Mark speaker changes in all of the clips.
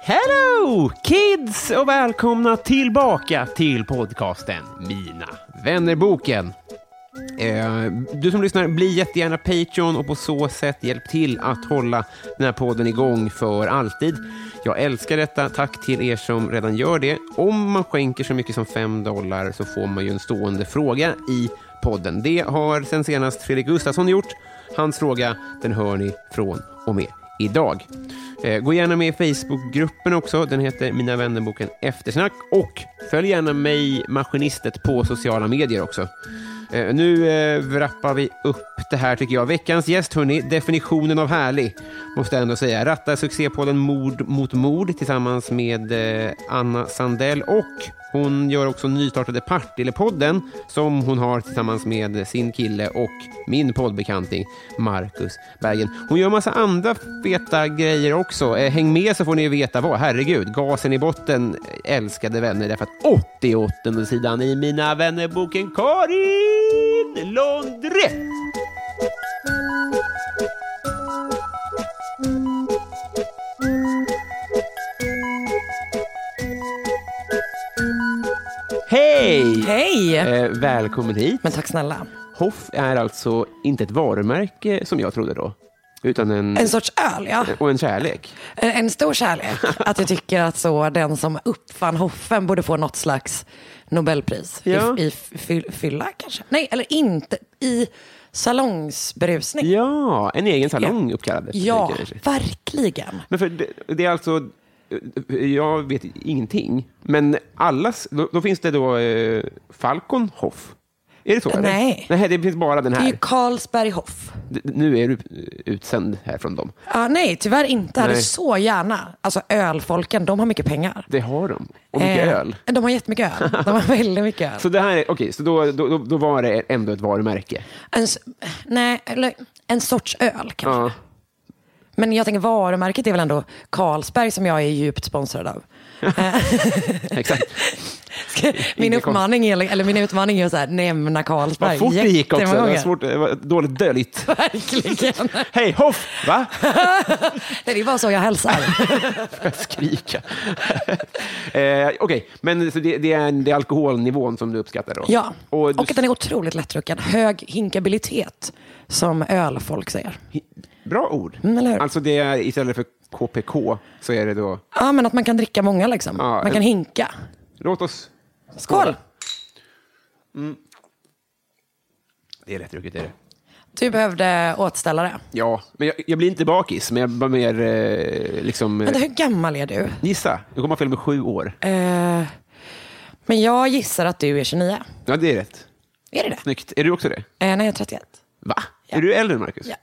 Speaker 1: Hello kids och välkomna tillbaka till podcasten Mina vännerboken. Eh, Du som lyssnar, bli jättegärna Patreon och på så sätt hjälp till att hålla den här podden igång för alltid. Jag älskar detta. Tack till er som redan gör det. Om man skänker så mycket som 5 dollar så får man ju en stående fråga i podden. Det har sen senast Fredrik Gustafsson gjort. Hans fråga, den hör ni från och med idag. Eh, Gå gärna med i Facebookgruppen också. Den heter Mina vännerboken Eftersnack. Och följ gärna mig, Maskinistet, på sociala medier också. Eh, Nu eh, wrappar vi upp det här tycker jag. Veckans gäst, hörni, definitionen av härlig, måste jag ändå säga. Rattar succépodden Mord mot mord tillsammans med eh, Anna Sandell och hon gör också nystartade Partille-podden som hon har tillsammans med sin kille och min poddbekanting Marcus Bergen. Hon gör massa andra feta grejer också. Eh, Häng med så får ni veta vad. Herregud, gasen i botten, eh, älskade vänner, därför att 88 sidan i Mina vännerboken Karin Lundre. Hej!
Speaker 2: Hej!
Speaker 1: Eh, välkommen hit.
Speaker 2: Men tack snälla.
Speaker 1: Hoff är alltså inte ett varumärke som jag trodde då, utan en,
Speaker 2: En sorts öl, ja.
Speaker 1: och en kärlek.
Speaker 2: En, en stor kärlek. Att jag tycker att så den som uppfann hoffen borde få något slags Nobelpris.
Speaker 1: Ja.
Speaker 2: I, i fy- fylla kanske? Nej, eller inte. I salongsberusning.
Speaker 1: Ja, en egen salong uppkallad efter
Speaker 2: Ja,
Speaker 1: dig, kanske.
Speaker 2: verkligen.
Speaker 1: Men för det, det är alltså, jag vet ingenting, men allas, då, då finns det då eh, Falcon Hoff. Är det så? eller?
Speaker 2: Nej.
Speaker 1: Nej, det finns bara den
Speaker 2: Det är
Speaker 1: här.
Speaker 2: ju Carlsberg Hoff.
Speaker 1: D- Nu är du utsänd här från dem.
Speaker 2: Ah, nej, tyvärr inte. Jag hade
Speaker 1: Nej.
Speaker 2: så gärna. Alltså ölfolken, de har mycket pengar.
Speaker 1: Det har de. Och mycket
Speaker 2: Eh,
Speaker 1: öl.
Speaker 2: De har jättemycket öl. De har väldigt mycket öl.
Speaker 1: Så det här är, okej, så då, då, då- då var det ändå ett varumärke.
Speaker 2: En, s- nej, eller en sorts öl kanske.
Speaker 1: Ja.
Speaker 2: Men jag tänker varumärket är väl ändå Carlsberg som jag är djupt sponsrad av.
Speaker 1: Exakt.
Speaker 2: Min
Speaker 1: Ingen kon-
Speaker 2: uppmaning är, eller min utmaning är att så här, nämna
Speaker 1: Vad
Speaker 2: Carlsberg.
Speaker 1: fort det gick också. Det
Speaker 2: jättemånga
Speaker 1: var,
Speaker 2: gånger.
Speaker 1: svårt, det var dåligt döljt.
Speaker 2: Verkligen.
Speaker 1: Hej Hoff! Va?
Speaker 2: Nej, det är bara så jag hälsar.
Speaker 1: Jag skrika. eh, Okej, men så det, det, är, det är alkoholnivån som du uppskattar då?
Speaker 2: Ja.
Speaker 1: Och,
Speaker 2: Och
Speaker 1: du,
Speaker 2: att den är otroligt lättdrucken. Hög hinkabilitet, som ölfolk säger.
Speaker 1: Bra ord.
Speaker 2: Mm, eller hur?
Speaker 1: Alltså det är istället för KPK så är det då,
Speaker 2: Ja, men att man kan dricka många liksom.
Speaker 1: Ja,
Speaker 2: man kan
Speaker 1: en-
Speaker 2: hinka.
Speaker 1: låt oss...
Speaker 2: Skål!
Speaker 1: Det är rätt druckigt är det.
Speaker 2: Du behövde återställare.
Speaker 1: Ja, men jag, jag blir inte bakis, men jag var mer eh, liksom... Eh,
Speaker 2: Vänta, hur gammal är du?
Speaker 1: gissa, jag kommer ha fel med sju år.
Speaker 2: Eh, men jag gissar att du är 29.
Speaker 1: Ja, det är rätt.
Speaker 2: Är det det?
Speaker 1: Snyggt. Är du också det?
Speaker 2: Eh, nej, jag är 31.
Speaker 1: Va?
Speaker 2: Ja.
Speaker 1: Är du äldre än Marcus?
Speaker 2: Ja.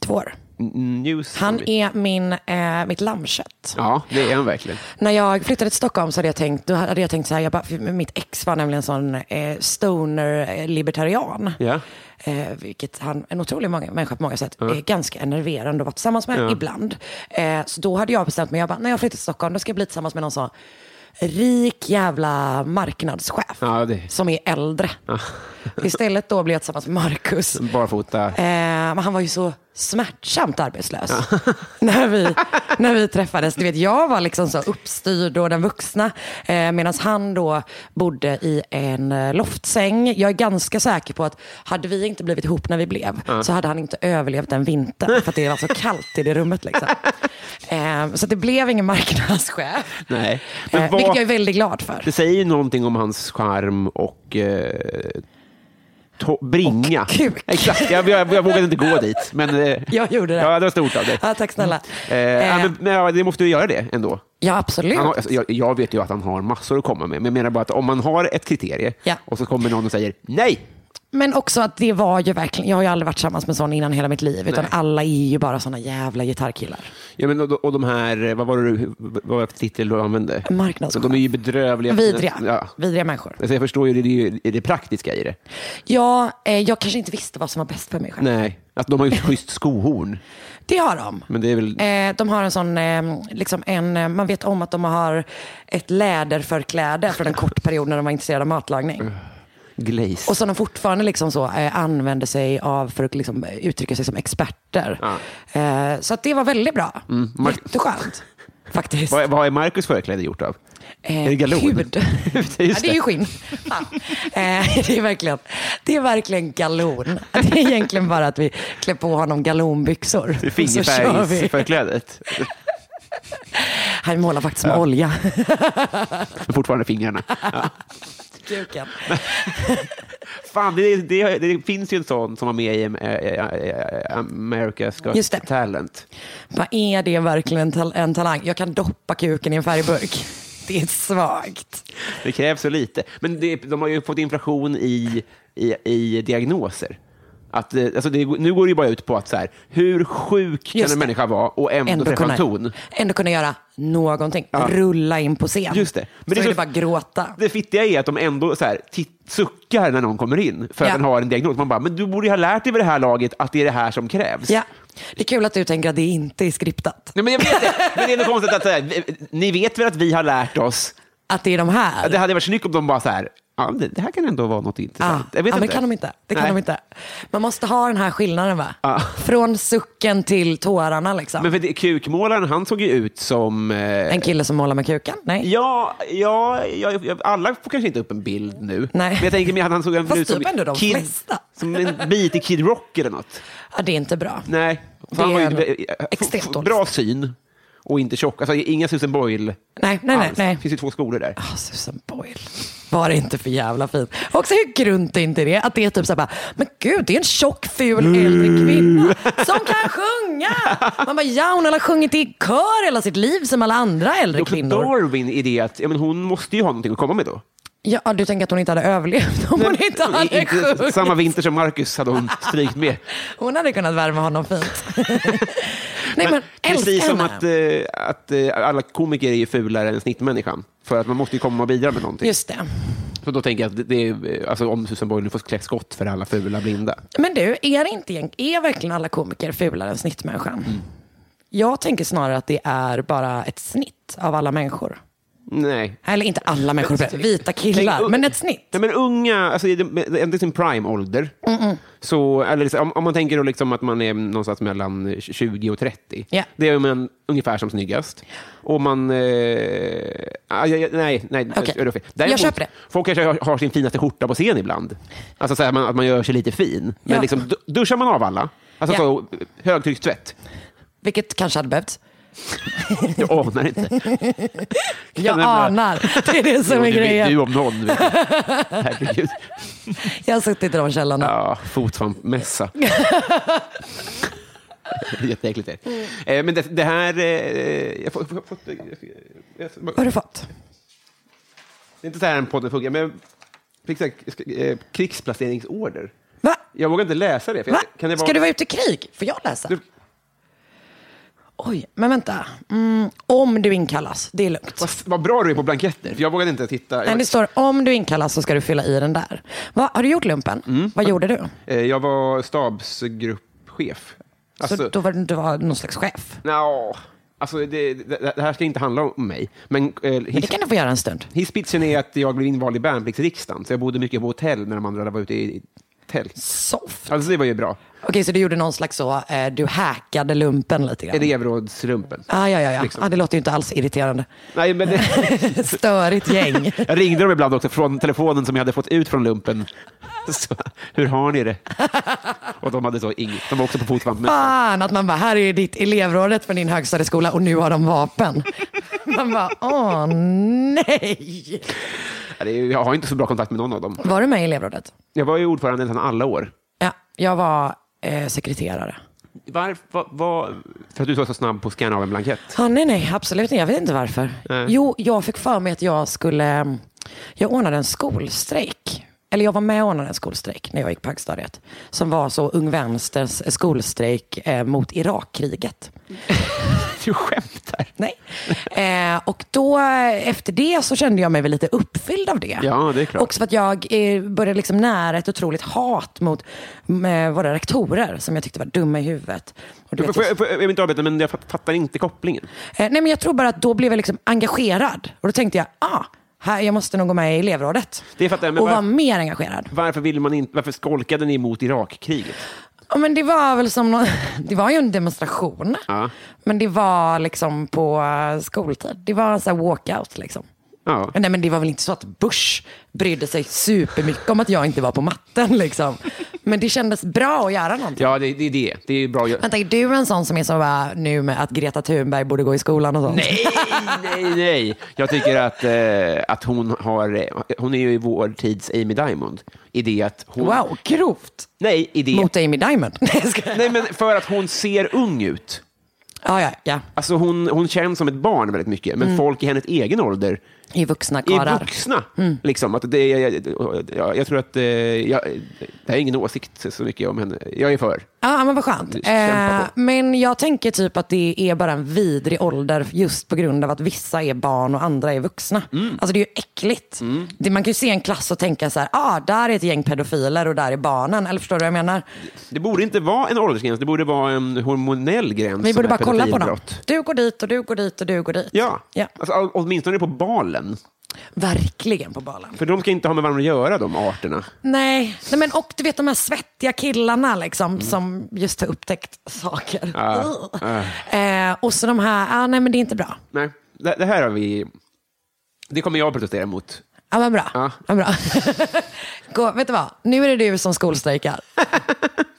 Speaker 2: Två år.
Speaker 1: N- News.
Speaker 2: Han är min, eh, mitt lammkött.
Speaker 1: Ja, det är han verkligen.
Speaker 2: När jag flyttade till Stockholm så hade jag tänkt, då hade jag tänkt så här, jag bara, för mitt ex var nämligen sån eh, stoner-libertarian.
Speaker 1: Ja.
Speaker 2: Eh, vilket han, en otrolig många, människa på många sätt, är ganska enerverande att vara tillsammans med ibland. Eh, så då hade jag bestämt mig, jag bara, när jag flyttar till Stockholm då ska jag bli tillsammans med någon sån rik jävla marknadschef.
Speaker 1: Ja, det-
Speaker 2: Som är äldre. Istället då blev jag tillsammans med Marcus.
Speaker 1: Barfota.
Speaker 2: Eh, men han var ju så smärtsamt arbetslös när, vi, när vi träffades. Du vet, jag var liksom så uppstyrd och den vuxna eh, medan han då bodde i en eh, loftsäng. Jag är ganska säker på att hade vi inte blivit ihop när vi blev så hade han inte överlevt den vintern för att det var så kallt i det rummet. Liksom. Eh, så att det blev ingen marknadschef.
Speaker 1: Nej. Men
Speaker 2: Eh,
Speaker 1: vad-
Speaker 2: vilket jag är väldigt glad för.
Speaker 1: Det säger ju någonting om hans charm och eh, to- bringa.
Speaker 2: kuk.
Speaker 1: Exakt, jag, jag, jag vågade inte gå dit. Men, eh,
Speaker 2: Jag gjorde det.
Speaker 1: Ja, det var stort av dig.
Speaker 2: Ja, tack snälla.
Speaker 1: Eh, ja,
Speaker 2: Eh,
Speaker 1: men, men, ja, det måste ju göra det ändå.
Speaker 2: Ja, absolut.
Speaker 1: Han har, alltså, jag, jag vet ju att han har massor att komma med, men jag menar bara att om man har ett kriterie
Speaker 2: Ja.
Speaker 1: och så kommer någon och säger nej,
Speaker 2: Men också att det var ju verkligen, jag har ju aldrig varit tillsammans med en sån innan hela mitt liv. Utan
Speaker 1: Nej.
Speaker 2: alla är ju bara såna jävla gitarrkillar.
Speaker 1: ja, men, och, och de här, eh, vad var det du, vad var det för titel du använde?
Speaker 2: Marknadschef.
Speaker 1: De är ju bedrövliga.
Speaker 2: Vidriga.
Speaker 1: Ja.
Speaker 2: Vidriga människor.
Speaker 1: Alltså, jag förstår ju det, det, är ju det praktiska i det.
Speaker 2: Ja, eh, jag kanske inte visste vad som var bäst för mig själv.
Speaker 1: Nej, att de har ju ett schysst skohorn.
Speaker 2: Det har de.
Speaker 1: Men det är väl...
Speaker 2: Eh, de har en sån, eh, liksom en, eh, man vet om att de har ett läderförkläde från en kort period när de var intresserade av matlagning.
Speaker 1: Glaze.
Speaker 2: Och som de fortfarande liksom så, eh, använder sig av för att liksom, eh, uttrycka sig som experter. Eh, så att det var väldigt bra.
Speaker 1: Mm, Mark-
Speaker 2: Jätteskönt. Faktiskt.
Speaker 1: Vad, vad är Marcus förkläde gjort av?
Speaker 2: Eh,
Speaker 1: är det galon?
Speaker 2: Hud.
Speaker 1: Just
Speaker 2: Ja, det är
Speaker 1: det.
Speaker 2: ju skinn. Fan. Eh, det, är verkligen, det är verkligen galon. Det är egentligen bara att vi klär på honom galonbyxor.
Speaker 1: Det är
Speaker 2: Och så kör vi.
Speaker 1: Fingerfärgsförklädet.
Speaker 2: Han målar faktiskt med olja.
Speaker 1: Men fortfarande fingrarna. Ja.
Speaker 2: Kuken.
Speaker 1: Fan, det, det, det finns ju en sån som var med i eh, eh, eh, America's Got
Speaker 2: Just det.
Speaker 1: Talent.
Speaker 2: Vad är det verkligen tal- en talang? Jag kan doppa kuken i en färgburk. Det är svagt.
Speaker 1: Det krävs så lite. Men det, de har ju fått inflation i, i, i diagnoser. Att, eh, alltså det, nu går det ju bara ut på att så här, hur sjuk
Speaker 2: Just
Speaker 1: kan en
Speaker 2: det.
Speaker 1: människa vara och ändå, träffa en ton?
Speaker 2: ändå kunna göra någonting. Rulla in på scen.
Speaker 1: Just det.
Speaker 2: Men
Speaker 1: Men
Speaker 2: så
Speaker 1: det
Speaker 2: är
Speaker 1: är
Speaker 2: det
Speaker 1: så-
Speaker 2: bara gråta.
Speaker 1: Det fittiga är att de ändå så här, titt, suckar när någon kommer in för att
Speaker 2: Ja.
Speaker 1: den har en diagnos. Man bara, men du borde ju ha lärt dig vid det här laget att det är det här som krävs.
Speaker 2: Ja. Det är kul att du tänker att det inte är skriptat.
Speaker 1: Nej, men jag vet det. Men det är ändå konstigt att så här, vi- ni vet väl att vi har lärt oss.
Speaker 2: Att det är de här.
Speaker 1: Det hade varit snyggt om de bara så här, ja, det, det här kan ändå vara något
Speaker 2: Ja,
Speaker 1: intressant.
Speaker 2: ja
Speaker 1: Jag vet
Speaker 2: Ah. men
Speaker 1: inte.
Speaker 2: kan de inte. Det kan
Speaker 1: Nej. Ah.
Speaker 2: de inte. Man måste ha den här skillnaden va? Från sucken till tårarna liksom.
Speaker 1: Men för det, kukmålaren, han såg ju ut som... Eh,
Speaker 2: En kille som målar med kuken? Nej.
Speaker 1: ja, ja, ja, ja, alla får kanske inte upp en bild nu.
Speaker 2: Nej.
Speaker 1: Men jag tänker mig att han såg
Speaker 2: Fast
Speaker 1: ut som,
Speaker 2: typ ändå de
Speaker 1: kid,
Speaker 2: flesta.
Speaker 1: som en bit i Kid Rock eller något.
Speaker 2: Ja, Ah, det är inte bra.
Speaker 1: Nej.
Speaker 2: Det
Speaker 1: Så han var
Speaker 2: är
Speaker 1: ju,
Speaker 2: extremt
Speaker 1: eh, f-
Speaker 2: dåligt.
Speaker 1: Bra syn och inte tjock. Alltså, inga Susan Boyle
Speaker 2: Nej, nej, nej.
Speaker 1: alls.
Speaker 2: nej.
Speaker 1: Det finns ju två skolor där.
Speaker 2: Ah, Susan Boyle. Var det inte för jävla fint? Också hur grunt är inte det? Att det är typ såhär bara, men gud det är en tjock ful
Speaker 1: Mm.
Speaker 2: äldre kvinna som kan sjunga. Man bara, ja hon har sjungit i kör hela sitt liv som alla andra äldre
Speaker 1: Dr.
Speaker 2: kvinnor.
Speaker 1: Darwin i det att ja, men hon måste ju ha någonting att komma med då.
Speaker 2: Ja, du tänker att hon inte hade överlevt om hon inte hade
Speaker 1: Inte-
Speaker 2: sjungit.
Speaker 1: samma vinter som Marcus hade hon strykt med.
Speaker 2: Hon hade kunnat värma honom fint. Nej men,
Speaker 1: Precis
Speaker 2: älska
Speaker 1: som
Speaker 2: henne.
Speaker 1: att, eh, att eh, alla komiker är ju fulare än snittmänniskan. För att man måste ju komma och bidra med någonting.
Speaker 2: Just det.
Speaker 1: Så då tänker jag att det- det är, eh, alltså, om Susan Boyle nu får klä skott för alla fula blinda.
Speaker 2: Men du, är, det inte, egent- är verkligen alla komiker fulare än snittmänniskan?
Speaker 1: Mm.
Speaker 2: Jag tänker snarare att det är bara ett snitt av alla människor.
Speaker 1: Nej.
Speaker 2: Eller inte alla människor, vita killar,
Speaker 1: Tänk-
Speaker 2: men ett snitt.
Speaker 1: Nej, men unga, alltså, i det- ända i sin prime-ålder. Så, eller, liksom, om, om man tänker då liksom att man är någonstans mellan 20 och 30.
Speaker 2: Ja.
Speaker 1: Det är man ungefär som snyggast. Och man... Eh, ah, ja, ja, nej, nej.
Speaker 2: Okej.
Speaker 1: det var fel.
Speaker 2: Jag köper det.
Speaker 1: Folk kanske har, har sin finaste skjorta på scen ibland. Alltså så här, man, att man gör sig lite fin. Men
Speaker 2: Ja.
Speaker 1: liksom, du- duschar man av alla, alltså
Speaker 2: Ja.
Speaker 1: så, högtryckstvätt.
Speaker 2: Vilket kanske hade behövts.
Speaker 1: Jag anar inte.
Speaker 2: Jag
Speaker 1: nämna-
Speaker 2: anar. Det är det som är
Speaker 1: du, vet- du
Speaker 2: grejen.
Speaker 1: om någon. vet jag. Herregud.
Speaker 2: Jag har suttit i de källorna.
Speaker 1: Ja, fotsvampmässa. Jätteäckligt är det. Eh, Men det, det här... eh, Jag får, jag får, jag får, jag får,
Speaker 2: Vad har du fått?
Speaker 1: det är inte så här en podd funkar, men jag fick så här, eh, krigsplaceringsorder.
Speaker 2: Va?
Speaker 1: Jag vågar inte läsa det. För
Speaker 2: Va?
Speaker 1: jag, kan det vara,
Speaker 2: Ska du vara ute i krig? Får jag läsa?
Speaker 1: Du-
Speaker 2: Oj, men vänta. Mm, om du inkallas, det är lugnt.
Speaker 1: vad, vad bra du är på blanketter, för jag vågade inte titta.
Speaker 2: Nej,
Speaker 1: Jag,
Speaker 2: det står om du inkallas så ska du fylla i den där. Va, har du gjort lumpen? Vad gjorde du?
Speaker 1: eh, jag var stabsgruppchef.
Speaker 2: så
Speaker 1: Alltså,
Speaker 2: då var du inte var någon slags chef.
Speaker 1: nja, alltså det, det, det här ska inte handla om mig. Men, eh,
Speaker 2: Men det
Speaker 1: his-
Speaker 2: kan du få göra en stund.
Speaker 1: Hisspitchen är att jag blev invald i värnpliktsriksdagen, så jag bodde mycket på hotell när de andra var ute i tält.
Speaker 2: Soft.
Speaker 1: Alltså det var ju bra.
Speaker 2: Okej, så du gjorde någon slags så, eh, du hackade lumpen lite grann.
Speaker 1: Elevrådsrumpen.
Speaker 2: Ah, ja, ja, ja. Ah, det låter ju inte alls irriterande.
Speaker 1: Nej, men det,
Speaker 2: Störigt gäng.
Speaker 1: jag ringde dem ibland också från telefonen som jag hade fått ut från lumpen. Så, hur har ni det? Och de hade så inget. De var också på fotvampen.
Speaker 2: Fan att man bara, här är ditt elevrådet från din högstadieskola och nu har de vapen. Man bara, åh nej.
Speaker 1: Jag har inte så bra kontakt med någon av dem.
Speaker 2: Var du med i elevrådet?
Speaker 1: Jag var ju ordförande nästan alla år.
Speaker 2: Ja, jag var eh, sekreterare.
Speaker 1: Varför? Var, var, för att du var så snabb på att scanna av en blankett.
Speaker 2: Ja, nej, nej, absolut inte. Jag vet inte varför. Jo, jag fick för mig att jag skulle... mm, Jag ordnade en skolstrejk. Eller jag var med och ordnade en skolstrejk när jag gick på högstadiet. Som var så Ung Vänsters skolstrejk eh, mot Irakkriget.
Speaker 1: Du skämtar.
Speaker 2: Nej. Eh, och då, eh, efter det så kände jag mig väl lite uppfylld av det.
Speaker 1: Ja, det är klart.
Speaker 2: Också för att jag eh, började liksom nära ett otroligt hat mot mm, eh, våra rektorer som jag tyckte var dumma i huvudet. Och du vet,
Speaker 1: Får, får, får, jag vill inte avbryta, men jag fatt- fattar inte kopplingen.
Speaker 2: Eh, nej, men jag tror bara att då blev jag liksom engagerad. Och då tänkte jag, ah, här, jag måste nog gå med i elevrådet.
Speaker 1: Det fattar jag, men
Speaker 2: och vara
Speaker 1: var-
Speaker 2: mer engagerad.
Speaker 1: Varför, vill man inte, varför skolkade ni mot Irakkriget?
Speaker 2: Ja, men det var väl som nå- det var ju en demonstration.
Speaker 1: Ja.
Speaker 2: Men det var liksom på eh, skoltid. Det var en sån här walkout liksom.
Speaker 1: Ja.
Speaker 2: Men Nej, men det var väl inte så att Bush brydde sig supermycket om att jag inte var på matten. Liksom. Men det kändes bra att göra någonting.
Speaker 1: Ja, det, det är det. Det är bra.
Speaker 2: Vänta, är du en sån som är så bara, nu med att Greta Thunberg borde gå i skolan och sånt?
Speaker 1: Nej, nej, nej. Jag tycker att, eh, att hon har... eh, Hon är ju i vår tids Amy Diamond. I det att hon...
Speaker 2: Wow, grovt!
Speaker 1: Nej, i det...
Speaker 2: Mot Amy Diamond. Nej, jag skojar.
Speaker 1: Nej, men för att hon ser ung ut.
Speaker 2: ja, ja, ja.
Speaker 1: Alltså hon, hon känns som ett barn väldigt mycket,
Speaker 2: Mm.
Speaker 1: men folk i hennes egen ålder
Speaker 2: I vuxna
Speaker 1: är
Speaker 2: karlar.
Speaker 1: vuxna.
Speaker 2: Mm.
Speaker 1: Liksom, att det, jag, jag, jag tror att... Eh, jag, det här är ingen åsikt så mycket om henne. Jag är för.
Speaker 2: Ja, men vad skönt.
Speaker 1: Kämpa
Speaker 2: Eh,
Speaker 1: på.
Speaker 2: men jag tänker typ att det är bara en vidrig ålder just på grund av att vissa är barn och andra är vuxna.
Speaker 1: Mm.
Speaker 2: Alltså det är ju äckligt. Det, man kan ju se en klass och tänka så här, ah, där är ett gäng pedofiler och där är barnen. Eller förstår du vad jag menar?
Speaker 1: Det borde inte vara en åldersgräns, det borde vara en hormonell gräns.
Speaker 2: Vi
Speaker 1: som
Speaker 2: borde
Speaker 1: är
Speaker 2: bara kolla på dem.
Speaker 1: pedofilbrott.
Speaker 2: Du går dit och du går dit och du går dit.
Speaker 1: Ja,
Speaker 2: ja.
Speaker 1: Alltså, å- åtminstone på balen.
Speaker 2: Verkligen på balen.
Speaker 1: För de ska inte ha med varandra att göra, de arterna.
Speaker 2: Nej. Nej, men och du vet de här svettiga killarna liksom
Speaker 1: Mm.
Speaker 2: som just har upptäckt saker.
Speaker 1: Ja,
Speaker 2: Eh, och så de här, ah, nej men det är inte bra.
Speaker 1: Nej, det, det här har vi... Det kommer jag att protestera mot.
Speaker 2: Ja, men bra.
Speaker 1: Ja.
Speaker 2: Ja. bra. Gå, vet du vad? Nu är det du som skolstrejkar.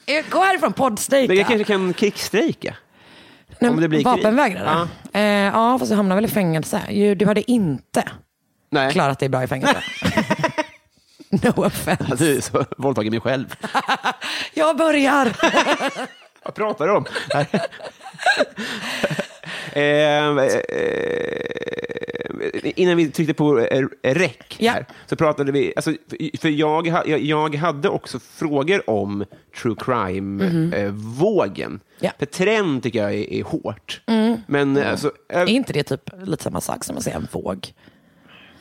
Speaker 2: Eh, Gå härifrån, poddstrejka.
Speaker 1: Men jag kanske kan krigsstrejka.
Speaker 2: Nej,
Speaker 1: om det blir krig.
Speaker 2: vapenvägrare? Ja. Eh, ja, fast du hamnar väl i fängelse. Ju, Du hade inte
Speaker 1: Nej,
Speaker 2: klarat dig bra i fängelse. no offense.
Speaker 1: du så våldtagit mig själv.
Speaker 2: Jag börjar.
Speaker 1: Vad pratar du om? eh, eh, innan vi tryckte på eh, räck
Speaker 2: Ja.
Speaker 1: här, så pratade vi... Alltså, för- för jag, ha- jag, jag hade också frågor om true crime-vågen.
Speaker 2: Mhm. Ja.
Speaker 1: För trend tycker jag är, är hårt. Men eh, alltså,
Speaker 2: är
Speaker 1: jag,
Speaker 2: inte det typ lite samma sak som att säga en våg?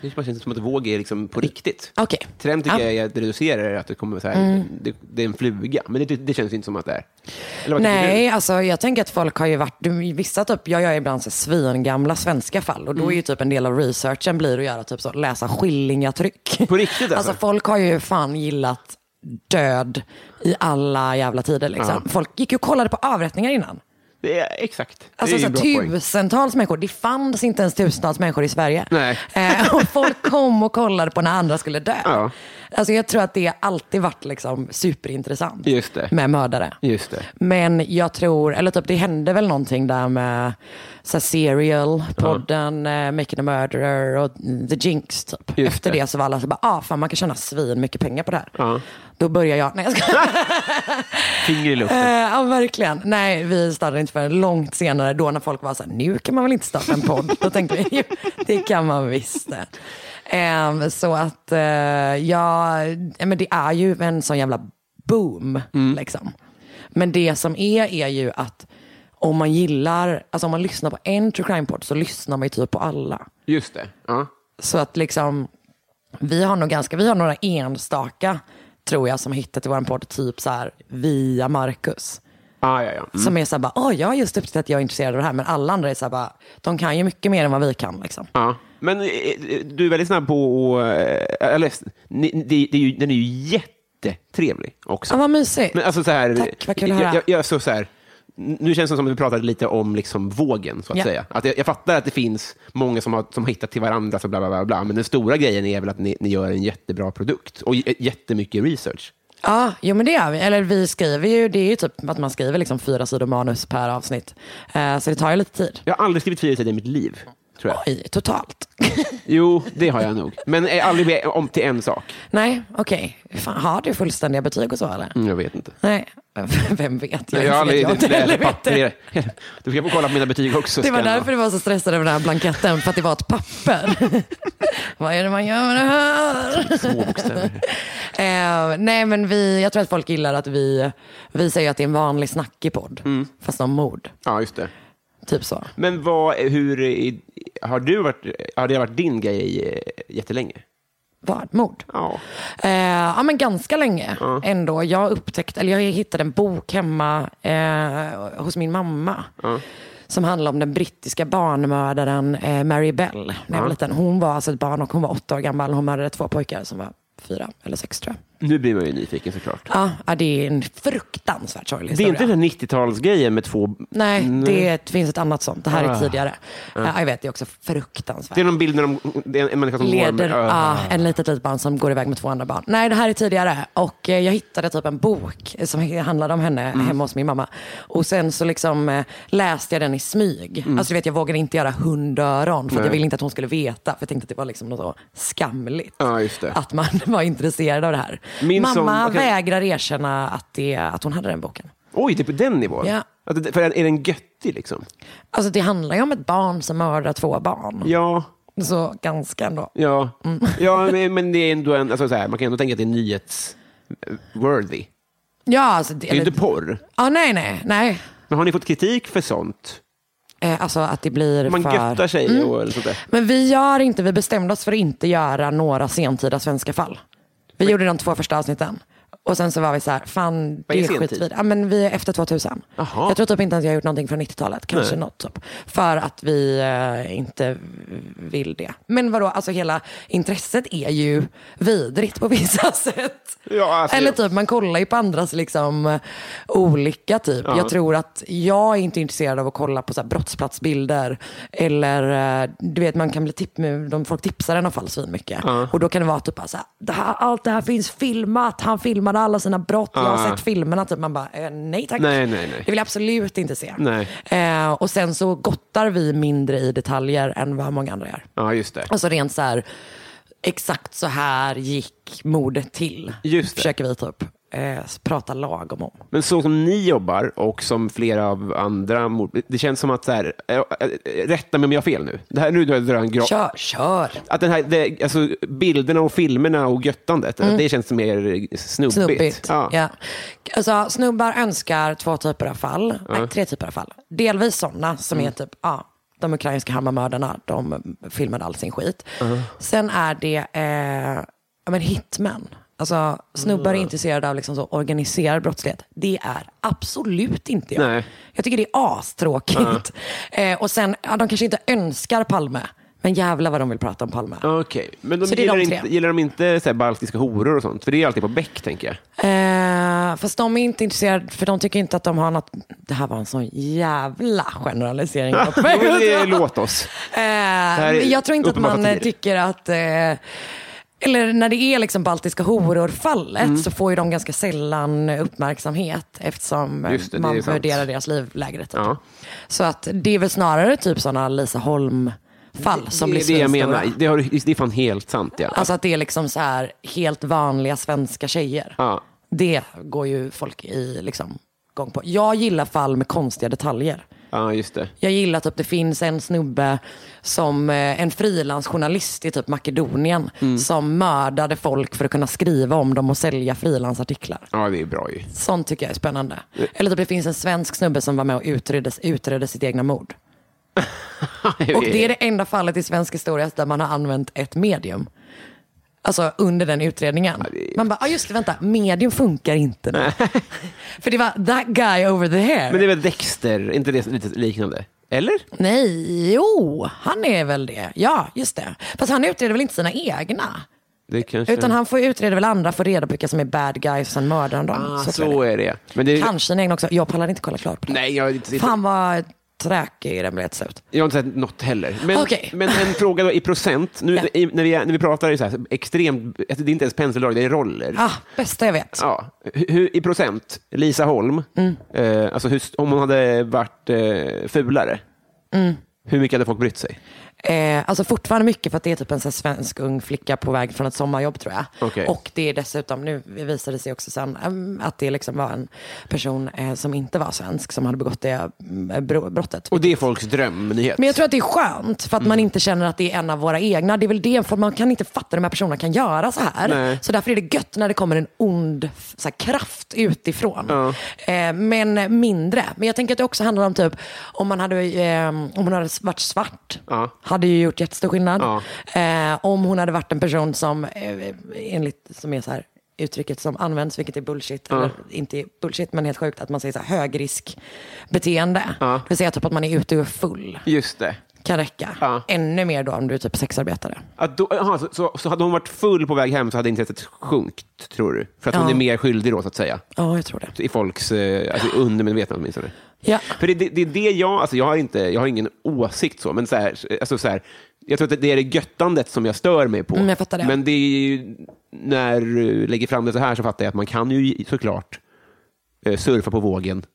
Speaker 1: det känns som att våg är liksom på riktigt.
Speaker 2: Okej.
Speaker 1: Trend tycker
Speaker 2: Ja. Mm.
Speaker 1: jag är att reducera att det kommer så här, det, det är en fluga. Men det, det känns inte som att det är. Eller vad tycker
Speaker 2: Nej, alltså jag tänker att folk har ju varit, du- vissa typ, jag gör ibland så svingamla svenska fall
Speaker 1: Mm.
Speaker 2: och då är ju typ en del av researchen blir att göra typ så, läsa skillingatryck.
Speaker 1: På riktigt, alltså?
Speaker 2: alltså? folk har ju fan gillat död i alla jävla tider liksom.
Speaker 1: Ja.
Speaker 2: Folk gick ju och kollade på avrättningar innan.
Speaker 1: du? Det är, exakt.
Speaker 2: Alltså
Speaker 1: det är
Speaker 2: så
Speaker 1: ju en
Speaker 2: här,
Speaker 1: bra poäng.
Speaker 2: tusentals människor, det fanns inte ens tusentals människor i Sverige.
Speaker 1: Nej.
Speaker 2: Eh, och folk kom och kollade på när andra skulle dö.
Speaker 1: Ja.
Speaker 2: Alltså jag tror att det alltid varit liksom superintressant
Speaker 1: Just det.
Speaker 2: med mördare.
Speaker 1: Just det.
Speaker 2: Men jag tror, eller typ det hände väl någonting där med så här, Serial, podden, eh, Making a Murderer och The Jinx typ.
Speaker 1: Just
Speaker 2: Efter
Speaker 1: det.
Speaker 2: det. så var alla så bara, ah fan man kan tjäna svin mycket pengar på det här.
Speaker 1: Ja.
Speaker 2: Då börjar jag, nej jag ska...
Speaker 1: Finger i luften.
Speaker 2: Eh, ja, verkligen. Nej, vi startade inte förrän långt senare, då när folk var så här, nu kan man väl inte starta en podd? Då tänkte vi, "Jo, det kan man visst. Eh, så att, eh, ja, eh, men det är ju en sån jävla boom. Liksom. Men det som är, är ju att om man gillar, alltså om man lyssnar på en true crime-podd så lyssnar man ju typ på alla.
Speaker 1: Just det. Ja.
Speaker 2: Så att liksom, vi har nog ganska, vi har några enstaka tror jag som har hittat i vår podd, typ så här via Marcus.
Speaker 1: Ah, ja, ja.
Speaker 2: Som är så här bara, åh jag har just upptäckt att jag är intresserad av det här. Men alla andra är så här bara, de kan ju mycket mer än vad vi kan liksom.
Speaker 1: ja. Men eh, eh, du är väldigt snabb på att... eh, Eller, ni, det, det är ju, den är ju jätte jättetrevlig också.
Speaker 2: Ja, vad mysigt.
Speaker 1: Men alltså så här,
Speaker 2: Tack, vad kul att
Speaker 1: jag,
Speaker 2: höra.
Speaker 1: jag, jag, så, så här, nu känns det som att vi pratade lite om liksom vågen, så att
Speaker 2: Ja.
Speaker 1: säga. Att jag, jag fattar att det finns många som har, som har hittat till varandra, så bla, bla, bla, bla, men den stora grejen är väl att ni, ni gör en jättebra produkt och j- jättemycket research.
Speaker 2: Ja, jo men det gör vi. Eller vi skriver ju, det är ju typ att man skriver liksom fyra sidor manus per avsnitt. Eh, så det tar ju lite tid.
Speaker 1: Jag har aldrig skrivit fyra sidor i mitt liv, tror jag.
Speaker 2: Oj, totalt.
Speaker 1: Jo, det har jag nog. Men eh, aldrig be- om till en sak.
Speaker 2: Nej, okej. Fan, Har du fullständiga betyg och så eller?
Speaker 1: Mm, Jag vet inte.
Speaker 2: Nej, vem vet?
Speaker 1: Jag har
Speaker 2: vet
Speaker 1: aldrig
Speaker 2: inte heller
Speaker 1: läst
Speaker 2: vet det.
Speaker 1: papper. Du ska få kolla på mina betyg också.
Speaker 2: Det var
Speaker 1: Stellan.
Speaker 2: därför du var så stressad över den här blanketten, för att det var ett papper. Vad är det man gör med det här?
Speaker 1: Små bokstäver.
Speaker 2: Eh, nej men vi, jag tror att folk gillar att vi, vi säger att det är en vanlig snackig podd, fast om mord.
Speaker 1: Ja, just det.
Speaker 2: Typ så.
Speaker 1: Men vad, hur, i- har, du varit, har det varit din grej eh, jättelänge?
Speaker 2: Vad? Mord?
Speaker 1: Ja.
Speaker 2: Eh, ja men ganska länge ändå. Jag upptäckte, eller jag hittade en bok hemma eh, hos min mamma. Som handlar om den brittiska barnmördaren eh, Mary Bell. När jag var liten. Hon var alltså ett barn och hon var åtta år gammal. Hon mördade två pojkar som var fyra eller sex tror jag.
Speaker 1: Nu blir man ju nyfiken såklart.
Speaker 2: Ja, ja, det är en fruktansvärt sorglig
Speaker 1: Det är
Speaker 2: historia.
Speaker 1: inte den här 90-talsgrejen med två...
Speaker 2: Nej,
Speaker 1: Mm.
Speaker 2: det finns ett annat sånt. Det här
Speaker 1: Ah.
Speaker 2: är tidigare. Ja, jag vet, det är också fruktansvärt.
Speaker 1: Det är någon bild när de, det är en människa som går
Speaker 2: leder
Speaker 1: med...
Speaker 2: ja, en litet, litet barn som går iväg med två andra barn. Nej, det här är tidigare. Och eh, jag hittade typ en bok som handlade om henne
Speaker 1: Mm.
Speaker 2: hemma hos min mamma. Och sen så liksom eh, läste jag den i smyg.
Speaker 1: Mm.
Speaker 2: Alltså du vet, jag vågade inte göra hundöron för att jag ville inte att hon skulle veta. För jag tänkte att det var liksom något så skamligt.
Speaker 1: Ja, just det.
Speaker 2: Att man var intresserad av det här.
Speaker 1: Min
Speaker 2: mamma
Speaker 1: som- okej.
Speaker 2: vägrar erkänna att, det, att hon hade den boken.
Speaker 1: Oj, det är på den nivån?
Speaker 2: Ja.
Speaker 1: Att det- För är den göttig liksom?
Speaker 2: Alltså det handlar ju om ett barn som mördar två barn.
Speaker 1: Ja.
Speaker 2: Så ganska ändå.
Speaker 1: Ja,
Speaker 2: Mm.
Speaker 1: ja men- men det är ändå en, alltså så här, man kan ändå tänka att det är nyhets-worthy.
Speaker 2: Ja, alltså, det,
Speaker 1: Det är ju
Speaker 2: eller,
Speaker 1: inte porr.
Speaker 2: ah, nej, nej, nej.
Speaker 1: Men har ni fått kritik för sånt?
Speaker 2: Eh, Alltså att det Mm. blir
Speaker 1: Man
Speaker 2: för...
Speaker 1: göttar sig och eller sånt där.
Speaker 2: Men vi gör inte, vi bestämde oss för att inte göra några sentida svenska fall. Vi gjorde de två första avsnitten. Och sen så var vi så här, fan
Speaker 1: Vad
Speaker 2: det
Speaker 1: är
Speaker 2: är
Speaker 1: sentid?
Speaker 2: skitvid. Ja, men vi är efter 2000.
Speaker 1: Jaha.
Speaker 2: Jag tror typ inte att jag har gjort någonting från 90-talet. Kanske
Speaker 1: Nej.
Speaker 2: något typ. För att vi eh, inte vill det. Men vadå, alltså hela intresset är ju vidrigt på vissa sätt.
Speaker 1: Ja, alltså-
Speaker 2: Eller typ, man kollar ju på andras liksom olycka typ. Jag tror att jag är inte intresserad av att kolla på så här brottsplatsbilder. Eller eh, du vet, man kan bli tipp, de folk tipsar en om fall mycket. Och då kan det vara typ bara så här, det här, allt det här finns filmat. Han filmade alla sina brott. Jag har
Speaker 1: Ja.
Speaker 2: sett filmerna. Typ. Man bara, eh, nej tack.
Speaker 1: Nej, nej, nej.
Speaker 2: Det vill jag absolut inte se.
Speaker 1: Nej.
Speaker 2: Eh, och sen så gottar vi mindre i detaljer än vad många andra gör.
Speaker 1: Ja, just det.
Speaker 2: Alltså rent så här, exakt så här gick mordet till.
Speaker 1: Just det.
Speaker 2: Försöker vi ta upp. Eh, s- prata lagom om.
Speaker 1: Men så som ni jobbar och som flera av andra mord, det känns som att så här, eh, eh, rätta mig om jag har fel nu. Det här nu drar jag en gra-
Speaker 2: Kör, kör.
Speaker 1: Att den här, det, alltså, bilderna och filmerna och göttandet, det känns mer snubbigt.
Speaker 2: Mm. Snubbigt.
Speaker 1: Ja.
Speaker 2: Ja. Alltså, snubbar önskar två typer av fall. Nej, tre typer av fall. Delvis sådana som är typ, ja, de ukrainska hammarmördarna, de filmade all sin skit. Sen är det eh, ja, men hitmen. Alltså, snubbar är intresserade av liksom så organiserad brottslighet. Det är absolut inte jag.
Speaker 1: Nej.
Speaker 2: Jag tycker det är astråkigt. Eh, och sen, ja, de kanske inte önskar Palme, men jävlar vad de vill prata om Palme.
Speaker 1: Okej, men de
Speaker 2: Så det är
Speaker 1: gillar,
Speaker 2: de tre.
Speaker 1: inte, gillar de inte så här, baltiska horor och sånt? För det är alltid på Beck, tänker jag.
Speaker 2: Eh, fast de är inte intresserade, för de tycker inte att de har något... Det här var en sån jävla generalisering. jag var på väg
Speaker 1: Jo,
Speaker 2: att
Speaker 1: det-
Speaker 2: göra.
Speaker 1: Låt oss.
Speaker 2: Eh,
Speaker 1: här är
Speaker 2: men jag tror inte att
Speaker 1: uppenbara
Speaker 2: man eh,
Speaker 1: partier.
Speaker 2: tycker att... Eh, eller när det är liksom baltiska horor-fallet
Speaker 1: Mm.
Speaker 2: så får ju de ganska sällan uppmärksamhet eftersom eh,
Speaker 1: Just det, det är
Speaker 2: man
Speaker 1: sant.
Speaker 2: värderar deras liv lägre. Typ.
Speaker 1: Ja.
Speaker 2: Så att det är väl snarare typ sådana Lisa Holm-fall
Speaker 1: det
Speaker 2: som blir
Speaker 1: är det jag
Speaker 2: svinstora.
Speaker 1: menar. Det, har, du- det är fan helt sant. Ja.
Speaker 2: Alltså att det är liksom så här helt vanliga svenska tjejer.
Speaker 1: Ja.
Speaker 2: Det går ju folk i liksom gång på. Jag gillar fall med konstiga detaljer.
Speaker 1: ja, just det.
Speaker 2: Jag gillar typ det finns en snubbe som eh, en frilansjournalist i typ Makedonien som mördade folk för att kunna skriva om dem och sälja frilansartiklar.
Speaker 1: Ja, det är bra ju.
Speaker 2: Sånt tycker jag är spännande. Eller typ det finns en svensk snubbe som var med och utredde, utredde sitt egna mord. Och det är det enda fallet i svensk historia där man har använt ett medium. Alltså under den utredningen. Man bara, ah, just det, vänta, medium funkar inte nu. För det var that guy over the hair.
Speaker 1: Men det är väl Dexter, inte det lite liknande? Eller?
Speaker 2: Nej, jo, han är väl det. Ja, just det. Fast han utreder väl inte sina egna?
Speaker 1: Det kanske...
Speaker 2: Utan han får utreda väl andra, får reda på vilka som är bad guys och sen mördar han dem.
Speaker 1: ah,
Speaker 2: Så
Speaker 1: så,
Speaker 2: tror jag det.
Speaker 1: är det. Men det
Speaker 2: Kanske den egna också. Jag pallar inte kolla klart på den.
Speaker 1: Nej, jag, har inte-
Speaker 2: Fan vad tråkig den blev till slut.
Speaker 1: jag har inte sett något heller. Men,
Speaker 2: Okej.
Speaker 1: men en fråga då, i procent. Nu,
Speaker 2: Ja.
Speaker 1: i, när, vi, är- när vi pratar är det så här, extremt, alltså, det är inte ens penseldrag, det är roller.
Speaker 2: Ah, bästa jag vet.
Speaker 1: Ja. Hur, I procent, Lisa Holm,
Speaker 2: Mm.
Speaker 1: eh, alltså hur, om hon hade varit eh, fulare,
Speaker 2: Mm.
Speaker 1: hur mycket hade folk brytt sig?
Speaker 2: Eh, alltså fortfarande mycket för att det är typ en så här svensk ung flicka på väg från ett sommarjobb tror jag.
Speaker 1: Okej.
Speaker 2: Och det är dessutom, nu visade det sig också sen em, att det liksom var en person eh, som inte var svensk som hade begått det mm, bro- brottet.
Speaker 1: Och det är folks drömnyhet.
Speaker 2: Men jag tror att det är skönt för att man
Speaker 1: Mm.
Speaker 2: inte känner att det är en av våra egna. Det är väl det, för man kan inte fatta att de här personerna kan göra så här.
Speaker 1: Nej.
Speaker 2: Så därför är det gött när det kommer en ond f- så här, kraft utifrån. Eh, men mindre. Men jag tänker att det också handlar om typ om man hade, eh, om hon hade varit svart.
Speaker 1: Ja.
Speaker 2: Hade ju gjort jättestor skillnad.
Speaker 1: Ja.
Speaker 2: Eh, om hon hade varit en person som, eh, enligt, som är så här uttrycket som används, vilket är bullshit, eller inte är bullshit men helt sjukt, att man säger så här högriskbeteende. Det vill säga typ att man är ute och är full
Speaker 1: Just det.
Speaker 2: kan räcka.
Speaker 1: Ja.
Speaker 2: Ännu mer då om du är typ sexarbetare.
Speaker 1: Att då, aha, så, så, så hade hon varit full på väg hem så hade intresset sjunkit, tror du? För att hon
Speaker 2: Ja.
Speaker 1: är mer skyldig då, så att säga.
Speaker 2: Ja, jag tror det.
Speaker 1: I folks eh, alltså, undermedvetna åtminstone.
Speaker 2: Ja.
Speaker 1: För det, det, det är det jag, alltså jag har, inte, jag har ingen åsikt så, men så här, alltså så här, jag tror att det är det göttandet som jag stör mig på.
Speaker 2: Mm, jag fattar det.
Speaker 1: Men det är ju, när du lägger fram det så här så fattar jag att man kan ju såklart eh, surfa på vågen.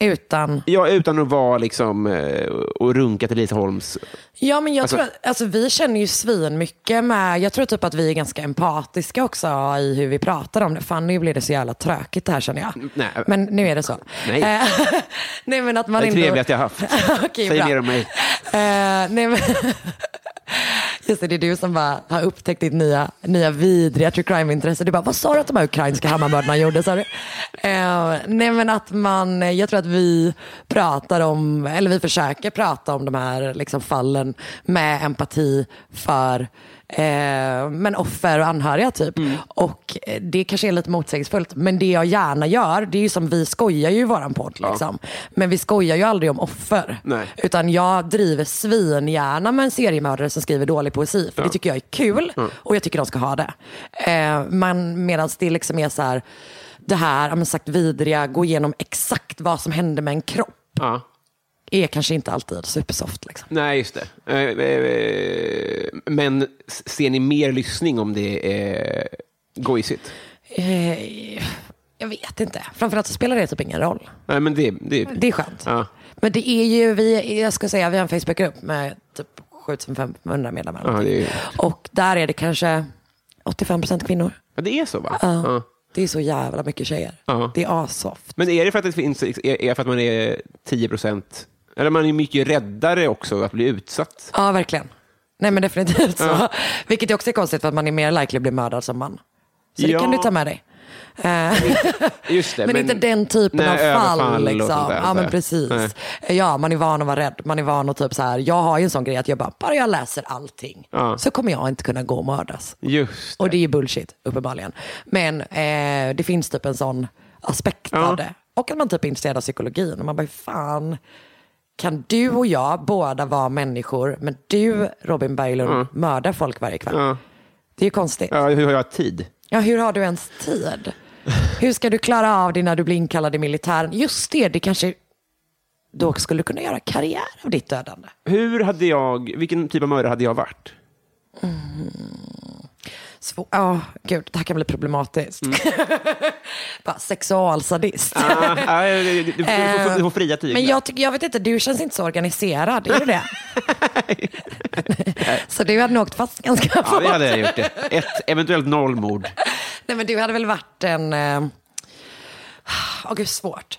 Speaker 2: Utan,
Speaker 1: Ja, utan att vara liksom eh, och runka till Lisa Holms.
Speaker 2: ja men jag
Speaker 1: Alltså-
Speaker 2: tror att, alltså vi känner ju svin mycket med, jag tror typ att vi är ganska empatiska också i hur vi pratar om det. Fan nu blir det så jävla tråkigt det här känner jag.
Speaker 1: nej.
Speaker 2: Men nu är det så.
Speaker 1: Nej.
Speaker 2: Eh, nej men att man
Speaker 1: Det
Speaker 2: inte...
Speaker 1: eh, trevligaste jag har haft.
Speaker 2: Okej,
Speaker 1: Säg
Speaker 2: bra.
Speaker 1: mer om mig.
Speaker 2: Eh, nej, men Just det, det är du som bara har upptäckt ditt nya, nya vidriga true crime-intresse. Du bara, vad sa du att de här ukrainska Hammarmördarna gjorde? Sa du? Eh, nej men att man, jag tror att vi pratar om, eller vi försöker prata om de här liksom, fallen med empati för eh, men offer och anhöriga typ. Och eh, det kanske är lite motsägelsefullt, men det jag gärna gör, det är ju som vi skojar ju i våran podd. Liksom. Men vi skojar ju aldrig om offer.
Speaker 1: Nej.
Speaker 2: Utan jag driver svingärna med en seriemördare som skriver dålig poesi. För det tycker jag är kul
Speaker 1: Mm.
Speaker 2: och jag tycker de ska ha det. Eh, men medan det liksom är så här, det här, ja, men sagt vidriga, gå igenom exakt vad som hände med en kropp.
Speaker 1: Ja.
Speaker 2: Är kanske inte alltid supersoft. Liksom.
Speaker 1: Nej, just det. Eh, eh, eh, Men s- ser ni mer lyssning om det är eh, gojsigt?
Speaker 2: Eh, jag vet inte. Framförallt så spelar det typ ingen roll.
Speaker 1: Nej, men det, det,
Speaker 2: Det är skönt.
Speaker 1: Ja.
Speaker 2: Men det är ju, vi, jag ska säga, vi har en Facebookgrupp med typ 7500 medlemmar.
Speaker 1: Ja, det är ju-
Speaker 2: Och där är det kanske 85% kvinnor.
Speaker 1: Ja, det är så, va?
Speaker 2: Ja.
Speaker 1: Ja.
Speaker 2: Det är så jävla mycket tjejer.
Speaker 1: Ja.
Speaker 2: Det är assoft.
Speaker 1: Men är det för att, det finns, är är för att man är 10 procent... Eller man är mycket räddare också att bli utsatt.
Speaker 2: Ja, verkligen. Nej men definitivt så. Vilket också är konstigt för att man är mer likely att bli mördad som man. Så det
Speaker 1: Ja.
Speaker 2: kan du ta med dig.
Speaker 1: Just det,
Speaker 2: Men, inte den typen
Speaker 1: Nej,
Speaker 2: av fall.
Speaker 1: överfall och
Speaker 2: liksom.
Speaker 1: sånt där,
Speaker 2: ja, men
Speaker 1: nej.
Speaker 2: precis.
Speaker 1: Nej.
Speaker 2: Ja, man är van att vara rädd. Man är van att typ så här, jag har ju en sån grej att jag bara, bara jag läser allting
Speaker 1: Ja.
Speaker 2: så kommer jag inte kunna gå och mördas.
Speaker 1: Just
Speaker 2: Och det är ju bullshit, uppenbarligen. Men eh, det finns typ en sån aspekt
Speaker 1: Ja.
Speaker 2: av det. Och att man typ är intresserad av psykologin. Och man bara, fan, kan du och jag båda vara människor, men du, Robin Berglund, mördar folk varje kväll? Det är ju konstigt. Ja.
Speaker 1: Ja, hur har jag tid?
Speaker 2: hur har du ens tid? Hur ska du klara av det när du blir inkallad i militären? Just det, det kanske då skulle kunna göra karriär av ditt dödande.
Speaker 1: Hur hade jag, vilken typ av mördare hade jag varit?
Speaker 2: Svår. Ja, gud, det här kan bli problematiskt. Bara sexualsadist.
Speaker 1: Ah, ah, du, du, du, får- du, får- du får fria tyglar.
Speaker 2: Eh, Men jag, tycker, jag vet inte, du känns inte så organiserad, är du det? så du hade nog åkt fast ganska
Speaker 1: Ja,
Speaker 2: fort.
Speaker 1: det hade jag gjort. Det. Ett, eventuellt nollmord.
Speaker 2: Nej men du hade väl varit en... eh, Åh gud, svårt.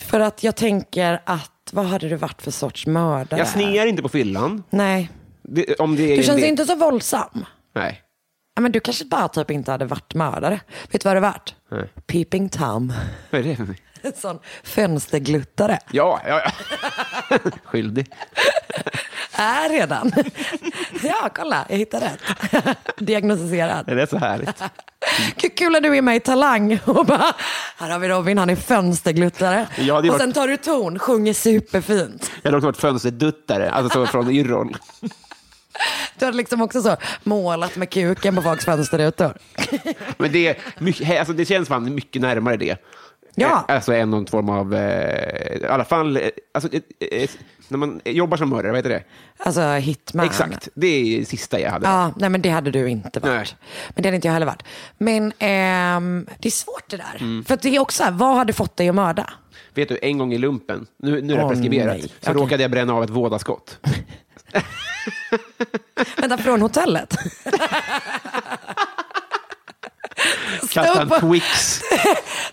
Speaker 2: För att jag tänker att, vad hade du varit för sorts mördare?
Speaker 1: Jag snear inte på fyllan.
Speaker 2: Nej,
Speaker 1: Det, om det är
Speaker 2: du
Speaker 1: en
Speaker 2: känns
Speaker 1: del-
Speaker 2: inte så våldsam.
Speaker 1: Nej.
Speaker 2: Ja, men du kanske bara typ inte hade varit mördare. Vet du vad det varit?
Speaker 1: Nej.
Speaker 2: Peeping Tom.
Speaker 1: Vad är det för mig?
Speaker 2: En sån fönstergluttare.
Speaker 1: Ja, ja, ja. Skyldig.
Speaker 2: Är redan. ja, kolla, jag hittade rätt. Diagnostiserad.
Speaker 1: Är det så härligt?
Speaker 2: Gud, kul att du är med i Talang och bara, här har vi Robin, han är fönstergluttare.
Speaker 1: Ja, det är
Speaker 2: och sen
Speaker 1: varit-
Speaker 2: tar du ton, sjunger superfint.
Speaker 1: Jag hade också varit fönsterduttare, alltså så från Yrrol.
Speaker 2: Du hade liksom också så målat med kuken på folks fönsterrutor.
Speaker 1: Men det, är mycket, he- alltså det känns fan mycket närmare det.
Speaker 2: Ja.
Speaker 1: Eh, Alltså än någon form av, eh, i alla fall, eh, alltså, eh, eh, när man jobbar som mördare, vad heter det?
Speaker 2: Alltså hitman.
Speaker 1: Exakt, det är det sista jag hade.
Speaker 2: Ja, nej men det hade du inte varit. Men det hade inte jag heller varit. Men ehm, det är svårt det där.
Speaker 1: Mm.
Speaker 2: För att det är också, så här, vad hade fått dig att mörda?
Speaker 1: Vet du, en gång i lumpen, nu, nu är det
Speaker 2: Åh,
Speaker 1: preskriberat,
Speaker 2: nej.
Speaker 1: så
Speaker 2: Okej.
Speaker 1: råkade jag bränna av ett vådaskott.
Speaker 2: Vänta, från hotellet?
Speaker 1: Kastade
Speaker 2: på-
Speaker 1: en Twix.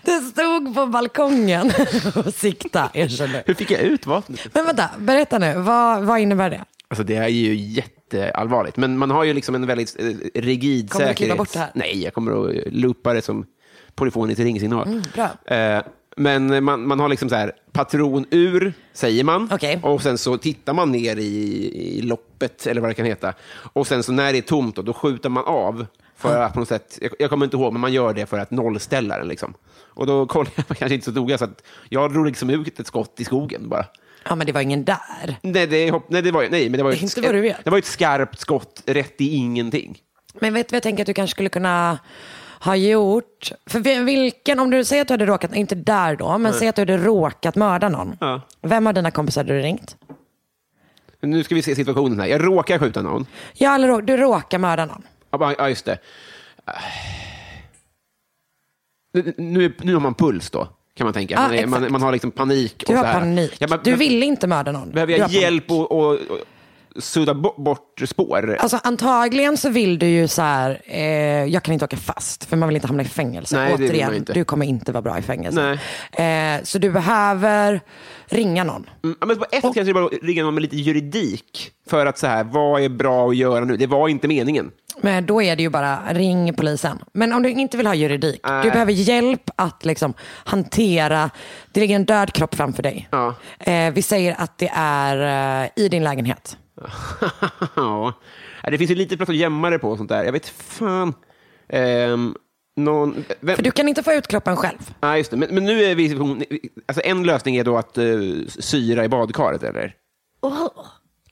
Speaker 2: Det stod på balkongen och sikta, erkänner.
Speaker 1: Hur fick jag ut vapnet?
Speaker 2: Men vänta, berätta nu, vad, vad innebär det?
Speaker 1: Alltså det är ju jätteallvarligt, men man har ju liksom en väldigt eh, rigid
Speaker 2: Kommer du
Speaker 1: säkerhet.
Speaker 2: klippa bort det här?
Speaker 1: Nej, jag kommer att loopa det som polyfoniskt ringsignal.
Speaker 2: Mm, bra.
Speaker 1: Eh, men man, man har liksom så här, patron ur, säger man,
Speaker 2: Okej.
Speaker 1: och sen så tittar man ner i, i loppet, eller vad det kan heta, och sen så när det är tomt, då, då skjuter man av, för att på något sätt, jag, jag kommer inte ihåg, men man gör det för att nollställa den. Liksom. Och då kollar jag kanske inte så noga, så att jag drog liksom ut ett skott i skogen bara.
Speaker 2: Ja men det var ingen där.
Speaker 1: Nej, det, hopp- nej, det var, ju- nej, men det var ju ett,
Speaker 2: Inte vad du vet.
Speaker 1: det var ju ett skarpt skott rätt i ingenting.
Speaker 2: Men vet du vad jag tänker att du kanske skulle kunna ha gjort? För vi- vilken, om du säger att du hade råkat, inte där då, men säg att du hade råkat mörda någon.
Speaker 1: Ja.
Speaker 2: Vem av dina kompisar hade du ringt?
Speaker 1: Nu ska vi se situationen här. Jag råkar skjuta någon.
Speaker 2: Ja, eller rå- du råkar mörda någon.
Speaker 1: Ja, bara- Ja, just det. Ah. Nu- Nu, nu har man puls då, kan man tänka.
Speaker 2: Ja,
Speaker 1: Man, är,
Speaker 2: Ah, exakt.
Speaker 1: man, man har liksom panik.
Speaker 2: Du
Speaker 1: och
Speaker 2: har
Speaker 1: så här.
Speaker 2: panik.
Speaker 1: Ja, men-
Speaker 2: du
Speaker 1: men-
Speaker 2: ville inte mörda någon.
Speaker 1: Behöver
Speaker 2: Du
Speaker 1: jag
Speaker 2: har panik.
Speaker 1: hjälp och, och, och sudda bo- bort spår?
Speaker 2: Alltså antagligen så vill du ju så här, eh, jag kan inte åka fast för man vill inte hamna i fängelse.
Speaker 1: Nej, det vill man
Speaker 2: Återigen,
Speaker 1: inte.
Speaker 2: du kommer inte vara bra i fängelse. Eh, så du behöver ringa någon.
Speaker 1: Mm, ja, men på ett kanske det bara ringa någon med lite juridik. För att så här, vad är bra att göra nu? Det var inte meningen.
Speaker 2: Men då är det ju bara ring polisen. Men om du inte vill ha juridik, du
Speaker 1: Nej.
Speaker 2: behöver hjälp att liksom hantera, det ligger en död kropp framför dig.
Speaker 1: Ja.
Speaker 2: Eh, vi säger att det är eh, i din lägenhet.
Speaker 1: ja, det finns ju lite plats att gömma det på och sånt där. Jag vet fan. Ehm, någon, vem,
Speaker 2: För du kan inte få ut kroppen själv.
Speaker 1: Nej, just det. Men, men nu är vi... Alltså en lösning är då att uh, syra i badkaret, eller?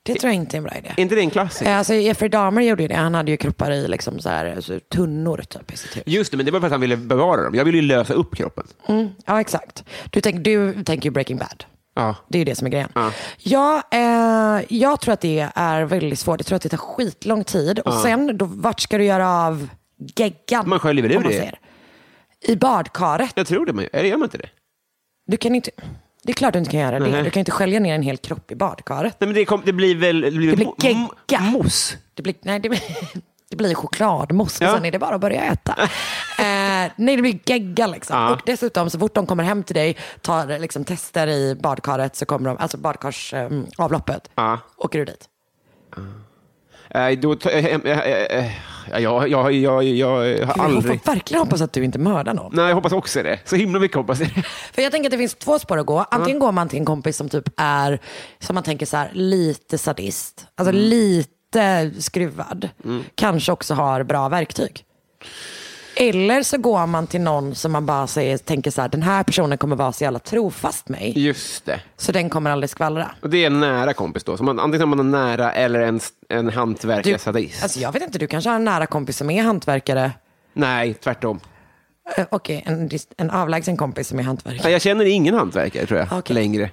Speaker 2: Det tror jag inte är en bra idé.
Speaker 1: Är inte det en klassiker?
Speaker 2: Eh, Alltså Jeffrey Dahmer gjorde ju det. Han hade ju kroppar i liksom så här, så tunnor typ i sitt hus.
Speaker 1: Just det, men det var för att han ville bevara dem. Jag ville ju lösa upp kroppen.
Speaker 2: Mm, Ja, exakt. Du, tänk, du tänker ju Breaking Bad.
Speaker 1: Ja.
Speaker 2: Det är ju det som är grejen.
Speaker 1: Ja.
Speaker 2: Ja, eh, jag tror att det är väldigt svårt. Jag tror att det tar skitlång tid. Och sen, då, vart ska du göra av geggan?
Speaker 1: Man sköljer väl ur
Speaker 2: om man
Speaker 1: det?
Speaker 2: säger? I badkaret.
Speaker 1: Jag tror det, man, eller gör man inte det?
Speaker 2: Du kan inte, det är klart du inte kan göra det.
Speaker 1: Nej.
Speaker 2: Du kan inte skölja ner en hel kropp i badkaret.
Speaker 1: Nej, men det, kom, det blir väl... Det blir,
Speaker 2: Det blir
Speaker 1: mo-
Speaker 2: gegga.
Speaker 1: mo- Mos.
Speaker 2: Det blir, nej, det, blir- det blir chokladmousse och
Speaker 1: Ja.
Speaker 2: sen är det bara att börja äta. eh, nej, det blir gegga liksom.
Speaker 1: Ja.
Speaker 2: Och dessutom, så fort de kommer hem till dig, tar liksom, tester i badkaret, så kommer de, alltså badkarsavloppet,
Speaker 1: Ja.
Speaker 2: åker du dit.
Speaker 1: Nej, då... tar jag hem- eh, eh, eh, Jag, jag, jag, jag, jag har
Speaker 2: Gud, Jag
Speaker 1: aldrig...
Speaker 2: får verkligen hoppas att du inte mördar någon.
Speaker 1: Nej, jag hoppas också det. Så himla mycket hoppas jag det.
Speaker 2: För jag tänker att det finns två spår att gå. Antingen går man till en kompis som typ är, som man tänker så här, lite sadist. Alltså
Speaker 1: Mm.
Speaker 2: lite skruvad. Kanske också har bra verktyg. Eller så går man till någon som man bara säger, tänker så här, den här personen kommer vara så jävla trofast mig.
Speaker 1: Just det.
Speaker 2: Så den kommer aldrig skvallra.
Speaker 1: Och det är en nära kompis då. Så man, antingen har man en nära eller en, en
Speaker 2: Du,
Speaker 1: hantverkarsadist.
Speaker 2: alltså jag vet inte, du kanske har en nära kompis som är hantverkare.
Speaker 1: Nej, tvärtom.
Speaker 2: Eh, Okej, en, dis- en avlägsen kompis som är hantverkare.
Speaker 1: Nej, Jag känner ingen hantverkare, tror jag,
Speaker 2: Okej.
Speaker 1: längre.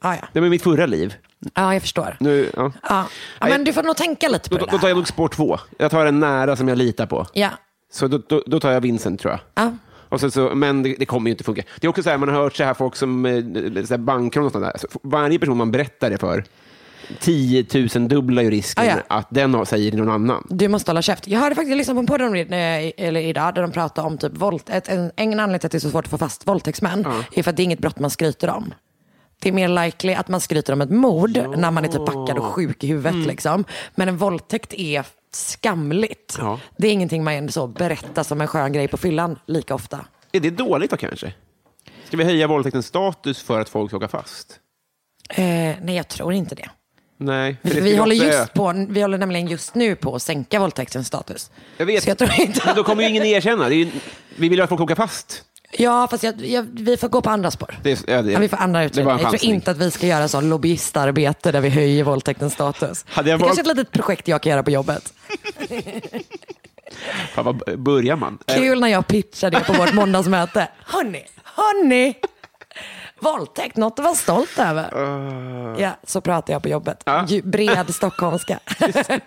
Speaker 2: Ah, ja.
Speaker 1: Det var mitt förra liv.
Speaker 2: ja, jag förstår.
Speaker 1: Nu, ja.
Speaker 2: Ja. Ja, men du får nog tänka lite på
Speaker 1: Då,
Speaker 2: det
Speaker 1: då tar
Speaker 2: där.
Speaker 1: jag nog spår två. Jag tar en nära som jag litar på.
Speaker 2: Ja.
Speaker 1: Så då, då, då tar jag Vincent, tror jag.
Speaker 2: Ja.
Speaker 1: Och sen så, men det, det kommer ju inte funka. Det är också så här, man har hört så här folk som eh, så här banker och sånt där. Så varje person man berättar det för, 10 000 dubblar ju risken
Speaker 2: Ah, ja.
Speaker 1: att den har, säger till någon annan.
Speaker 2: Du måste hålla käft. Jag hörde faktiskt liksom på en podd om det, eh, eller idag där de pratade om typ våld. Ett, en, en anledning till att det är så svårt att få fast våldtäktsmän är för att det är inget brott man skryter om. Det är mer likely att man skryter om ett mord när man är typ packad och sjuk i huvudet.
Speaker 1: Mm.
Speaker 2: Liksom. Men en våldtäkt är skamligt.
Speaker 1: Ja.
Speaker 2: Det är ingenting man så berättar som en skön grej på fyllan lika ofta.
Speaker 1: Är det dåligt då kanske? Ska vi höja våldtäktens status för att folk ska åka fast?
Speaker 2: Eh, nej, jag tror inte det.
Speaker 1: Nej. för det
Speaker 2: Vi
Speaker 1: skulle
Speaker 2: håller,
Speaker 1: också-
Speaker 2: just på, vi håller nämligen just nu på att sänka våldtäktens status.
Speaker 1: Jag vet.
Speaker 2: Så jag tror inte
Speaker 1: Men då kommer ju ingen erkänna. Det är ju, vi vill ju att folk ska åka fast.
Speaker 2: Ja, fast jag, jag, vi får gå på andra spår.
Speaker 1: Det, är- ja, det,
Speaker 2: Ja, vi får andra
Speaker 1: det var
Speaker 2: utredningar.
Speaker 1: en
Speaker 2: Jag tror
Speaker 1: chansning.
Speaker 2: inte att vi ska göra sån lobbyistarbete där vi höjer våldtäktens status.
Speaker 1: Hade jag
Speaker 2: det kanske är
Speaker 1: valt-
Speaker 2: ett litet projekt jag kan göra på jobbet.
Speaker 1: Fan, vad börjar man? Eh,
Speaker 2: Kul när jag pitchade det på vårt måndagsmöte. Hörni, hörni! Våldtäkt, något att vara stolt över. Ja, så pratar jag på jobbet. Ju- Bred stockholmska.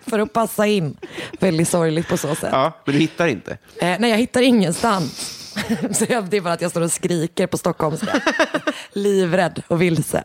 Speaker 2: För att passa in. Väldigt sorgligt på så sätt.
Speaker 1: Ja, men du hittar inte.
Speaker 2: Eh, nej, jag hittar ingenstans. så jag, det är bara att jag står och skriker på stockholmska. Livrädd och vilse.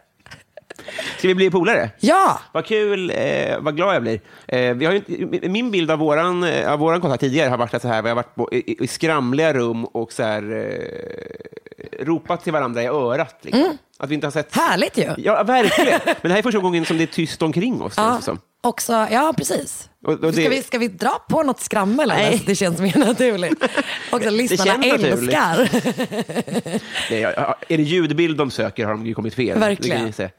Speaker 1: Ska vi bli polare?
Speaker 2: Ja!
Speaker 1: Vad kul, eh, vad glad jag blir. Eh, vi har ju inte, min bild av våran, eh, av våran kontakt tidigare har varit att så här, vi har varit på, i, i- i skramliga rum och så här, eh, ropat till varandra i örat. Liksom.
Speaker 2: Mm.
Speaker 1: Att vi inte har sett...
Speaker 2: Härligt ju.
Speaker 1: Ja, verkligen. Men det här är första gången som det är tyst omkring oss. känns det som.
Speaker 2: också, ja precis.
Speaker 1: Liksom. Och- och det-
Speaker 2: Ska, vi, ska vi dra på något skrammel? eller? Det känns mer naturligt. Också lyssnarna
Speaker 1: känns naturligt.
Speaker 2: älskar.
Speaker 1: Nej, ja, ja, är det ljudbild de söker har de ju kommit fel. Det kan
Speaker 2: Verkligen.
Speaker 1: jag säga.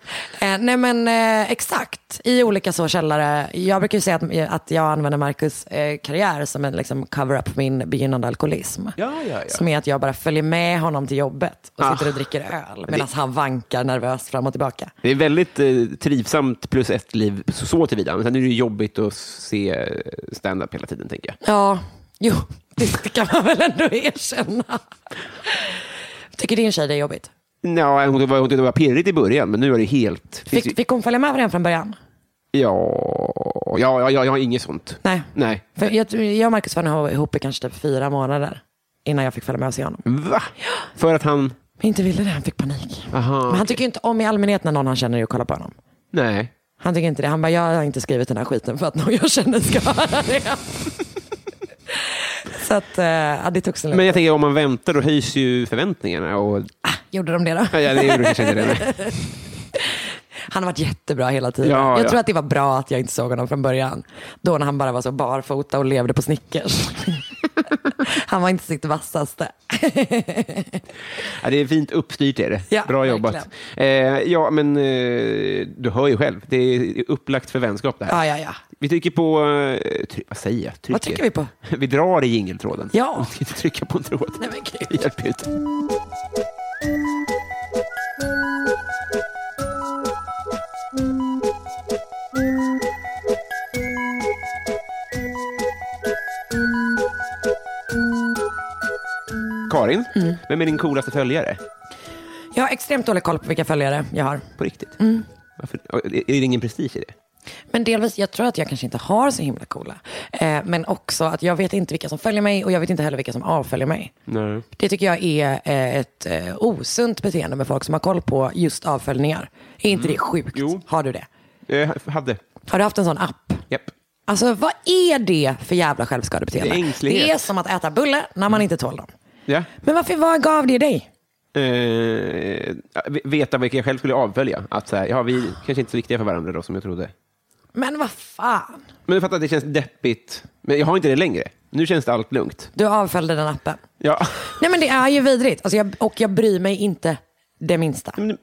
Speaker 2: Eh, nej men eh, exakt, i olika så källare. Jag brukar ju säga att, att jag använder Marcus eh, karriär som en liksom, cover-up för min begynnande alkoholism.
Speaker 1: Ja, ja, Ah. ja.
Speaker 2: Som är att jag bara följer med honom till jobbet och sitter och dricker öl medan han vankar nervöst fram och tillbaka.
Speaker 1: Det är väldigt eh, trivsamt plus ett-liv så, så tillvida. Men sen är det ju jobbigt att se eh, stand-up hela tiden, tänker jag.
Speaker 2: Ja, jo, det kan man väl ändå erkänna. Tycker din tjej det är jobbigt?
Speaker 1: Nja, hon tyckte det var- hon tyckte det var pirrigt i början, men nu är det helt... finns ju-
Speaker 2: Fick, fick hon följa med varandra från början?
Speaker 1: Ja, ja, ja, ja, jag har inget sånt.
Speaker 2: Nej.
Speaker 1: Nej.
Speaker 2: För jag, jag och Marcus var nog ihop i kanske typ fyra månader innan jag fick följa med och se honom.
Speaker 1: Va? För att han...
Speaker 2: Men inte ville det, han fick panik.
Speaker 1: Aha,
Speaker 2: Men han tycker ju inte om i allmänhet när någon han känner är och kollar på honom.
Speaker 1: Nej.
Speaker 2: Han tycker inte det. Han bara, jag har inte skrivit den här skiten för att någon jag känner ska höra det. Så att, eh, ja, det tog sin
Speaker 1: Men
Speaker 2: Men...
Speaker 1: jag tänker om man väntar då höjs ju förväntningarna. Och...
Speaker 2: Ah, Gjorde de det då?
Speaker 1: Ja, det gjorde kanske inte det.
Speaker 2: Han har varit jättebra hela tiden.
Speaker 1: Ja,
Speaker 2: jag
Speaker 1: ja.
Speaker 2: tror att det var bra att jag inte såg honom från början. Då när han bara var så barfota och levde på Snickers. han var inte sitt vassaste.
Speaker 1: Ja, det är fint uppstyrt. Är det.
Speaker 2: Ja,
Speaker 1: Bra jobbat. Eh, ja, men eh, du hör ju själv. Det är upplagt för vänskap det här.
Speaker 2: Ja, ja, ja.
Speaker 1: Vi trycker på... Eh, try- vad säger jag? Trycker.
Speaker 2: Vad trycker vi på?
Speaker 1: Vi drar i jingeltråden.
Speaker 2: Ja.
Speaker 1: Vi ska inte trycka på en tråd.
Speaker 2: Nej, men gud.
Speaker 1: Det hjälper ju inte. Karin,
Speaker 2: Mm.
Speaker 1: vem är din coolaste följare?
Speaker 2: Jag har extremt dålig koll på vilka följare jag har.
Speaker 1: På riktigt?
Speaker 2: Mm.
Speaker 1: Varför? Är det ingen prestige i det?
Speaker 2: Men delvis, jag tror att jag kanske inte har så himla coola. Eh, men också att jag vet inte vilka som följer mig och jag vet inte heller vilka som avföljer mig.
Speaker 1: Nej.
Speaker 2: Det tycker jag är eh, ett eh, osunt beteende med folk som har koll på just avföljningar. Är inte det sjukt?
Speaker 1: Mm. Jo.
Speaker 2: Har du det?
Speaker 1: Jag hade.
Speaker 2: Har du haft en sån app?
Speaker 1: Eh, Japp.
Speaker 2: Alltså vad är det för jävla självskadebeteende?
Speaker 1: Det är ängslighet.
Speaker 2: Det är som att äta bulle när man inte tål dem.
Speaker 1: Ja.
Speaker 2: Men varför, vad gav det dig?
Speaker 1: eh, veta vilka jag själv skulle avfölja. Att så här, ja, vi kanske inte är så viktiga för varandra då som jag trodde.
Speaker 2: Men vad fan?
Speaker 1: Men du fattar, att det känns deppigt. Men jag har inte det längre. Nu känns det allt lugnt.
Speaker 2: Du avföljde den appen.
Speaker 1: Ja.
Speaker 2: Nej men det är ju vidrigt. Alltså, jag, och jag bryr mig inte det minsta.
Speaker 1: Men, eh,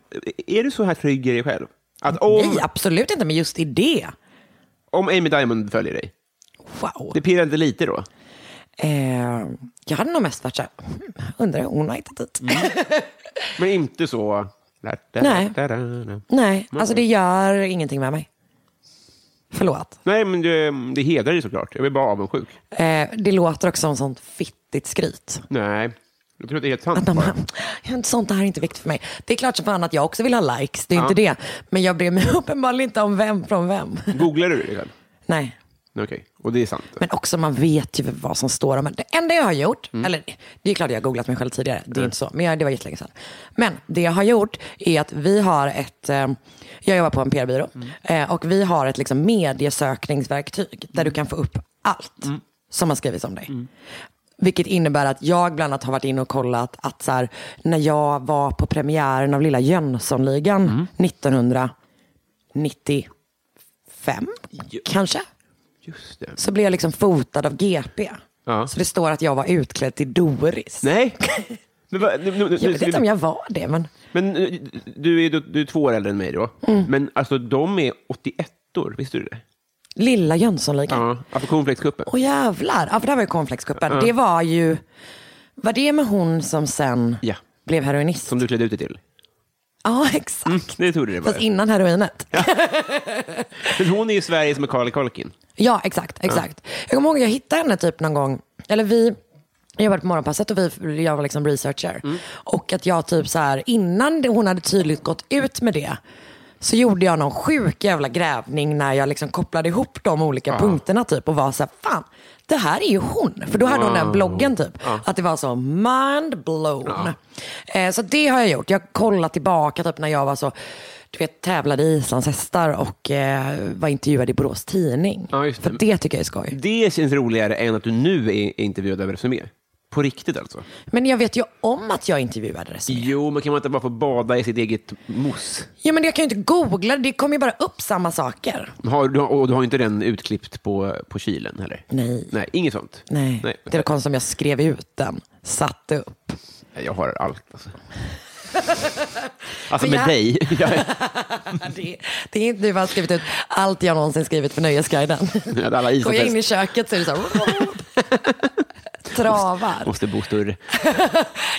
Speaker 1: är du så här trygg i dig själv? Att om,
Speaker 2: Nej, absolut inte. Men just i det.
Speaker 1: om Amy Diamond följer dig,
Speaker 2: Wow.
Speaker 1: det pirrar inte lite då?
Speaker 2: Eh, jag hade nog mest varit så här, "Hmm, undrar om hon har hittat dit.
Speaker 1: Men inte så...
Speaker 2: Nej. Nej, alltså det gör ingenting med mig. Förlåt.
Speaker 1: Nej, men det, det hedrar dig såklart. Jag blir bara avundsjuk.
Speaker 2: Eh, det låter också som sånt fittigt skryt.
Speaker 1: Nej, jag tror att det är helt sant.
Speaker 2: Att man
Speaker 1: bara.
Speaker 2: bara, "Ja, sånt här är inte viktigt för mig. Det är klart som fan att jag också vill ha likes, det är inte det. Men jag bryr mig uppenbarligen inte om vem från vem.
Speaker 1: Googlar du det själv?
Speaker 2: Nej.
Speaker 1: Okej, och det är sant. då.
Speaker 2: Men också man vet ju vad som står om en. Det enda jag har gjort, eller det är klart jag har googlat mig själv tidigare, det är inte så, men jag, det var jättelänge sedan. Men det jag har gjort är att vi har ett, eh, jag jobbar på en PR-byrå, eh, och vi har ett liksom, mediesökningsverktyg där du kan få upp allt som har skrivits om dig. Vilket innebär att jag bland annat har varit inne och kollat att så här, när jag var på premiären av Lilla Jönssonligan 1995, kanske?
Speaker 1: Just det.
Speaker 2: så blev jag liksom fotad av GP.
Speaker 1: Ja.
Speaker 2: Så det står att jag var utklädd till Doris.
Speaker 1: Nej. Men, vad- nu, nu, nu,
Speaker 2: Jag vet inte om jag var det, men
Speaker 1: men eh, du, är, du, du är två år äldre än mig då.
Speaker 2: Mm.
Speaker 1: Men alltså, de är 81-or, visste du det?
Speaker 2: Lilla Jönssonligan.
Speaker 1: Ja, alltså cornflakescupen.
Speaker 2: Åh jävlar, ja, för det här var ju cornflakescupen. Det var ju, Var det med hon som sen
Speaker 1: Ja.
Speaker 2: blev heroinist?
Speaker 1: Som Mm. du klädde ut dig till.
Speaker 2: Ja, exakt.
Speaker 1: Det trodde det var.
Speaker 2: Mm, Fast innan heroinet. Ja,
Speaker 1: För hon är ju Sverige som är Karl Kolkin.
Speaker 2: exakt. exakt. Jag kommer ihåg att jag hittade henne typ någon gång. Eller vi jag jobbade på morgonpasset och vi, jag var liksom researcher. Och att jag typ så här, innan det- hon hade tydligt gått ut med det, så gjorde jag någon sjuk jävla grävning när jag liksom kopplade ihop de olika punkterna typ och var så här, fan, det här är ju hon. För då hade hon den bloggen typ. Att det var så mind blown. Eh, så det har jag gjort. Jag har kollat tillbaka typ när jag var så, du vet tävlade i islandshästar och eh, var intervjuad i Borås tidning.
Speaker 1: Ja, just det. Mm.
Speaker 2: För det tycker jag är skoj.
Speaker 1: Det känns roligare än att du nu är är intervjuad av Resumé. På riktigt alltså.
Speaker 2: Men jag vet ju om att jag intervjuade Resumé.
Speaker 1: Jo, men kan man inte bara få bada i sitt eget mos?
Speaker 2: Ja men jag kan ju inte googla, det kommer ju bara upp samma saker.
Speaker 1: Har, du har, och du har inte den utklippt på, på kylen heller?
Speaker 2: Nej.
Speaker 1: Nej, inget sånt?
Speaker 2: Nej, det var konstigt om jag skrev ut den, satte upp.
Speaker 1: Nej, Jag har allt alltså. Alltså
Speaker 2: För
Speaker 1: med
Speaker 2: jag-
Speaker 1: dig. Jag,
Speaker 2: Det, det är inte du som har skrivit ut allt jag någonsin skrivit för Nöjesguiden.
Speaker 1: jag hade alla
Speaker 2: Går jag in
Speaker 1: islandshästar.
Speaker 2: i köket så är det så här, Travar.
Speaker 1: Måste bo större.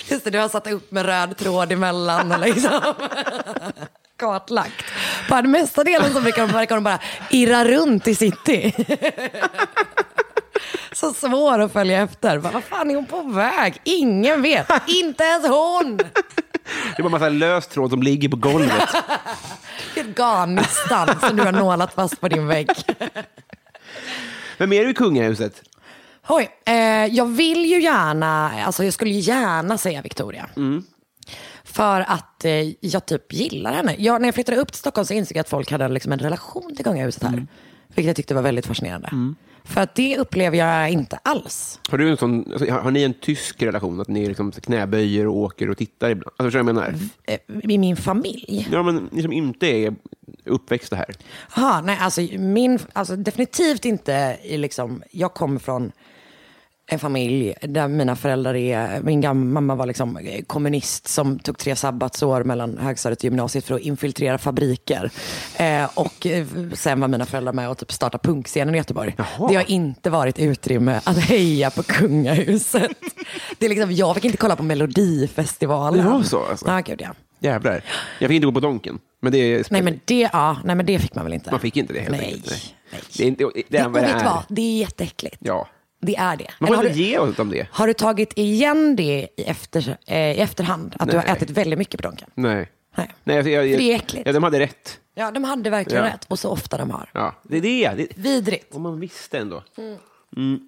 Speaker 2: Just det, du har satt upp med röd tråd emellan och liksom kartlagt. På den mesta delen så brukar de, verkar de bara irra runt i city. Så svår att följa efter. Bara, Vad fan är hon på väg? Ingen vet. Inte ens hon!
Speaker 1: Det är bara en massa lös tråd som ligger på golvet.
Speaker 2: Det är ett garnnistan som du har nålat fast på din vägg.
Speaker 1: Vem är du i kungahuset?
Speaker 2: Oj, eh, jag vill ju gärna, alltså jag skulle ju gärna säga Victoria. För att eh, jag typ gillar henne. Jag, när jag flyttade upp till Stockholm så insåg jag att folk hade liksom en relation till kungahuset här. Vilket jag tyckte var väldigt fascinerande. För att det upplever jag inte alls.
Speaker 1: Har, du en sån, alltså, har, har ni en tysk relation? Att ni liksom knäböjer och åker och tittar ibland? Alltså, förstår du vad jag menar?
Speaker 2: Eh, I min familj.
Speaker 1: Ja, men ni som inte är uppväxta här.
Speaker 2: Aha, nej, alltså, min, alltså, definitivt inte i liksom, jag kommer från en familj där mina föräldrar är, min gamla mamma var liksom kommunist som tog tre sabbatsår mellan högstadiet och gymnasiet för att infiltrera fabriker. Eh, och eh, sen var mina föräldrar med och typ starta punkscenen i Göteborg. Det har inte varit utrymme att heja på kungahuset. det är liksom, jag fick inte kolla på Melodifestivalen.
Speaker 1: Det var så, alltså?
Speaker 2: Ja, gud, ja.
Speaker 1: Jävlar. Jag fick inte gå på Donken. Men det är
Speaker 2: Nej, men det, ja, nej men det fick man väl inte?
Speaker 1: Man fick inte det helt
Speaker 2: nej,
Speaker 1: enkelt.
Speaker 2: nej.
Speaker 1: Det är, inte, det är
Speaker 2: och
Speaker 1: vad det
Speaker 2: vet du
Speaker 1: är.
Speaker 2: vad? Det är jätteäckligt.
Speaker 1: Ja.
Speaker 2: Det är det.
Speaker 1: Man
Speaker 2: Eller
Speaker 1: får
Speaker 2: har,
Speaker 1: inte
Speaker 2: du,
Speaker 1: ge oss om det.
Speaker 2: har du tagit igen det i, efter, eh, i efterhand? Att du har
Speaker 1: Nej.
Speaker 2: ätit väldigt mycket på Donken?
Speaker 1: Nej.
Speaker 2: Nej.
Speaker 1: Nej alltså, jag, jag,
Speaker 2: För det är
Speaker 1: jag,
Speaker 2: äckligt.
Speaker 1: ja, de hade rätt.
Speaker 2: Ja, de hade verkligen
Speaker 1: Ja.
Speaker 2: rätt. Och så ofta de har.
Speaker 1: Ja, det är det. det
Speaker 2: Vidrigt.
Speaker 1: om man visste ändå. Mm.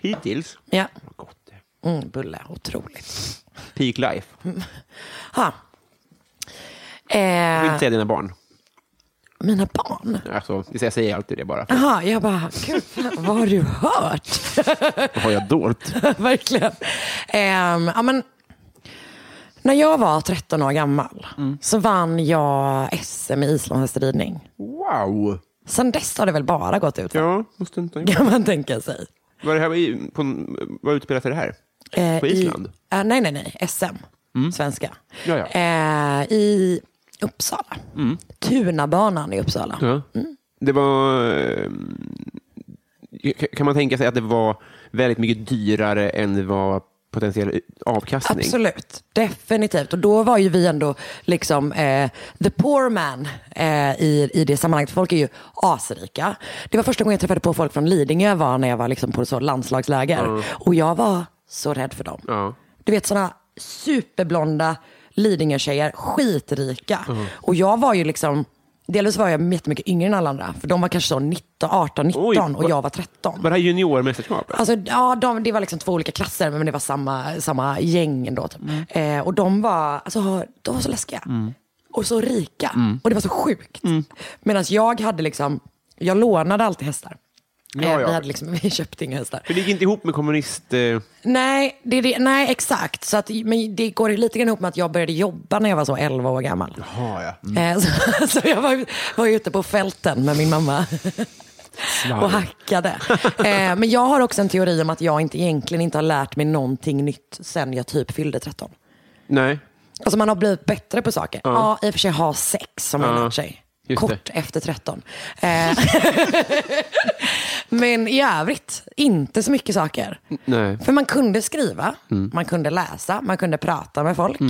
Speaker 1: Hittills.
Speaker 2: Ja.
Speaker 1: Vad gott det är.
Speaker 2: Mm, bulle, otroligt.
Speaker 1: Peak life.
Speaker 2: Mm. Ha.
Speaker 1: Jag vill inte
Speaker 2: Eh,
Speaker 1: säga dina barn.
Speaker 2: mina barn.
Speaker 1: Alltså, det- jag säger alltid det bara.
Speaker 2: Jaha, jag bara, gud, vad har du hört?
Speaker 1: Vad har jag dolt?
Speaker 2: Verkligen. Ehm, ja, men, när jag var 13 år gammal så vann jag SM i islandshästridning.
Speaker 1: Wow!
Speaker 2: Sen dess har det väl bara gått ut
Speaker 1: Ja, måste inte ha gjort.
Speaker 2: kan man tänka sig.
Speaker 1: Vad, är det här, i- på, en- vad utspelar sig det här?
Speaker 2: Eh,
Speaker 1: På Island? Mm.
Speaker 2: I, eh, nej, nej, nej. SM. Svenska.
Speaker 1: Ja, ja.
Speaker 2: Eh, I Uppsala. Tunabanan i Uppsala.
Speaker 1: Ja. Det var... eh, Kan man tänka sig att det var väldigt mycket dyrare än det var potentiell avkastning?
Speaker 2: Absolut, definitivt. Och då var ju vi ändå liksom eh, the poor man eh, i, i det sammanhanget. Folk är ju asrika. Det var första gången jag träffade på folk från Lidingö var när jag var liksom på så landslagsläger. Och jag var så rädd för dem.
Speaker 1: Ja.
Speaker 2: Du vet sådana superblonda Lidingö-tjejer, skitrika. Och jag var ju liksom, delvis var jag jättemycket yngre än alla andra. För de var kanske så 19, 18, 19
Speaker 1: Oj,
Speaker 2: och
Speaker 1: vad-
Speaker 2: jag var 13.
Speaker 1: Var det här juniormästerskapet?
Speaker 2: Alltså, ja, de, det var liksom två olika klasser, men det var samma, samma gäng ändå. Typ. Eh, och de var, alltså, de var så läskiga.
Speaker 1: Mm.
Speaker 2: Och så rika. Och det var så sjukt. Medan jag hade liksom, jag lånade alltid hästar.
Speaker 1: Ja,
Speaker 2: Eh,
Speaker 1: ja.
Speaker 2: Vi, hade liksom, vi köpte inga hästar.
Speaker 1: För det gick inte ihop med kommunist... Eh,
Speaker 2: Nej, det, är det, nej exakt. Så att, men det går lite grann ihop med att jag började jobba när jag var så 11 år gammal.
Speaker 1: har jag.
Speaker 2: Eh, Så, så jag var, var ute på fälten med min mamma och hackade. Eh, men jag har också en teori om att jag inte, egentligen inte har lärt mig någonting nytt sen jag typ fyllde 13.
Speaker 1: Nej.
Speaker 2: Alltså man har blivit bättre på saker. Ja, i och för sig ha sex som man
Speaker 1: Ja,
Speaker 2: lärt sig.
Speaker 1: just
Speaker 2: Kort
Speaker 1: det.
Speaker 2: efter 13. Eh, Men i övrigt, inte så mycket saker.
Speaker 1: Nej.
Speaker 2: För man kunde skriva,
Speaker 1: Mm.
Speaker 2: man kunde läsa, man kunde prata med folk.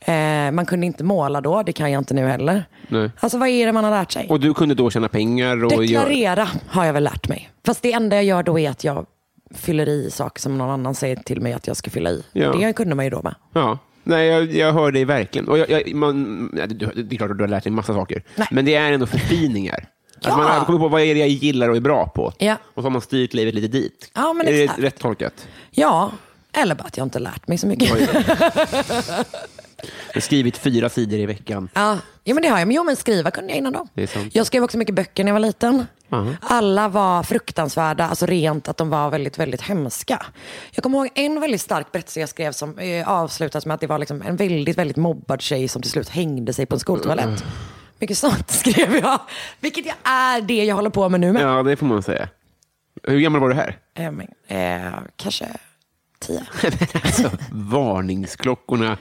Speaker 2: Eh, man kunde inte måla då, det kan jag inte nu heller.
Speaker 1: Mm. Nej.
Speaker 2: Alltså vad är det man har lärt sig?
Speaker 1: Och du kunde då tjäna pengar? Och Gör...
Speaker 2: Deklarera har jag väl lärt mig. Fast det enda jag gör då är att jag fyller i saker som någon annan säger till mig att jag ska fylla i.
Speaker 1: Ja.
Speaker 2: Det kunde man ju då med.
Speaker 1: Ja. Nej, jag, jag hör dig verkligen. Och jag, jag, man, ja, det, det är klart att du har lärt dig en massa saker.
Speaker 2: Nej.
Speaker 1: Men det är ändå förfiningar. Att
Speaker 2: Ja.
Speaker 1: man har kommit på vad är det jag gillar och är bra på.
Speaker 2: Ja.
Speaker 1: Och så har man styrt livet lite dit.
Speaker 2: Ja, men
Speaker 1: är det
Speaker 2: exakt.
Speaker 1: rätt tolkat?
Speaker 2: Ja, eller bara att jag inte lärt mig så mycket.
Speaker 1: Jag har skrivit fyra sidor i veckan.
Speaker 2: Ja, jo, men det har jag. Men, jo, men skriva kunde jag innan då.
Speaker 1: Det är sant.
Speaker 2: Jag skrev också mycket böcker när jag var liten.
Speaker 1: Aha.
Speaker 2: Alla var fruktansvärda, alltså rent att de var väldigt, väldigt hemska. Jag kommer ihåg en väldigt stark berättelse jag skrev som eh, avslutas med att det var liksom en väldigt, väldigt mobbad tjej som till slut hängde sig på en skoltoalett. Mycket sånt skrev jag. Vilket jag är det jag håller på med nu med.
Speaker 1: Ja, det får man säga. Hur gammal var du här?
Speaker 2: Eh, men, eh, kanske tio.
Speaker 1: alltså, varningsklockorna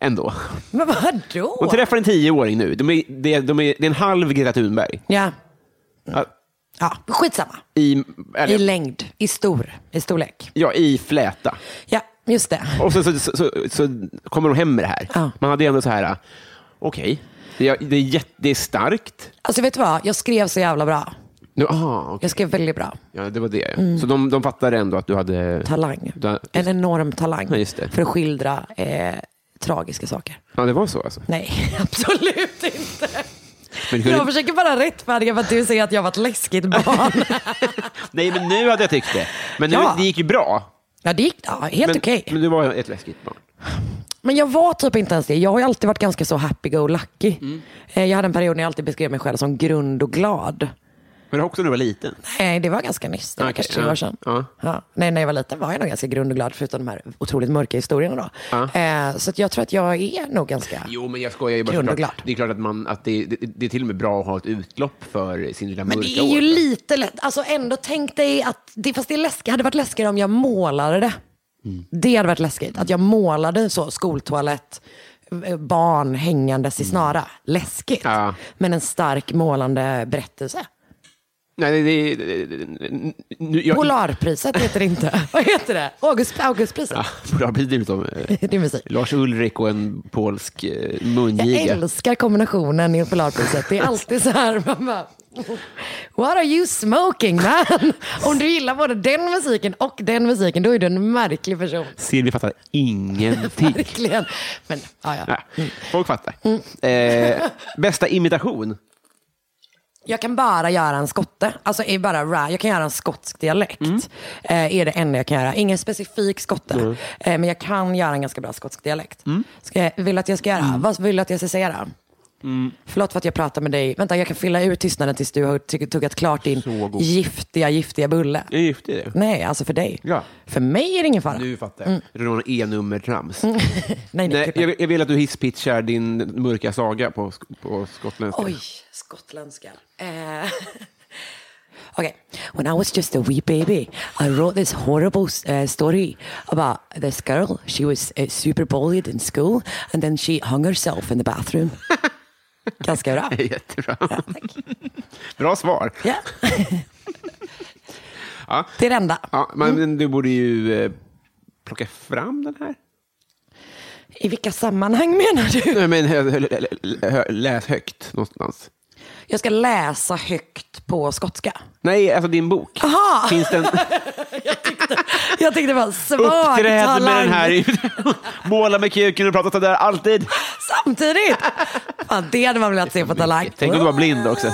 Speaker 1: ändå.
Speaker 2: Men vadå?
Speaker 1: Hon träffar en tioåring nu. De är, det, de är, det är en halv Greta Thunberg.
Speaker 2: Ja.
Speaker 1: Ja,
Speaker 2: ja, skitsamma.
Speaker 1: I, eller,
Speaker 2: Mm. I längd, i stor, i storlek.
Speaker 1: ja, I fläta.
Speaker 2: Ja, just det.
Speaker 1: Och så, så, så, så, så kommer de hem med det här.
Speaker 2: Ja.
Speaker 1: Man hade ju ändå så här, äh, okej, det, är- det, är jätte- det är starkt.
Speaker 2: Alltså vet du vad, jag skrev så jävla bra.
Speaker 1: Nu, aha, okej.
Speaker 2: Jag skrev väldigt bra.
Speaker 1: ja, det var det. Så de, de fattade ändå att du hade...
Speaker 2: Mm. Talang.
Speaker 1: Du,
Speaker 2: En enorm talang
Speaker 1: Ja, just det.
Speaker 2: för att skildra eh, tragiska saker.
Speaker 1: ja, det var så alltså.
Speaker 2: Nej, absolut inte.
Speaker 1: Men kunde,
Speaker 2: Jag försöker bara rättfärdiga för att du säger att jag var ett läskigt barn.
Speaker 1: Nej, men nu hade jag tyckt det. Men nu,
Speaker 2: Ja.
Speaker 1: det gick ju bra.
Speaker 2: Ja, det gick ja, helt
Speaker 1: Men,
Speaker 2: okej.
Speaker 1: men du var ett läskigt barn.
Speaker 2: Men jag var typ inte ens det. Jag har ju alltid varit ganska så happy-go-lucky.
Speaker 1: Mm.
Speaker 2: Eh, Jag hade en period när jag alltid beskrev mig själv som grund och glad.
Speaker 1: Men också när du var liten.
Speaker 2: Nej, det var ganska nyss. Det var
Speaker 1: Ah, Okej,
Speaker 2: kanske tre
Speaker 1: ja.
Speaker 2: år sedan.
Speaker 1: Ja.
Speaker 2: Ja. Nej, när jag var liten var jag nog ganska grund och glad förutom de här otroligt mörka historierna. Då. Eh, så att jag tror att jag är nog ganska...
Speaker 1: Ah. Jo, men jag skojar ju bara.
Speaker 2: Grund och
Speaker 1: såklart.
Speaker 2: glad.
Speaker 1: Det är klart att, man, att det, det, det är till och med bra att ha ett utlopp för sin lilla
Speaker 2: Men
Speaker 1: mörka
Speaker 2: det är ju
Speaker 1: år.
Speaker 2: lite lätt. Alltså ändå tänk dig att, det, fast det är läskigt. hade varit läskigare om jag målade det.
Speaker 1: Mm.
Speaker 2: Det hade varit läskigt. Att jag målade så, skoltoalett, eh, barn hängandes i snara. Läskigt.
Speaker 1: Mm. Ja.
Speaker 2: Men en stark målande berättelse.
Speaker 1: Nej, det, det, det, nu, jag,
Speaker 2: Polarpriset heter det inte. Vad heter det? August, Augustpriset.
Speaker 1: Ja, Polarpriset utom eh,
Speaker 2: Det är musik.
Speaker 1: Lars Ulrik och en polsk eh,
Speaker 2: Jag
Speaker 1: mungiga.
Speaker 2: älskar kombinationen i Polarpriset. Det är alltid så här, man bara, What are you smoking man? Om du gillar både den musiken och den musiken, då är du en märklig person.
Speaker 1: Silvi fattar ingenting.
Speaker 2: Verkligen. Mm. Men, ja, ja.
Speaker 1: Ja, folk fattar. Eh, bästa imitation?
Speaker 2: Jag kan bara göra en skotte. Alltså, är bara ra- jag kan göra en skotsk dialekt.
Speaker 1: Mm.
Speaker 2: Eh, är det enda jag kan göra. Ingen specifik skotte. Eh, men jag kan göra en ganska bra skotsk dialekt.
Speaker 1: Mm.
Speaker 2: Ska jag, vill att jag ska göra? Vad vill du att jag ska säga då?
Speaker 1: Mm.
Speaker 2: Förlåt för att jag pratar med dig. Vänta, jag kan fylla ut tystnaden tills du har tugg- tuggat klart
Speaker 1: Så
Speaker 2: din
Speaker 1: god.
Speaker 2: giftiga, giftiga bulle.
Speaker 1: Jag är gift i det.
Speaker 2: Nej, Mm. alltså för dig.
Speaker 1: Ja.
Speaker 2: För mig är det ingen fara.
Speaker 1: Nu fattar jag. Rån E-nummer-trams.
Speaker 2: Mm. Nej, nej,
Speaker 1: Nej,
Speaker 2: klipp
Speaker 1: jag, jag vill att du hisspitchar din mörka saga på, sk- på skottländska.
Speaker 2: Oj, skottländska. Eh. okay. When I was just a wee baby, I wrote this horrible uh, story about this girl. She was uh, super bullied in school and then she hung herself in the bathroom. Ganska bra.
Speaker 1: Jättebra. Bra svar.
Speaker 2: Ja.
Speaker 1: Ja.
Speaker 2: Det är det enda.
Speaker 1: Ja, men
Speaker 2: Mm.
Speaker 1: du borde ju eh, plocka fram den här.
Speaker 2: I vilka sammanhang menar du?
Speaker 1: Nej, men hö- hö- hö- hö- läs högt någonstans.
Speaker 2: Jag ska läsa högt på skotska.
Speaker 1: Nej, alltså din bok.
Speaker 2: Aha.
Speaker 1: Finns den
Speaker 2: Jag tänkte bara svag
Speaker 1: uppträdd med
Speaker 2: talang.
Speaker 1: den här? Måla med kuken och prata sådär alltid.
Speaker 2: Samtidigt. Fan, det hade man velat se på Talang.
Speaker 1: Tänk om du var blind också.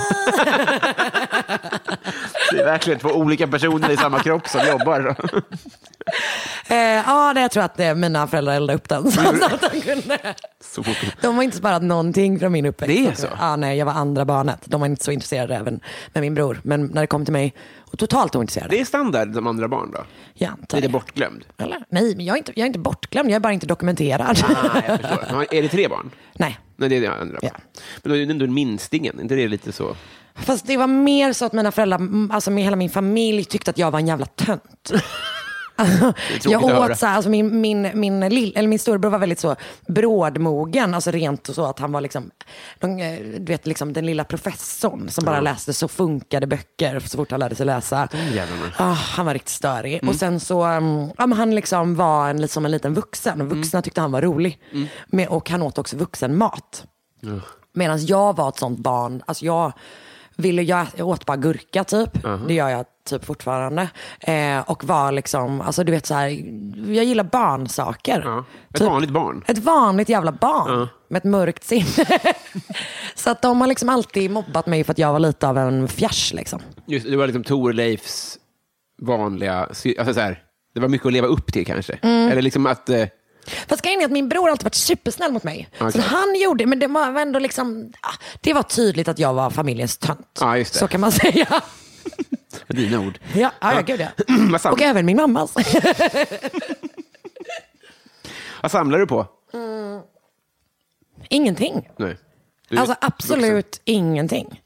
Speaker 1: Det är verkligen två olika personer i samma kropp som jobbar.
Speaker 2: Eh, ja, nej, jag tror att eh, mina föräldrar eldade upp den. Så att de, kunde.
Speaker 1: Så fort.
Speaker 2: de har inte sparat någonting från min uppväxt.
Speaker 1: Det är så?
Speaker 2: Ja, nej, jag var andra barnet. De var inte så intresserade även med min bror. Men när det kom till mig, och totalt ointresserade.
Speaker 1: Det är standard som andra barn då?
Speaker 2: Jag antar
Speaker 1: Blir det bortglömd?
Speaker 2: Eller? Nej, men jag är, inte, jag är inte bortglömd. Jag är bara inte dokumenterad.
Speaker 1: Ah, jag förstår. Ja, Är det tre barn?
Speaker 2: nej.
Speaker 1: Nej, det är det andra.
Speaker 2: Ja.
Speaker 1: Men då är det ändå minstingen, inte det lite så?
Speaker 2: Fast det var mer så att mina föräldrar, mm, alltså med hela min familj tyckte att jag var en jävla tönt. jag
Speaker 1: att höra.
Speaker 2: åt så här, alltså min, min, min, lill, eller min storebror var väldigt så brådmogen, alltså rent och så att han var liksom, de, eh, du vet, liksom den lilla professorn som bara läste så funkade böcker så fort han lärde sig läsa.
Speaker 1: jävlarna. Mm.
Speaker 2: Ah, han var riktigt störig. Och sen så, um, ja, men han liksom var en, liksom en liten vuxen och vuxna
Speaker 1: Mm.
Speaker 2: tyckte han var rolig. Men, och han åt också vuxenmat. Medan jag var ett sånt barn, alltså jag, ville, jag, jag åt bara gurka typ. Det gör jag typ fortfarande. Eh, och var liksom, alltså du vet så här, jag gillar barnsaker.
Speaker 1: Ja. Ett
Speaker 2: Typ-
Speaker 1: vanligt barn.
Speaker 2: Ett vanligt jävla barn med ett mörkt sinne. så att de har liksom alltid mobbat mig för att jag var lite av en fjärs liksom.
Speaker 1: Just, det var liksom Torleifs vanliga... sy- Alltså så här, det var mycket att leva upp till kanske.
Speaker 2: Mm.
Speaker 1: Eller liksom att... Eh,
Speaker 2: Fast grejen är att min bror har alltid varit supersnäll mot mig. Så
Speaker 1: Okej.
Speaker 2: att han gjorde, men det var ändå liksom, ah, det var tydligt att jag var familjens tönt.
Speaker 1: Ja, just det.
Speaker 2: Så kan man säga. ja,
Speaker 1: med dina ord.
Speaker 2: ja, ja, gud ja.
Speaker 1: Vad, sam-
Speaker 2: Och även min mammas.
Speaker 1: vad samlar du på?
Speaker 2: Ingenting.
Speaker 1: Nej. Du är
Speaker 2: Alltså
Speaker 1: vuxen.
Speaker 2: absolut ingenting.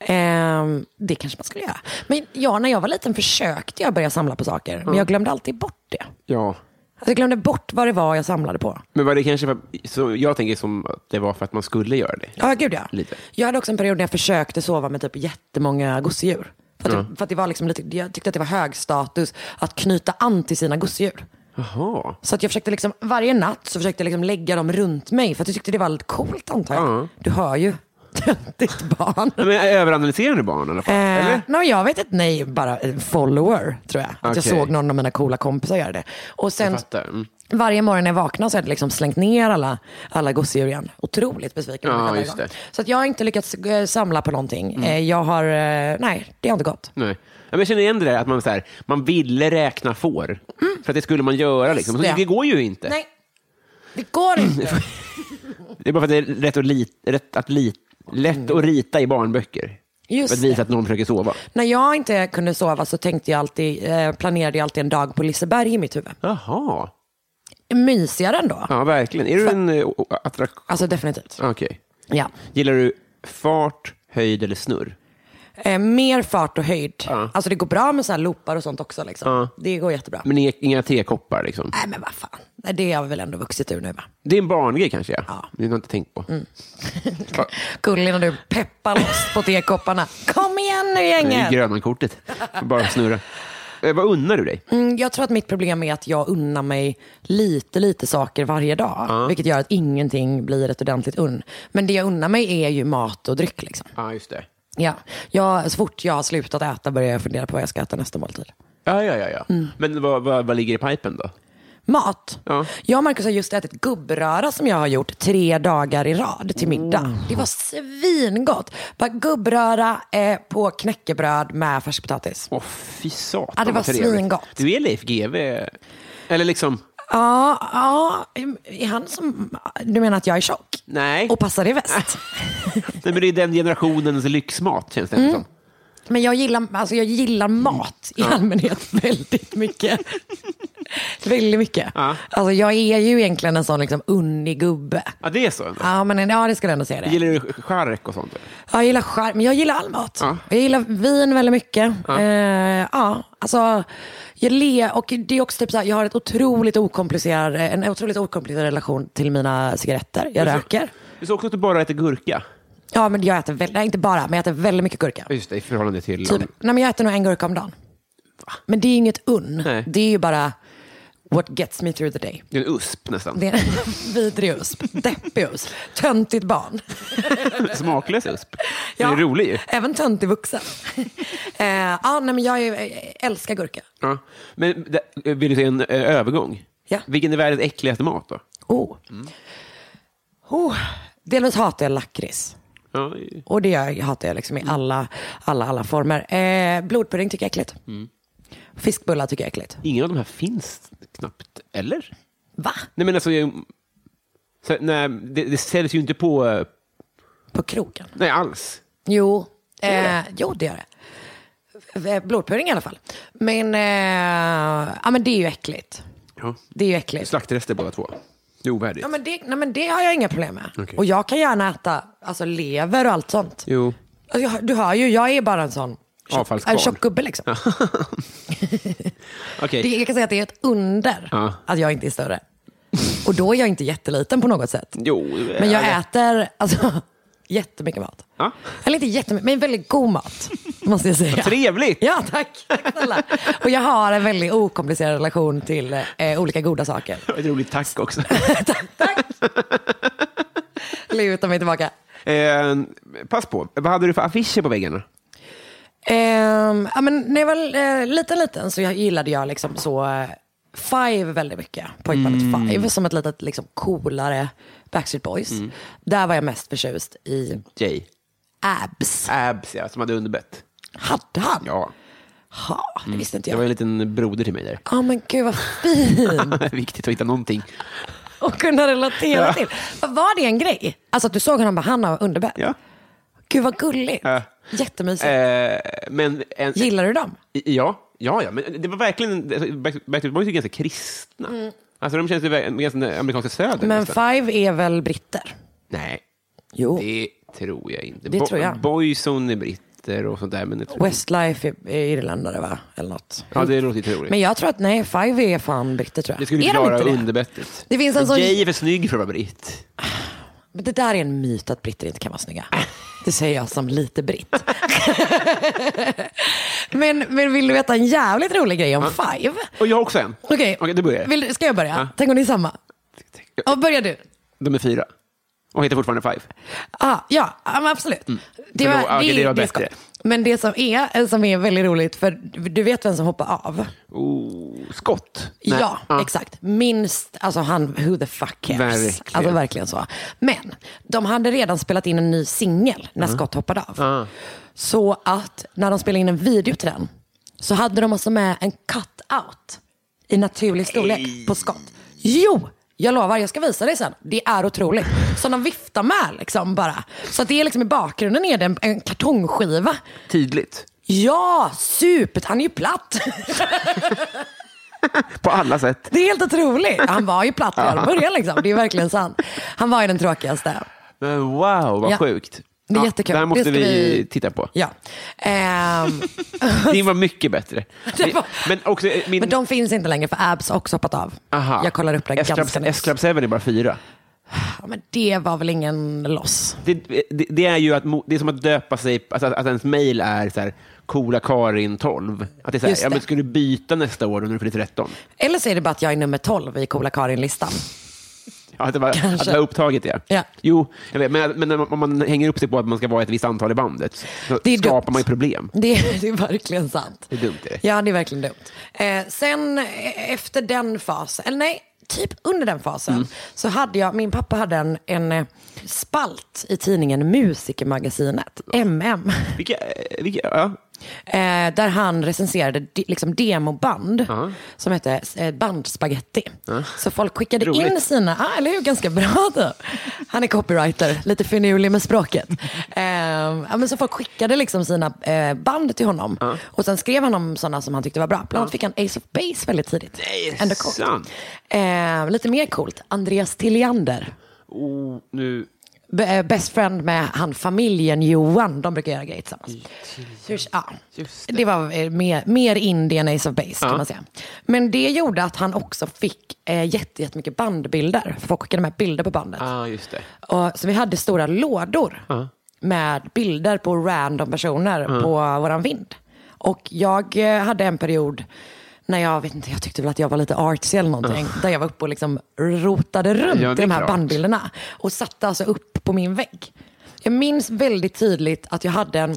Speaker 2: Ehm, det kanske man skulle göra. Men jag, när jag var liten försökte jag börja samla på saker, men jag glömde alltid bort det.
Speaker 1: Ja.
Speaker 2: Alltså, jag glömde bort vad det var jag samlade på.
Speaker 1: Men var det kanske... för- Så jag tänker som att det var för att man skulle göra det.
Speaker 2: Ja, gud ja.
Speaker 1: Lite.
Speaker 2: Jag hade också en period när jag försökte sova med typ jättemånga gosedjur. För att, för att det var liksom lite, jag tyckte att det var hög status att knyta an till sina gosedjur.
Speaker 1: Jaha.
Speaker 2: Så att jag försökte liksom, varje natt så försökte jag liksom lägga dem runt mig för att jag tyckte det var lite coolt antar jag.
Speaker 1: Ja.
Speaker 2: Du hör ju. Ditt barn.
Speaker 1: Nej, Men överanalyserar du barn i alla fall?
Speaker 2: Eh,
Speaker 1: Eller?
Speaker 2: nej, jag vet inte, nej, bara en follower tror jag. Att jag
Speaker 1: Okej.
Speaker 2: såg någon av mina coola kompisar göra det. Och sen
Speaker 1: Jag fattar. Mm.
Speaker 2: varje morgon när jag vaknar så har jag liksom slängt ner alla, alla gosedjur igen. Otroligt besviken. på mig
Speaker 1: Ja,
Speaker 2: själv varje
Speaker 1: just
Speaker 2: gång.
Speaker 1: det. Mm.
Speaker 2: Så att jag har inte lyckats eh, samla på någonting. Eh, jag har, eh, nej, det har inte gått.
Speaker 1: Nej. Ja, men Jag känner igen det där att man, så här, man ville räkna får. För att det skulle man göra. Liksom. Så
Speaker 2: det.
Speaker 1: det går ju inte.
Speaker 2: Mm. Nej, det går inte.
Speaker 1: Det är bara för att det är lätt, att lit, rätt att lit, lätt att rita i barnböcker.
Speaker 2: Mm. Just
Speaker 1: för att visa att någon försöker sova.
Speaker 2: När jag inte kunde sova så tänkte jag alltid, eh, planerade jag alltid en dag på Liseberg i mitt huvud.
Speaker 1: Jaha.
Speaker 2: Mysigare ändå.
Speaker 1: Ja, verkligen. Är du en eh, o- attraktion?
Speaker 2: Alltså definitivt.
Speaker 1: Okej.
Speaker 2: Ja.
Speaker 1: Gillar du fart, höjd eller snurr?
Speaker 2: Eh, mer fart och höjd. Alltså det går bra med så här loopar och sånt också. Liksom. Det går jättebra.
Speaker 1: Men inga, inga tekoppar liksom.
Speaker 2: Nej men vad fan. Nej, det har vi väl ändå vuxit ur nu va?
Speaker 1: Det är en barngrej kanske, ja.
Speaker 2: Ja. Mm.
Speaker 1: Det har jag inte tänkt på. Fa-
Speaker 2: Gullig när du peppar loss på tekopparna. Kom igen nu
Speaker 1: Det är
Speaker 2: gänget!
Speaker 1: Grönmankortet. Bara snurra. Eh, vad unnar du dig?
Speaker 2: Mm, jag tror att mitt problem är att jag unnar mig lite, lite saker varje dag. Vilket gör att ingenting blir ett ordentligt unn. Men det jag unnar mig är ju mat och dryck. Liksom.
Speaker 1: Ja, just det.
Speaker 2: Ja. Jag, så fort jag har slutat äta börjar jag fundera på vad jag ska äta nästa måltid.
Speaker 1: Ja, ja, ja. ja.
Speaker 2: Mm.
Speaker 1: Men vad, vad, vad ligger i pipen då?
Speaker 2: Mat.
Speaker 1: Ja.
Speaker 2: Jag och Marcus har just ätit gubbröra som jag har gjort tre dagar i rad till middag.
Speaker 1: Mm.
Speaker 2: Det var svingott. Bara gubbröra eh, på knäckebröd med färskpotatis.
Speaker 1: Åh, fy satan
Speaker 2: Ja, det var
Speaker 1: vad trevligt.
Speaker 2: svingott.
Speaker 1: Du är Leif GW. Eller liksom,
Speaker 2: Ja, ja, är han som... Du menar att jag är tjock?
Speaker 1: nej.
Speaker 2: Och passar i väst?
Speaker 1: nej men det är den generationens lyxmat känns
Speaker 2: Mm.
Speaker 1: det som.
Speaker 2: Men jag gillar, alltså jag gillar mat i allmänhet väldigt mycket. väldigt mycket.
Speaker 1: Ja.
Speaker 2: Alltså jag är ju egentligen en sån liksom unnig gubbe.
Speaker 1: Ja, det är så. ändå.
Speaker 2: Ja, men, ja, det skulle jag ändå säga det.
Speaker 1: Gillar du chark och sånt? eller?
Speaker 2: Ja, jag gillar charm, men jag gillar all mat.
Speaker 1: Ja.
Speaker 2: Jag gillar vin väldigt mycket. Ja. Eh, ja, alltså, jag le, och det är också typ så här, jag har ett otroligt okomplicerad, en otroligt okomplicerad relation till mina cigaretter. Jag röker.
Speaker 1: Du sa också att du bara äter gurka.
Speaker 2: Ja, men jag äter väl, nej, inte bara, men jag äter väldigt mycket gurka.
Speaker 1: Just det, i förhållande till...
Speaker 2: Typ, nej, men jag äter nog en gurka om dagen. Men det är inget unn.
Speaker 1: Nej.
Speaker 2: Det är ju bara what gets me through the day.
Speaker 1: Det är en USP nästan.
Speaker 2: Det är en vidrig usp, deppig usp, töntigt barn.
Speaker 1: Smaklös USP. Den är rolig ju.
Speaker 2: Även töntig vuxen. eh, ja, nej, men jag är, älskar gurka.
Speaker 1: Ja. Men det- vill du se en eh, övergång?
Speaker 2: Ja.
Speaker 1: Vilken är världens äckligaste mat då?
Speaker 2: Oh. Oh. Delvis hatar jag lakrits.
Speaker 1: Ja,
Speaker 2: Och det gör- hatar jag liksom i alla, alla, alla former. Eh, blodpudding tycker jag är äckligt. Fiskbullar tycker jag är äckligt.
Speaker 1: ingen av de här finns knappt, eller?
Speaker 2: Va?
Speaker 1: Nej, men alltså... jag- Så, nej, det, det säljs ju inte på... eh,
Speaker 2: På krogen?
Speaker 1: Nej, alls.
Speaker 2: Jo. Eh, jo, det gör det. Eh, Blodpudding i alla fall. Men, eh, ja, men det är ju äckligt.
Speaker 1: Ja.
Speaker 2: Det är ju äckligt.
Speaker 1: Slaktrester båda två. Det är ovärdigt.
Speaker 2: Ja, men det, nej, men det har jag inga problem med.
Speaker 1: Okej.
Speaker 2: Och jag kan gärna äta alltså, lever och allt sånt.
Speaker 1: Jo.
Speaker 2: Alltså, jag, du hör ju, jag är bara en sån.
Speaker 1: Avfallskvarn.
Speaker 2: En tjock gubbe liksom.
Speaker 1: Okej.
Speaker 2: Det, jag kan säga att det är ett under
Speaker 1: Ja.
Speaker 2: att jag inte är större. Och då är jag inte jätteliten på något sätt.
Speaker 1: Jo,
Speaker 2: Men jag
Speaker 1: ja.
Speaker 2: äter alltså, jättemycket mat.
Speaker 1: Ja.
Speaker 2: Eller inte jättemycket, men väldigt god mat. Måste jag säga.
Speaker 1: Trevligt!
Speaker 2: Ja, tack. Tack snälla. Och jag har en väldigt okomplicerad relation till eh, olika goda saker.
Speaker 1: Ett roligt tack också.
Speaker 2: tack, tack. Luta mig tillbaka.
Speaker 1: eh, pass på, vad hade du för affischer på väggarna?
Speaker 2: Ehm, ja, men när jag var eh, liten, liten så jag gillade jag liksom så eh, Five väldigt mycket. Pojkbandet
Speaker 1: Mm.
Speaker 2: Five som ett litet liksom, coolare Backstreet Boys.
Speaker 1: Mm.
Speaker 2: Där var jag mest förtjust i
Speaker 1: Jay.
Speaker 2: Abs.
Speaker 1: Abs, ja, som hade underbett.
Speaker 2: Hade han?
Speaker 1: Ja, Mm.
Speaker 2: Ha, det visste inte
Speaker 1: det
Speaker 2: jag.
Speaker 1: var
Speaker 2: Ja
Speaker 1: en liten broder till mig där.
Speaker 2: men gud vad fint
Speaker 1: Viktigt att hitta någonting.
Speaker 2: att kunna relatera till. Vad Var det en grej? Alltså att du såg honom bara, han har underbett.
Speaker 1: Ja.
Speaker 2: Gud vad gulligt.
Speaker 1: Ja.
Speaker 2: Jättemysigt.
Speaker 1: Eh, men en,
Speaker 2: Gillar du dem?
Speaker 1: Ja, ja, ja, men det var verkligen... alltså, Back- Backstreet Boys är ganska kristna. Alltså de känns ju ver- ganska amerikanska södern.
Speaker 2: Mm. Men
Speaker 1: nästan.
Speaker 2: Five är väl britter?
Speaker 1: Nej,
Speaker 2: Jo.
Speaker 1: det tror jag inte.
Speaker 2: Oh. Det tror jag.
Speaker 1: Boyzone är britter och sånt där. Men det tror
Speaker 2: Westlife är, är irländare va? Eller något.
Speaker 1: Ja, det låter ju troligt.
Speaker 2: Men jag tror att nej, Five är fan britter tror jag.
Speaker 1: det skulle
Speaker 2: är de
Speaker 1: klara
Speaker 2: inte det?
Speaker 1: underbettet.
Speaker 2: Det finns en
Speaker 1: Men
Speaker 2: sån-
Speaker 1: Jay är för snygg för att vara britt.
Speaker 2: Men det där är en myt att britter inte kan vara snygga. Det säger jag som lite britt. men, men vill du veta en jävligt rolig grej om Five?
Speaker 1: Och jag har också en.
Speaker 2: Okej,
Speaker 1: Okej, då börjar jag.
Speaker 2: Vill du- ska jag börja? Tänk om det är samma? Ja, börja du.
Speaker 1: De är fyra. Och heter fortfarande Five.
Speaker 2: Ah, ja, ja, men absolut. Det,
Speaker 1: Mm. Förlåt, okej, det var
Speaker 2: är
Speaker 1: bättre.
Speaker 2: skoj. Men det som är, eh, som är väldigt roligt, för du vet vem som hoppar av?
Speaker 1: Oh, Scott. Nej.
Speaker 2: Ja, exakt. Minst, alltså han, who the fuck cares?
Speaker 1: Verkligen.
Speaker 2: Alltså verkligen så. Men de hade redan spelat in en ny singel när Scott hoppade av. Så att när de spelade in en video till den så hade de alltså med en cut-out i naturlig storlek på Scott. Jo! Jag lovar, jag ska visa dig sen. Det är otroligt. Som de viftar med liksom bara. Så att det är liksom i bakgrunden är det en, en kartongskiva.
Speaker 1: Tydligt.
Speaker 2: Ja, supert. Han är ju platt.
Speaker 1: På alla sätt.
Speaker 2: Det är helt otroligt. Han var ju platt redan i början liksom. Det är verkligen sant. Han var ju den tråkigaste.
Speaker 1: Men wow, vad
Speaker 2: Ja.
Speaker 1: sjukt.
Speaker 2: Det är jättekul.
Speaker 1: Det här måste
Speaker 2: Det ska
Speaker 1: vi,
Speaker 2: vi-
Speaker 1: titta på.
Speaker 2: Ja. Ehm,
Speaker 1: Din var mycket bättre.
Speaker 2: Det var-
Speaker 1: Men också eh, min...
Speaker 2: men de finns inte längre för Abs har också hoppat av.
Speaker 1: Aha.
Speaker 2: Jag kollar upp det
Speaker 1: S-Club-
Speaker 2: ganska nyss.
Speaker 1: S-Club 7 är bara fyra.
Speaker 2: Ja, men det var väl ingen loss.
Speaker 1: Det, det, det är ju att, mo- det är som att döpa sig, alltså att, att ens mejl är så här, coola Karin 12. Att det är så här,
Speaker 2: Just
Speaker 1: ja,
Speaker 2: det.
Speaker 1: men ska du byta nästa år då när du fyller 13?
Speaker 2: Eller så är det bara att jag är nummer 12 i Coola Karin-listan.
Speaker 1: Ja, att, det var,
Speaker 2: Kanske.
Speaker 1: att det var upptaget, ja.
Speaker 2: Ja.
Speaker 1: Jo, jag vet, men, men om man hänger upp sig på att man ska vara ett visst antal i bandet så
Speaker 2: Det är
Speaker 1: skapar
Speaker 2: dumt.
Speaker 1: man ju problem.
Speaker 2: Det, det är verkligen sant.
Speaker 1: Det är dumt, det.
Speaker 2: Ja, det är verkligen dumt. Eh, sen eh, efter den fasen, eller nej, typ under den fasen,
Speaker 1: Mm.
Speaker 2: så hade jag, min pappa hade en, en eh, spalt i tidningen Musikermagasinet, MM.
Speaker 1: Vilka, eh, vilka, ja.
Speaker 2: Eh, där han recenserade de, liksom demoband som hette eh, Bandspaghetti. Så folk skickade
Speaker 1: Roligt.
Speaker 2: in sina, ah, eller hur, ganska bra då. Han är copywriter, lite finurlig med språket. Eh, ja, men så folk skickade liksom sina eh, band till honom. Och sen skrev han om sådana som han tyckte var bra. Bland annat fick han Ace of Base väldigt tidigt.
Speaker 1: Nej, är det
Speaker 2: Ändå coolt.
Speaker 1: sant?
Speaker 2: Eh, lite mer coolt, Andreas Tilliander.
Speaker 1: Oh, nu,
Speaker 2: B- eh, best friend med han familjen Johan. De brukar göra grejer tillsammans. Hur, ja.
Speaker 1: Just
Speaker 2: det. var eh, mer, mer Indian Ace of Base
Speaker 1: Ja.
Speaker 2: kan man säga. Men det gjorde att han också fick eh, jätte, jättemycket bandbilder. Folk skickade med bilder på bandet.
Speaker 1: ah, just det.
Speaker 2: Och, så vi hade stora lådor med bilder på random personer på våran vind. Och jag eh, hade en period när jag vet inte, jag tyckte väl att jag var lite artsy eller någonting. Där jag var uppe och liksom rotade runt
Speaker 1: Ja, det är
Speaker 2: i de här
Speaker 1: klart.
Speaker 2: bandbilderna. Och satte alltså upp på min vägg. Jag minns väldigt tydligt att jag hade en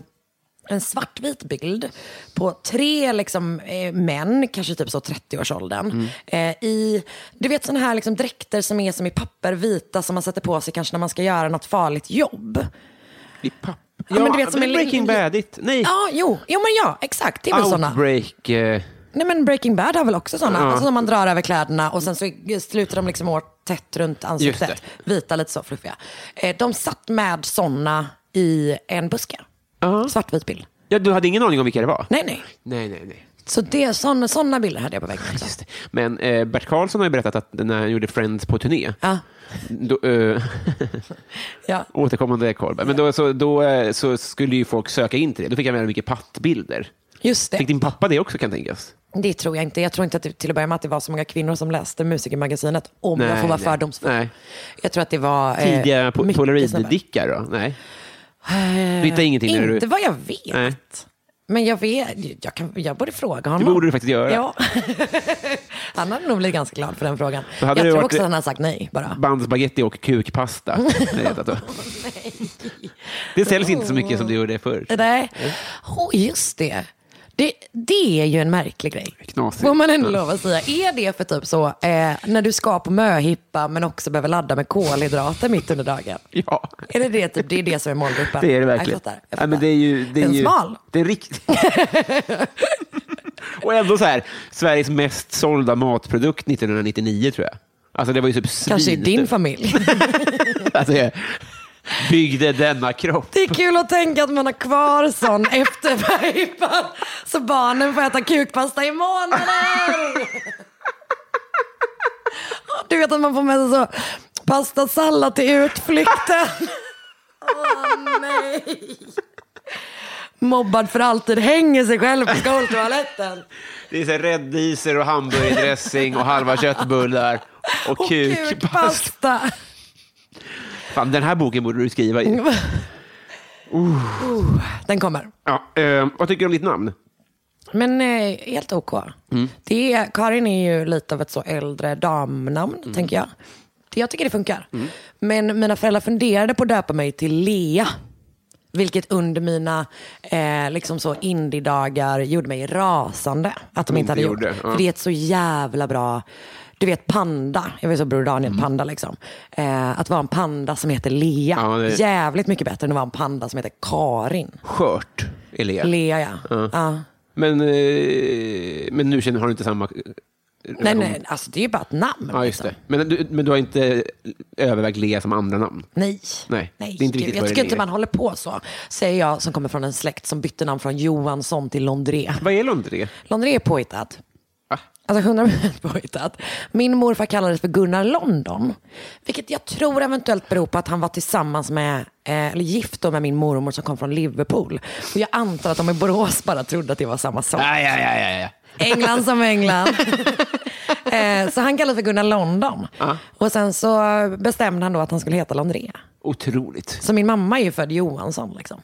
Speaker 2: en svartvit bild på tre liksom, eh, män, kanske typ så 30-årsåldern, eh, i du vet sådana här liksom, dräkter som är som i papper, vita, som man sätter på sig kanske när man ska göra något farligt jobb.
Speaker 1: I papp. Ja,
Speaker 2: Ja, men du vet som
Speaker 1: men
Speaker 2: en-
Speaker 1: Breaking Badigt. Nej,
Speaker 2: Ja, jo, jo men ja, exakt. Det är väl sådana.
Speaker 1: Outbreak. Eh,
Speaker 2: Nej men Breaking Bad har väl också sådana.
Speaker 1: Ja.
Speaker 2: Alltså som man drar över kläderna och sen så sluter de liksom åt tätt runt
Speaker 1: Just
Speaker 2: ansiktet. Vita, lite så fluffiga. Eh, de satt med sådana i en buske. Svartvit bild.
Speaker 1: ja, du hade ingen aning om vilka det var?
Speaker 2: Nej, nej.
Speaker 1: Nej, nej, nej.
Speaker 2: Så det, sådana, sådana bilder hade jag på väggen. också.
Speaker 1: Just det. Men eh, Bert Karlsson har ju berättat att när han gjorde Friends på turné,
Speaker 2: Ja,
Speaker 1: då, eh,
Speaker 2: ja.
Speaker 1: återkommande korv, men då, så, då eh, så skulle ju folk söka in till det. Då fick han väldigt mycket pattbilder.
Speaker 2: Just det.
Speaker 1: Fick din pappa det också kan tänkas?
Speaker 2: Det tror jag inte. Jag tror inte att det, till att börja med att det var så många kvinnor som läste Musikermagasinet, om jag
Speaker 1: Nej,
Speaker 2: får vara
Speaker 1: nej.
Speaker 2: fördomsfull.
Speaker 1: Nej.
Speaker 2: Jag tror att det var... eh,
Speaker 1: Tidiga po-
Speaker 2: mycket snabbare.
Speaker 1: polaroiddickar då? Nej. Du hittar ingenting när du-
Speaker 2: Inte vad jag vet.
Speaker 1: Nej.
Speaker 2: Men jag vet, jag, kan, jag borde fråga honom.
Speaker 1: Det borde du faktiskt göra.
Speaker 2: Ja. han hade nog blivit ganska glad för den frågan.
Speaker 1: Då hade
Speaker 2: jag
Speaker 1: det
Speaker 2: tror
Speaker 1: varit-
Speaker 2: också att han hade sagt nej bara.
Speaker 1: Bandspagetti och kukpasta. Det, heter det. det säljs inte så mycket som det gjorde förr.
Speaker 2: Nej, oh, just det. det. Det är ju en märklig grej.
Speaker 1: Knasigt.
Speaker 2: Får man ändå
Speaker 1: Ja.
Speaker 2: lov att säga. Är det för typ så, eh, när du ska på möhippa men också behöver ladda med kolhydrater mitt under dagen?
Speaker 1: Ja.
Speaker 2: Är det det, typ, det, är det som är målgruppen?
Speaker 1: Det är det verkligen.
Speaker 2: Jag fattar. Jag
Speaker 1: Ja,
Speaker 2: fattar.
Speaker 1: men det är ju, det är
Speaker 2: Den
Speaker 1: ju,
Speaker 2: smal.
Speaker 1: Det är rikt... och ändå så här, Sveriges mest sålda matprodukt 1999 tror jag. Alltså det var ju typ svin.
Speaker 2: Kanske i din familj.
Speaker 1: alltså, jag byggde denna kropp.
Speaker 2: Det är kul att tänka att man har kvar sån efter möhippan. Så barnen får äta kukpasta i månader. Du vet att man får med sig så pastasallad till utflykten. Åh nej. Mobbad för alltid, hänger sig själv på skoltoaletten.
Speaker 1: Det är så här rädisor och hamburgardressing och halva köttbullar och,
Speaker 2: Och
Speaker 1: kukpasta.
Speaker 2: kukpasta.
Speaker 1: Fan, den här boken borde du skriva i.
Speaker 2: Oh, Den kommer.
Speaker 1: Ja, eh, vad tycker du om ditt namn?
Speaker 2: Men eh, helt OK. Det är, Karin är ju lite av ett så äldre damnamn, tänker jag. Det, jag tycker det funkar. Men mina föräldrar funderade på att döpa mig till Lea. Vilket under mina eh, liksom så indie-dagar gjorde mig rasande. Att de inte hade gjort.
Speaker 1: gjorde, ja.
Speaker 2: För det är ett så jävla bra... Du vet panda, jag vill så Bror Daniel, panda liksom. Eh, att vara en panda som heter Lea.
Speaker 1: Ja, det-
Speaker 2: Jävligt mycket bättre än att vara en panda som heter Karin.
Speaker 1: Skört, Elia.
Speaker 2: Lea ja. ja.
Speaker 1: Men, eh, men nu känner, har du inte samma... eh,
Speaker 2: Nej, nej, alltså det är ju bara ett namn. liksom.
Speaker 1: Ja, just det. Men du, men du har inte övervägt Lea som andra namn?
Speaker 2: Nej.
Speaker 1: Nej,
Speaker 2: Nej.
Speaker 1: det är inte riktigt
Speaker 2: Gud,
Speaker 1: vad
Speaker 2: jag
Speaker 1: det
Speaker 2: tycker inte
Speaker 1: ligger.
Speaker 2: man håller på så. Säger jag som kommer från en släkt som bytte namn från Johansson till Londré.
Speaker 1: Vad är Londré?
Speaker 2: Londré är påhittat.
Speaker 1: Va?
Speaker 2: Alltså 100 påhittat. Min morfar kallades för Gunnar London. Vilket jag tror eventuellt beror på att han var tillsammans med, eh, eller gift då med min mormor som kom från Liverpool. Och jag antar att de i Borås bara trodde att det var samma sak.
Speaker 1: Ja, ja, ja, ja, ja.
Speaker 2: England som England. eh, så han kallades för Gunnar London. Och sen så bestämde han då att han skulle heta Londré.
Speaker 1: Otroligt.
Speaker 2: Så min mamma är ju född Johansson. Liksom.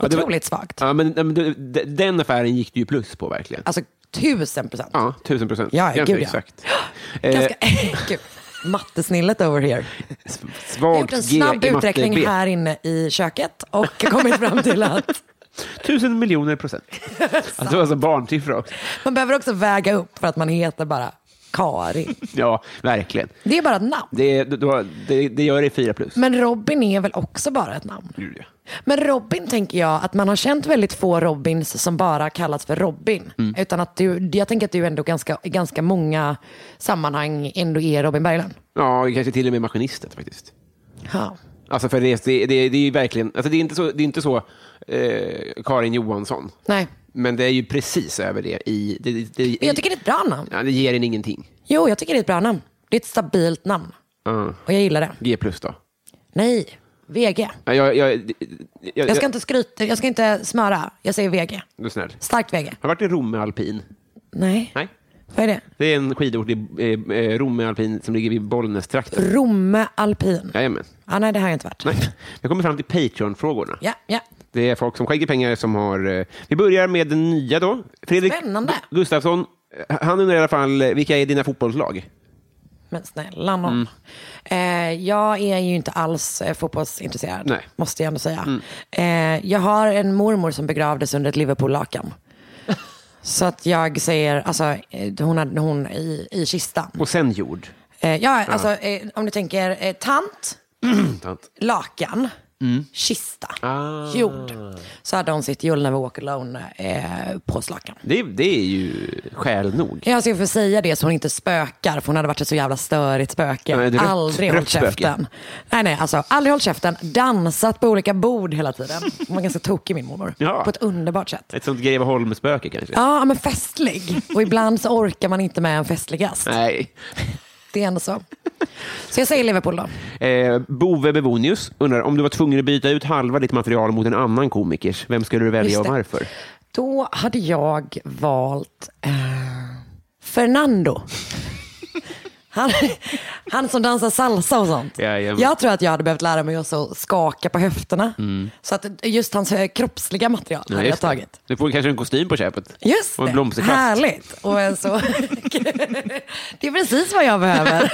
Speaker 1: Ja, det var-
Speaker 2: Otroligt svagt.
Speaker 1: Ja, men, nej, men du- de- den affären gick du ju plus på verkligen.
Speaker 2: Alltså tusen procent.
Speaker 1: Ja, tusen procent.
Speaker 2: Ja,
Speaker 1: Ganska
Speaker 2: gud, ja.
Speaker 1: exakt. Eh,
Speaker 2: Ganska, gud. Mattesnillet over here. Jag har
Speaker 1: Svagt
Speaker 2: gjort en
Speaker 1: G
Speaker 2: snabb
Speaker 1: i matte B.
Speaker 2: uträkning här inne i köket och kommit fram till att
Speaker 1: Tusen miljoner procent. Alltså, det var alltså barnsiffra också.
Speaker 2: man behöver också väga upp för att man heter bara Karin.
Speaker 1: Ja, verkligen.
Speaker 2: Det är bara ett namn.
Speaker 1: Det, är- du- du har- det, det gör det fyra plus.
Speaker 2: Men Robin är väl också bara ett namn?
Speaker 1: Gud, ja.
Speaker 2: Men Robin tänker jag att man har känt väldigt få Robins som bara kallats för Robin. Utan att du, jag tänker att du ändå ganska, i ganska många sammanhang ändå är Robin Berglund.
Speaker 1: Ja, kanske till och med maskinisten faktiskt.
Speaker 2: Ja.
Speaker 1: Alltså för det, det, det, det är ju verkligen, alltså det är inte så, det är inte så eh, Karin Johansson,
Speaker 2: Nej.
Speaker 1: men det är ju precis över det. I, det, det, det,
Speaker 2: Men jag tycker det är ett bra namn.
Speaker 1: ja, det ger en ingenting.
Speaker 2: Jo, jag tycker det är ett bra namn. Det är ett stabilt namn.
Speaker 1: Ja.
Speaker 2: Och jag gillar det.
Speaker 1: G plus då?
Speaker 2: Nej, VG.
Speaker 1: Ja, Jag, jag, jag, jag,
Speaker 2: Jag ska inte skryta, jag ska inte smöra. Jag säger VG.
Speaker 1: Du är snäll.
Speaker 2: Starkt VG.
Speaker 1: Har du varit i Romme alpin?
Speaker 2: Nej.
Speaker 1: Nej.
Speaker 2: Vad är det?
Speaker 1: Det är en skidort i eh, eh, Romme alpin som ligger vid Bollnästrakten.
Speaker 2: Romme alpin.
Speaker 1: Jajamän.
Speaker 2: Ah, nej, det har jag inte varit.
Speaker 1: Nej. Jag kommer fram till Patreon-frågorna.
Speaker 2: Ja, ja.
Speaker 1: Det är folk som skänker pengar som har... eh, Vi börjar med den nya då. Fredrik
Speaker 2: Spännande.
Speaker 1: Gu- Gustafsson, eh, han undrar i alla fall, eh, vilka är dina fotbollslag?
Speaker 2: Men snälla nån.
Speaker 1: Mm.
Speaker 2: Eh, jag är ju inte alls eh, fotbollsintresserad,
Speaker 1: Nej. Mm.
Speaker 2: måste jag ändå säga. Eh, jag har en mormor som begravdes under ett Liverpool-lakan. Så att jag säger, alltså, eh, hon, hade, hon i, i kistan.
Speaker 1: Och sen jord.
Speaker 2: Eh, ja, alltså, eh, om du tänker eh, tant,
Speaker 1: Tant.
Speaker 2: lakan, kista
Speaker 1: Mm. Ah.
Speaker 2: gjord. Så hade hon sitt You'll Never Walk Alone eh, på slakan.
Speaker 1: Det, det är ju skäl nog.
Speaker 2: alltså Jag ska få säga det så hon inte spökar, för hon hade varit ett så jävla störigt spöke.
Speaker 1: Nej, ett rött-
Speaker 2: aldrig
Speaker 1: rött
Speaker 2: hållit
Speaker 1: spöke.
Speaker 2: käften. Nej, nej, alltså aldrig hållit käften. Dansat på olika bord hela tiden. Hon var ganska tokig min mormor.
Speaker 1: Ja.
Speaker 2: På ett underbart sätt.
Speaker 1: Ett sånt Greveholmsspöke kanske.
Speaker 2: Ja, men festlig. Och ibland så orkar man inte med en festlig gast.
Speaker 1: Nej.
Speaker 2: Det är ändå så. Så jag säger Liverpool då.
Speaker 1: Eh, Bove Bevonius undrar om du var tvungen att byta ut halva ditt material mot en annan komikers. Vem skulle du välja
Speaker 2: Just
Speaker 1: och
Speaker 2: det.
Speaker 1: varför?
Speaker 2: Då hade jag valt eh, Fernando. Han, han som dansar salsa och sånt.
Speaker 1: Jajamän.
Speaker 2: Jag tror att jag hade behövt lära mig också att skaka på höfterna. Så att just hans eh, kroppsliga material
Speaker 1: Mm. Ja,
Speaker 2: hade jag
Speaker 1: just det.
Speaker 2: tagit.
Speaker 1: Du får kanske en kostym på köpet.
Speaker 2: Just
Speaker 1: och en
Speaker 2: det,
Speaker 1: blomsterkvast.
Speaker 2: härligt. Och en så... det är precis vad jag behöver.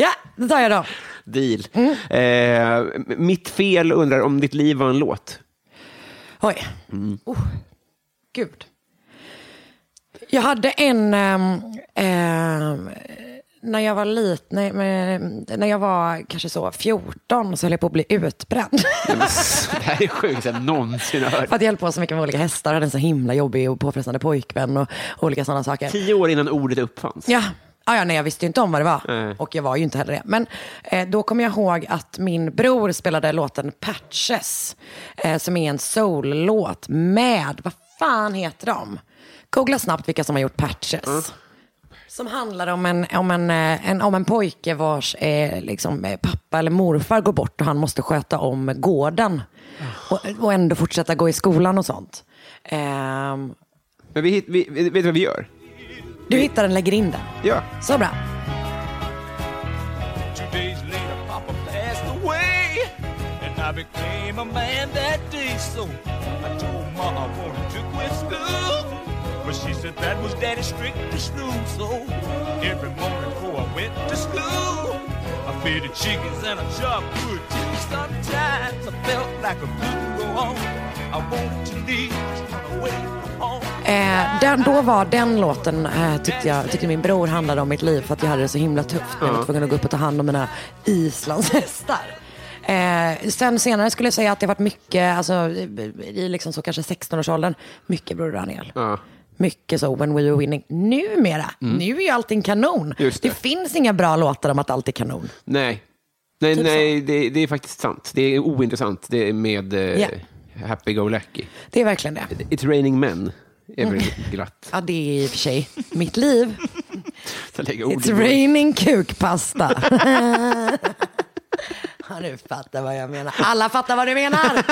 Speaker 2: ja, det tar jag då.
Speaker 1: Deal.
Speaker 2: Mm.
Speaker 1: Eh, mitt fel undrar om ditt liv var en låt.
Speaker 2: Oj. Oh, gud. Jag hade en... ehm, ehm, när jag var liten, nej, men, när jag var kanske så 14 så höll jag på att bli utbränd.
Speaker 1: Det här är sjukt jag någonsin har hört.
Speaker 2: För att jag höll på så mycket med olika hästar och hade en så himla jobbig och påfrestande pojkvän och olika sådana saker.
Speaker 1: Tio år innan ordet uppfanns.
Speaker 2: Ja. Ah, ja, nej, jag visste ju inte om vad det var.
Speaker 1: Nej.
Speaker 2: Och jag var ju inte heller det. Men eh, då kommer jag ihåg att min bror spelade låten Patches, eh, som är en soul-låt med, vad fan heter de? Googla snabbt vilka som har gjort Patches. Som handlar om en, om en, eh, en, om en pojke vars eh, liksom, eh, pappa eller morfar går bort och han måste sköta om gården. Och, och ändå fortsätta gå i skolan och sånt. Ehm,
Speaker 1: Men vi, hit- vi, vi- vet du vad vi gör?
Speaker 2: du hittar den, lägger in den.
Speaker 1: Ja.
Speaker 2: Så bra.
Speaker 3: Two days later, Papa passed away, and I became a man that day. So I told Ma I wanted to quit school, but she said that was Daddy's strictest rule. So every morning before I went to school, I fed chickens and I chopped wood. too. Sometimes I felt like a blue go on. I wanted to leave, just run away from home.
Speaker 2: Eh, den, då var den låten, eh, tyckte, jag, tyckte min bror handlade om mitt liv för att jag hade det så himla tufft. Jag var tvungen att gå upp och ta hand om mina islandshästar. Eh, sen senare skulle jag säga att det varit mycket, alltså, i i liksom så kanske 16-årsåldern, mycket Bror Daniel.
Speaker 1: Ja. Mm.
Speaker 2: Mycket så, when we were winning. Numera, nu är ju allting kanon.
Speaker 1: Just det.
Speaker 2: finns inga bra låtar om att allt är kanon.
Speaker 1: Nej, nej,
Speaker 2: Typ
Speaker 1: nej det, det är faktiskt sant. Det är ointressant det är med eh,
Speaker 2: Ja.
Speaker 1: Happy Go Lucky.
Speaker 2: Det är verkligen det.
Speaker 1: It's raining men. Är väl glatt.
Speaker 2: Ja, det är i och för sig mitt liv.
Speaker 1: Jag lägger ord i
Speaker 2: It's
Speaker 1: munnen.
Speaker 2: raining kukpasta. ja, du fattar vad jag menar. Alla fattar vad du menar.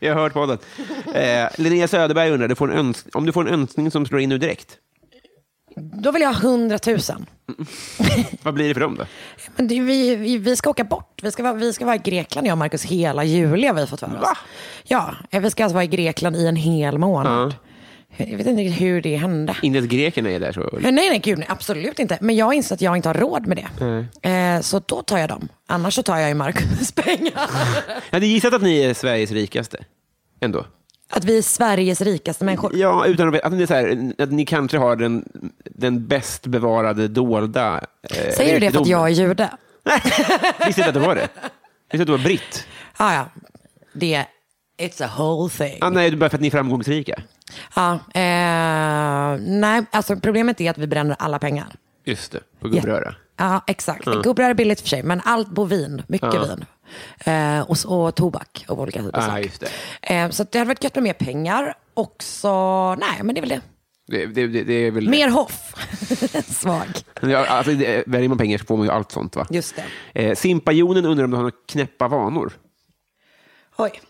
Speaker 1: Vi har hört podden. Eh, Linnea Söderberg undrar, du får en öns- om du får en önskning som slår in nu direkt,
Speaker 2: Då vill jag ha hundratusen.
Speaker 1: vad blir det för dem då?
Speaker 2: Men det, är ju- vi, vi, vi ska åka bort. Vi ska, vara, vi ska vara i Grekland, jag och Markus, hela juli har vi fått för oss.
Speaker 1: Va?
Speaker 2: Ja, eh, vi ska alltså vara i Grekland i en hel månad. Jag vet inte riktigt hur det hände.
Speaker 1: Inte ens grekerna är där så.
Speaker 2: Nej, nej, gud, nej, absolut inte. Men jag inser att jag inte har råd med det. Eh, så då tar jag dem. Annars så tar jag ju Markus pengar.
Speaker 1: Jag hade gissat att ni är Sveriges rikaste. Ändå.
Speaker 2: Att vi är Sveriges rikaste människor.
Speaker 1: Ja, utan att, veta- att, ni, är så här, att ni kanske har den, den bäst bevarade dolda eh,
Speaker 2: Säger du det för att
Speaker 1: rikedomen.
Speaker 2: jag är jude?
Speaker 1: Visste inte att du var det. Visste att du var britt.
Speaker 2: Ah, ja, det It's a whole thing.
Speaker 1: Ah, nej, det är bara för att ni är framgångsrika.
Speaker 2: Ja, eh, nej, alltså problemet är att vi bränner alla pengar.
Speaker 1: Just det, på gubbröra.
Speaker 2: Ja, exakt.
Speaker 1: Mm.
Speaker 2: Gubbar är billigt för sig, men allt på vin, mycket vin. Eh, och, så- och tobak och olika typer av
Speaker 1: Ah,
Speaker 2: saker.
Speaker 1: just
Speaker 2: Eh, så att det hade varit gött med mer pengar. Också, nej, men det är väl det.
Speaker 1: Det, det, det, det är väl...
Speaker 2: Mer hoff. Svag.
Speaker 1: Ja, alltså, det, väljer man pengar så får man ju allt sånt, va?
Speaker 2: Just det.
Speaker 1: Eh, Simpajonen undrar om du har några knäppa vanor?
Speaker 2: Oj.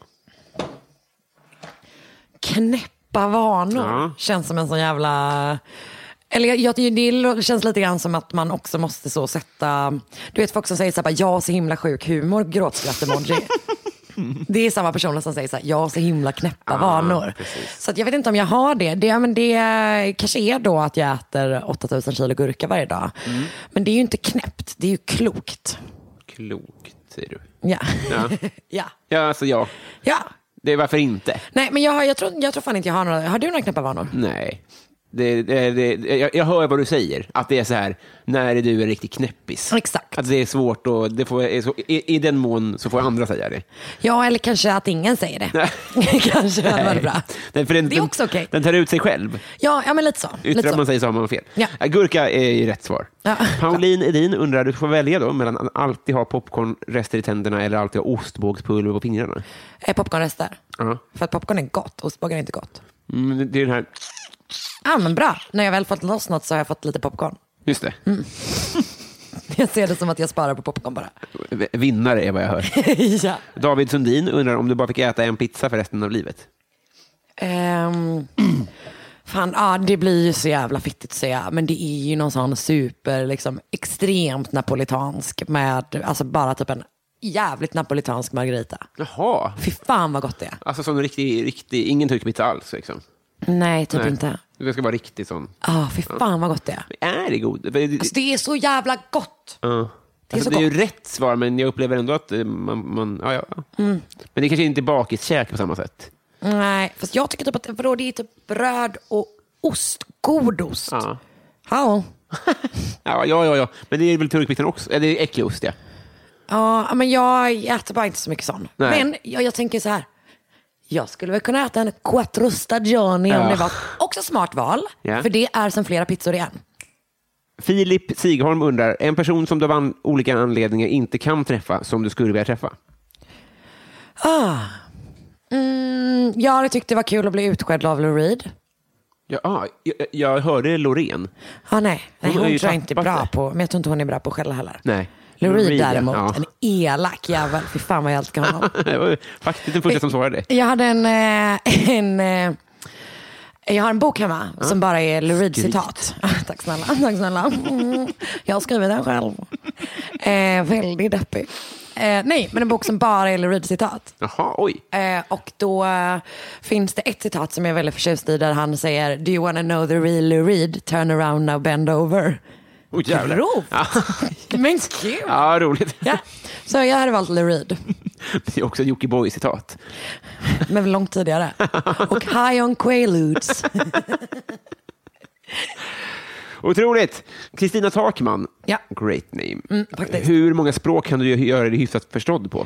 Speaker 2: Knäppa vanor
Speaker 1: Ja.
Speaker 2: känns som en sån jävla... Eller jag, jag, det lo- känns lite grann som att man också måste så sätta... Du vet folk som säger så här, bara, jag har så himla sjuk humor, gråtskratt-emoji. Det är samma personer som säger så här, jag har så himla
Speaker 1: Ah,
Speaker 2: knäppa vanor. Så att jag vet inte om jag har det. Det, men det kanske är då att jag äter 8000 kilo gurka varje dag.
Speaker 1: Mm.
Speaker 2: Men det är ju inte knäppt, det är ju klokt.
Speaker 1: Klokt, säger du.
Speaker 2: Ja.
Speaker 1: Ja,
Speaker 2: ja.
Speaker 1: ja alltså ja.
Speaker 2: ja.
Speaker 1: Det är varför inte? Mm.
Speaker 2: Nej, men jag, har- jag, tror, jag tror fan inte jag har några. Har du några knäppa vanor?
Speaker 1: Nej. Det, det, det, jag, jag hör vad du säger, att det är så här, när är du en riktig knäppis?
Speaker 2: Exakt.
Speaker 1: Att det är svårt och det får, är så, i, i den mån så får andra säga det.
Speaker 2: Ja, eller kanske att ingen säger det. kanske hade varit bra.
Speaker 1: Nej, för den,
Speaker 2: Det är också okej.
Speaker 1: Den tar ut sig själv.
Speaker 2: Ja, ja, men lite så. Lite
Speaker 1: Yttrar
Speaker 2: så.
Speaker 1: man sig så har man fel.
Speaker 2: Ja.
Speaker 1: Ja. Gurka är ju rätt svar.
Speaker 2: Ja.
Speaker 1: Pauline Edin undrar, du får välja då mellan att alltid ha popcornrester i tänderna eller alltid ha ostbågspulver på fingrarna.
Speaker 2: Eh, Popcornrester.
Speaker 1: Ja.
Speaker 2: För att popcorn är gott, ostbågar är inte gott.
Speaker 1: Mm, det är den här,
Speaker 2: Ja, men bra. När jag väl fått loss något så har jag fått lite popcorn.
Speaker 1: just det.
Speaker 2: Mm. Jag ser det som att jag sparar på popcorn bara.
Speaker 1: Vinnare är vad jag hör.
Speaker 2: ja.
Speaker 1: David Sundin undrar om du bara fick äta en pizza för resten av livet.
Speaker 2: Ehm, fan, ja, det blir ju så jävla fittigt att säga. Men det är ju någon sån super, liksom, extremt napolitansk med, alltså bara typ en jävligt napolitansk margarita.
Speaker 1: Jaha.
Speaker 2: Fy fan vad gott det är.
Speaker 1: Alltså som en riktig, riktig ingen turkpizza alls. Liksom.
Speaker 2: Nej, typ
Speaker 1: Nej.
Speaker 2: inte.
Speaker 1: Det ska vara riktigt sån.
Speaker 2: Ja, fy fan vad gott det är.
Speaker 1: Är det god? Det, det,
Speaker 2: Alltså, det är så jävla gott.
Speaker 1: ja.
Speaker 2: det är så
Speaker 1: alltså, det är ju
Speaker 2: gott.
Speaker 1: rätt svar, men jag upplever ändå att eh, man... man ja, ja. Men det kanske inte är bakiskäk på samma sätt.
Speaker 2: Nej, fast jag tycker typ att vadå, det är typ bröd och ost. God ost.
Speaker 1: Ja.
Speaker 2: Ja.
Speaker 1: Ja, ja, ja, ja. Men det är väl turkpizzan också? Eller det är äckligost, ja.
Speaker 2: Ja, men jag äter bara inte så mycket sån.
Speaker 1: Nej.
Speaker 2: Men jag, jag tänker så här. Jag skulle väl kunna äta en quattro stagioni om
Speaker 1: Ja.
Speaker 2: det var också smart val.
Speaker 1: Ja.
Speaker 2: För det är som flera pizzor i en.
Speaker 1: Filip Sigholm undrar, en person som du av an- olika anledningar inte kan träffa, som du skulle vilja träffa?
Speaker 2: Mm, Jag hade tyckt det var kul att bli utskälld av Lou Reed.
Speaker 1: Ja, ah, jag, jag hörde Loreen.
Speaker 2: Ja, nej, nej
Speaker 1: Hon har
Speaker 2: hon
Speaker 1: ju
Speaker 2: tror jag inte är
Speaker 1: tappat
Speaker 2: bra
Speaker 1: det.
Speaker 2: på, men jag tror inte hon är bra på att skälla heller.
Speaker 1: Nej.
Speaker 2: Lou
Speaker 1: Lou
Speaker 2: Reed
Speaker 1: Reed, ja.
Speaker 2: däremot,
Speaker 1: Ja.
Speaker 2: en elak jävel. Fy fan vad jag älskar honom.
Speaker 1: Det var ju faktiskt den första som svarade.
Speaker 2: Jag hade en, eh, en eh, jag har en bok hemma som bara är Lou Reed-citat. Tack snälla. Tack snälla. Mm. Jag har skrivit den själv. Eh, väldigt deppig. Eh, nej, men en bok som bara är Lou Reed-citat.
Speaker 1: Jaha, oj.
Speaker 2: Eh, och då eh, finns det ett citat som jag är väldigt förtjust i där han säger Do you wanna know the real Lou Reed? Turn around now, bend over.
Speaker 1: Oj, jävlar.
Speaker 2: Grovt.
Speaker 1: Ja,
Speaker 2: Men kul!
Speaker 1: ja roligt.
Speaker 2: Ja. Så jag hade valt Lou Reed.
Speaker 1: Det är också ett Jockiboi-citat.
Speaker 2: Men långt tidigare. Och High on Quaaludes.
Speaker 1: Otroligt! Kristina Takman,
Speaker 2: Ja. Mm,
Speaker 1: great name.
Speaker 2: faktiskt.
Speaker 1: Hur många språk kan du göra dig hyfsat förstådd på?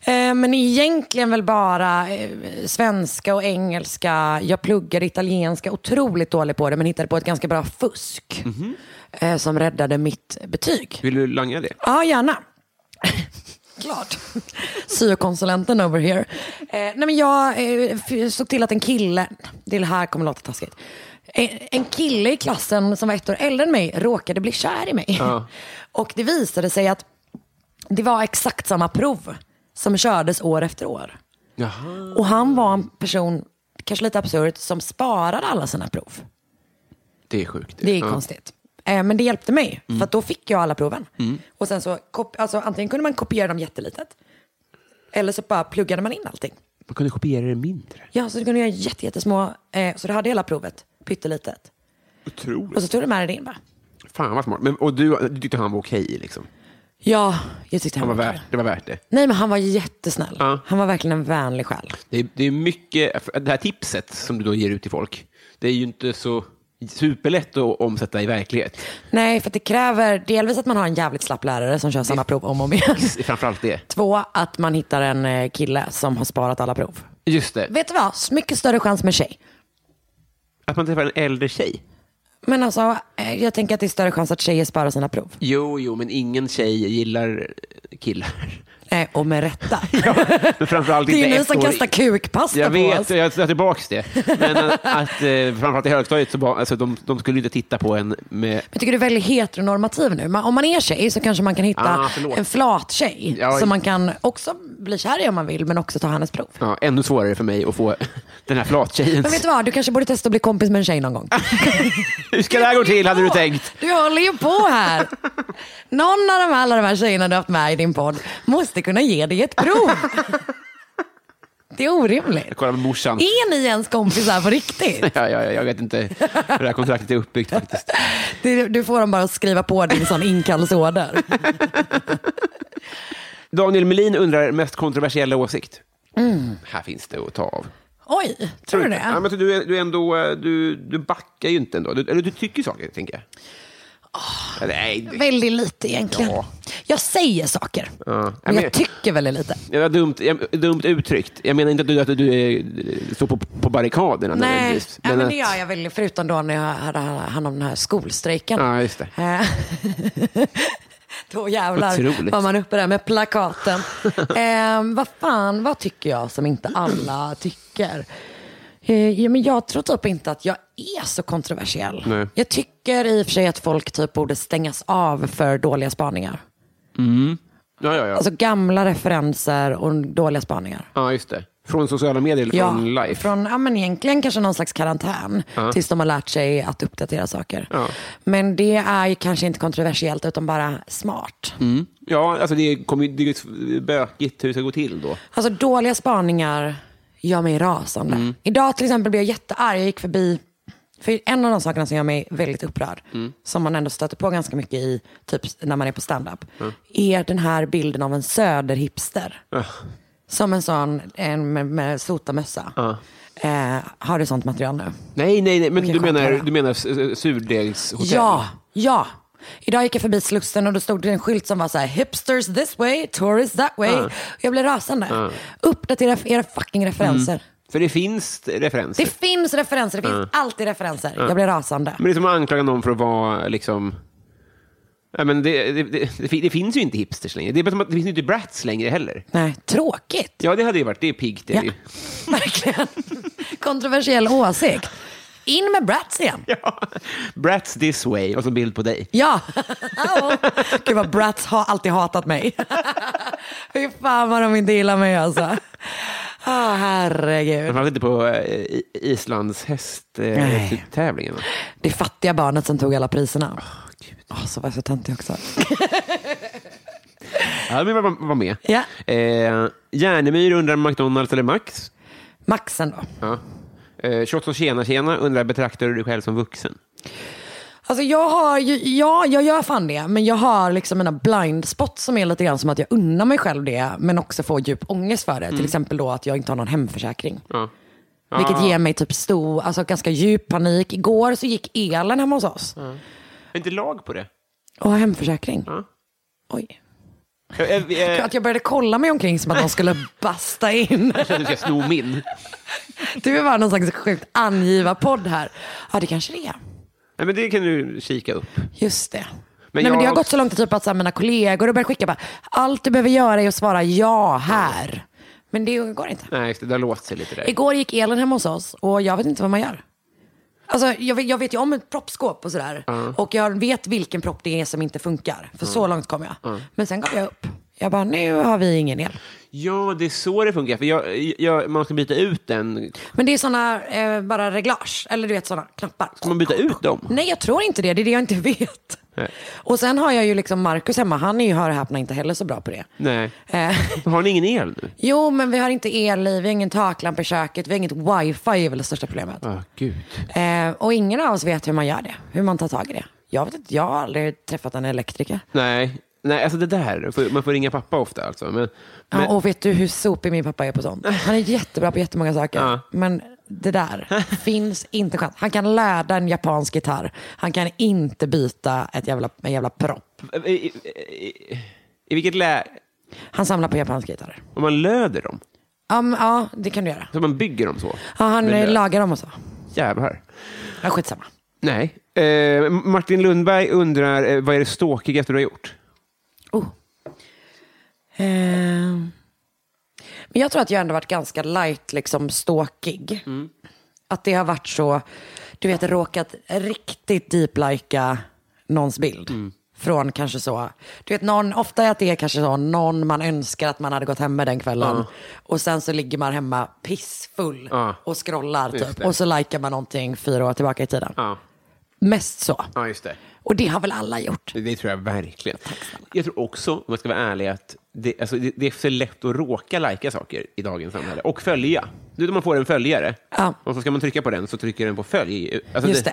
Speaker 2: Eh, Men egentligen väl bara eh, svenska och engelska. Jag pluggade italienska, otroligt dålig på det, men hittade på ett ganska bra fusk
Speaker 1: Mhm.
Speaker 2: eh, som räddade mitt betyg.
Speaker 1: Vill du langa det?
Speaker 2: Ja, gärna. Klart. Syokonsulenten over here. Eh, nej men jag eh, f- såg till att en kille, det här kommer låta taskigt. En, en kille i klassen som var ett år äldre än mig råkade bli kär i mig.
Speaker 1: Ja.
Speaker 2: Och det visade sig att det var exakt samma prov som kördes år efter år.
Speaker 1: Jaha.
Speaker 2: Och han var en person, kanske lite absurt, som sparade alla sina prov.
Speaker 1: Det är sjukt.
Speaker 2: Det är
Speaker 1: Ja.
Speaker 2: konstigt. Eh, Men det hjälpte mig, för att då fick jag alla proven. Och sen så, kop- alltså, antingen kunde man kopiera dem jättelitet, eller så bara pluggade man in allting.
Speaker 1: Man kunde kopiera det mindre.
Speaker 2: Ja, så kunde jag göra jätte- jättesmå, eh, så du hade hela provet, pyttelitet.
Speaker 1: Otroligt.
Speaker 2: Och så tog du med dig det in bara.
Speaker 1: Fan vad smart. Men, och du, du tyckte han var okej? liksom.
Speaker 2: Ja, jag tyckte han
Speaker 1: han var
Speaker 2: var
Speaker 1: värt, det var värt det.
Speaker 2: Nej, men han var jättesnäll.
Speaker 1: Ja.
Speaker 2: Han var verkligen en vänlig själ.
Speaker 1: Det är, det är mycket, det här tipset som du då ger ut till folk, det är ju inte så superlätt att omsätta i verklighet.
Speaker 2: Nej, för att det kräver delvis att man har en jävligt slapp lärare som kör samma prov om och om igen.
Speaker 1: Framförallt det.
Speaker 2: Två, att man hittar en eh, kille som har sparat alla prov.
Speaker 1: Just det.
Speaker 2: Vet du vad? Mycket större chans med tjej.
Speaker 1: Att man träffar en äldre tjej.
Speaker 2: Men alltså, eh, jag tänker att det är större chans att tjejer sparar sina prov.
Speaker 1: Jo, jo, men ingen tjej gillar killar.
Speaker 2: Eh, och med rätta.
Speaker 1: Men framförallt
Speaker 2: det är
Speaker 1: inte
Speaker 2: ju ni
Speaker 1: ett
Speaker 2: som
Speaker 1: år
Speaker 2: kastar
Speaker 1: in.
Speaker 2: kukpasta
Speaker 1: Jag
Speaker 2: på
Speaker 1: vet,
Speaker 2: oss.
Speaker 1: jag tar tillbaka det. Men eh, att eh, framförallt i högstadiet, så ba, alltså, de, de skulle ju inte titta på en med...
Speaker 2: Jag tycker du är väldigt heteronormativ nu. Man, om man är tjej så kanske man kan hitta
Speaker 1: Ah, förlåt.
Speaker 2: en flat tjej.
Speaker 1: Ja,
Speaker 2: som man kan också bli kär i om man vill, men också ta hennes prov.
Speaker 1: Ja, ännu svårare för mig att få den här
Speaker 2: Men vet
Speaker 1: flattjejens...
Speaker 2: du vad? Du kanske borde testa att bli kompis med en tjej någon gång.
Speaker 1: Hur ska det här gå till, hade du tänkt?
Speaker 2: Du håller ju på här. Någon av de här, alla de här tjejerna du har haft med i din podd måste kunna ge dig ett prov. Det är orimligt.
Speaker 1: Jag kollar med morsan.
Speaker 2: Är ni ens kompisar på riktigt?
Speaker 1: Ja, ja, ja, jag vet inte hur det här kontraktet är uppbyggt faktiskt.
Speaker 2: Du, du får dem bara att skriva på din sån inkallsorder. Mm.
Speaker 1: Daniel Melin undrar mest kontroversiella åsikt. Här finns det att ta av.
Speaker 2: Oj, tror du
Speaker 1: inte. Ja,
Speaker 2: det?
Speaker 1: men du, är- du, är ändå, eh, du, du backar ju inte ändå. Du, eller du tycker saker, tänker jag.
Speaker 2: Ah.
Speaker 1: Ja, nej, det-
Speaker 2: Väldigt lite egentligen.
Speaker 1: Ja.
Speaker 2: Jag säger saker, men
Speaker 1: men-
Speaker 2: jag tycker väldigt lite.
Speaker 1: det var dumt, jag, dumt uttryckt. Jag menar inte att du, att du är, står på, på barrikaderna.
Speaker 2: Nej,
Speaker 1: nödvändigtvis,
Speaker 2: men, men
Speaker 1: att-
Speaker 2: det gör jag väl. Förutom då när jag hade hand om den här skolstrejken.
Speaker 1: Ja, just det.
Speaker 2: Eh, Då jävlar
Speaker 1: Otroligt.
Speaker 2: var man uppe där med plakaten. eh, vad fan, vad tycker jag som inte alla tycker? Eh, ja, men jag tror typ inte att jag är så kontroversiell.
Speaker 1: Nej.
Speaker 2: Jag tycker i och för sig att folk typ borde stängas av för dåliga spaningar.
Speaker 1: Ja, ja, ja.
Speaker 2: Alltså gamla referenser och dåliga spaningar.
Speaker 1: ja, just det. Från sociala medier eller från life?
Speaker 2: Från, ja, men egentligen kanske någon slags karantän tills de har lärt sig att uppdatera saker.
Speaker 1: Ja.
Speaker 2: Men det är ju kanske inte kontroversiellt utan bara smart.
Speaker 1: Ja, alltså det kommer ju- det är bökigt hur det ska gå till då.
Speaker 2: Alltså dåliga spaningar gör mig rasande. Idag till exempel blev jag jättearg. Jag gick förbi, för en av de sakerna som gör mig väldigt upprörd, som man ändå stöter på ganska mycket i, typ när man är på standup, är den här bilden av en söderhipster. Som en sån en med, med sotarmössa. Eh, har du sånt material nu?
Speaker 1: Nej, nej, nej, men
Speaker 2: Okej,
Speaker 1: du, menar,
Speaker 2: skönt.
Speaker 1: du menar s- s- surdegshotell?
Speaker 2: Ja, ja. Idag gick jag förbi Slussen och då stod det en skylt som var så här hipsters this way, tourists that way. Och Jag blev rasande. Uppdatera era fucking referenser.
Speaker 1: För det finns referenser.
Speaker 2: Det finns referenser, det finns alltid referenser. Jag blir rasande.
Speaker 1: Men det är som att anklaga någon för att vara liksom... Ja, men det, det, det, det, fin- det finns ju inte hipsters längre. Det är bara som att det finns ju inte brats längre heller.
Speaker 2: Nej, tråkigt.
Speaker 1: Ja, det hade ju varit. Det är piggt. det är
Speaker 2: Ja.
Speaker 1: det ju.
Speaker 2: Verkligen. Kontroversiell åsikt. In med Bratz igen.
Speaker 1: Ja. Brats this way och så bild på dig.
Speaker 2: Ja. Hallå. Gud vad Bratz har alltid hatat mig. Fy fan vad de inte gillar mig alltså. Åh, herregud.
Speaker 1: Framförallt inte på eh, i- Islands hästtävlingen. Eh,
Speaker 2: Nej.
Speaker 1: tävlingen, va?
Speaker 2: Det fattiga barnet som tog alla priserna. Åh, så var jag så töntig också.
Speaker 1: ja, men var, var med.
Speaker 2: Ja.
Speaker 1: Eh, Järnemyr undrar McDonalds eller Max.
Speaker 2: Maxen då.
Speaker 1: Ja. Eh, Shots och tjena tjena undrar, betraktar du dig själv som vuxen?
Speaker 2: Alltså jag har ju, ja jag gör fan det, men jag har liksom mina blind spots som är lite grann som att jag unnar mig själv det, men också får djup ångest för det. Till exempel då att jag inte har någon hemförsäkring.
Speaker 1: Mm. Ja.
Speaker 2: Vilket ger mig typ stor, alltså ganska djup panik. Igår så gick elen hemma hos oss.
Speaker 1: Är inte lag på det?
Speaker 2: Och har hemförsäkring.
Speaker 1: Ja.
Speaker 2: Oj.
Speaker 1: Jag, jag, jag, jag
Speaker 2: Att jag började kolla mig omkring som att någon skulle basta in.
Speaker 1: tror att du ska sno min.
Speaker 2: Du är bara någon slags sjukt angivarpodd här. Ja det kanske det är.
Speaker 1: Nej, men det kan du kika upp.
Speaker 2: Just det.
Speaker 1: Men
Speaker 2: Men, Nej,
Speaker 1: jag
Speaker 2: men det har
Speaker 1: också-
Speaker 2: gått så långt typ att så här, mina kollegor har börjat skicka bara, allt du behöver göra är att svara ja här. Men det går inte.
Speaker 1: Nej, just det, det har låst sig lite där.
Speaker 2: Igår gick elen hemma hos oss och jag vet inte vad man gör. Alltså, jag, vet, jag vet ju om ett proppskåp och sådär. Och jag vet vilken propp det är som inte funkar. För så långt kom jag. Men sen gav jag upp. Jag bara, nu har vi ingen el.
Speaker 1: Ja, det är så det funkar. För jag, jag, man ska byta ut den.
Speaker 2: Men det är sådana, eh, bara reglage. Eller du vet sådana knappar.
Speaker 1: Ska man byta ut dem?
Speaker 2: Nej, jag tror inte det. Det är det jag inte vet.
Speaker 1: Nej.
Speaker 2: Och sen har jag ju liksom Markus hemma. Han är ju, hör och häpna, inte heller så bra på det.
Speaker 1: Nej.
Speaker 2: Eh,
Speaker 1: Har ni ingen el nu?
Speaker 2: jo, men vi har inte el i, vi har ingen taklampa i köket, vi har inget wifi är väl det största problemet.
Speaker 1: Ah, gud.
Speaker 2: Eh, och ingen av oss vet hur man gör det, hur man tar tag i det. Jag, vet inte, jag har aldrig träffat en elektriker.
Speaker 1: Nej. Nej, alltså det där. får- Man får ringa pappa ofta alltså. Men, men,
Speaker 2: Ja, och vet du hur sopig min pappa är på sånt? Han är jättebra på jättemånga saker.
Speaker 1: Ja.
Speaker 2: Men det där finns inte chans. Han kan läda en japansk gitarr. Han kan inte byta ett jävla, en jävla propp.
Speaker 1: i, i, i, I vilket läge?
Speaker 2: Han samlar på japanska gitarrer.
Speaker 1: Om man löder dem?
Speaker 2: Ja, men, ja, det kan du göra.
Speaker 1: Så man bygger dem så?
Speaker 2: Ja, han
Speaker 1: Men
Speaker 2: eh,
Speaker 1: det-
Speaker 2: lagar dem och så.
Speaker 1: Jävlar.
Speaker 2: Ja, skitsamma.
Speaker 1: Nej. Eh, Martin Lundberg undrar, eh, vad är det ståkigaste du har gjort?
Speaker 2: Oh. Ehm. Men jag tror att jag ändå varit ganska light, liksom ståkig.
Speaker 1: Mm.
Speaker 2: Att det har varit så, du vet råkat riktigt deep-lika någons bild.
Speaker 1: Mm.
Speaker 2: Från kanske så, du vet någon, ofta är att det är kanske så, någon man önskar att man hade gått hem med den kvällen. Och sen så ligger man hemma pissfull
Speaker 1: Ja.
Speaker 2: och scrollar
Speaker 1: Just
Speaker 2: typ.
Speaker 1: det.
Speaker 2: Och så likar man någonting fyra år tillbaka i tiden.
Speaker 1: Ja,
Speaker 2: Mest så.
Speaker 1: ja just det.
Speaker 2: Och det har väl alla gjort.
Speaker 1: Det tror jag verkligen. Jag tror också, om jag ska vara ärlig, att det, alltså, det, det är för lätt att råka lajka saker i dagens samhälle. Och följa. Du, man får en följare
Speaker 2: Ja.
Speaker 1: och så ska man trycka på den så trycker den på följ. Alltså,
Speaker 2: Just det.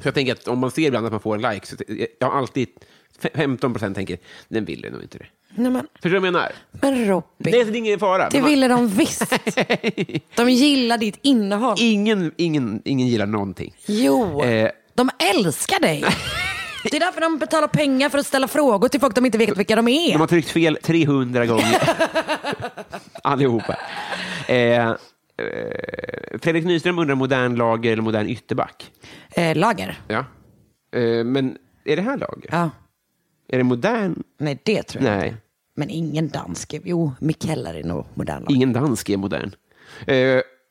Speaker 1: Så jag tänker att om man ser ibland att man får en like, så jag har alltid F- 15 procent tänker, den ville nog inte det.
Speaker 2: Nej, men,
Speaker 1: Förstår du vad jag menar?
Speaker 2: men
Speaker 1: Det
Speaker 2: Robin,
Speaker 1: är ingen fara.
Speaker 2: det
Speaker 1: Man-
Speaker 2: ville de visst. De gillar ditt innehåll.
Speaker 1: Ingen, ingen, ingen gillar någonting.
Speaker 2: Jo,
Speaker 1: Eh.
Speaker 2: de älskar dig. Det är därför de betalar pengar för att ställa frågor till folk de inte vet vilka de
Speaker 1: De
Speaker 2: är.
Speaker 1: har tryckt fel 300 gånger. Allihopa. Eh, eh, Fredrik Nyström undrar modern lager eller modern ytterback.
Speaker 2: Eh, lager.
Speaker 1: Ja. Eh, men är det här lager?
Speaker 2: Ja.
Speaker 1: Är det modern?
Speaker 2: Nej, det tror jag
Speaker 1: Nej.
Speaker 2: inte. Men ingen dansk. är- Jo, Mikeller är nog modern. lager.
Speaker 1: Ingen dansk är modern. Eh,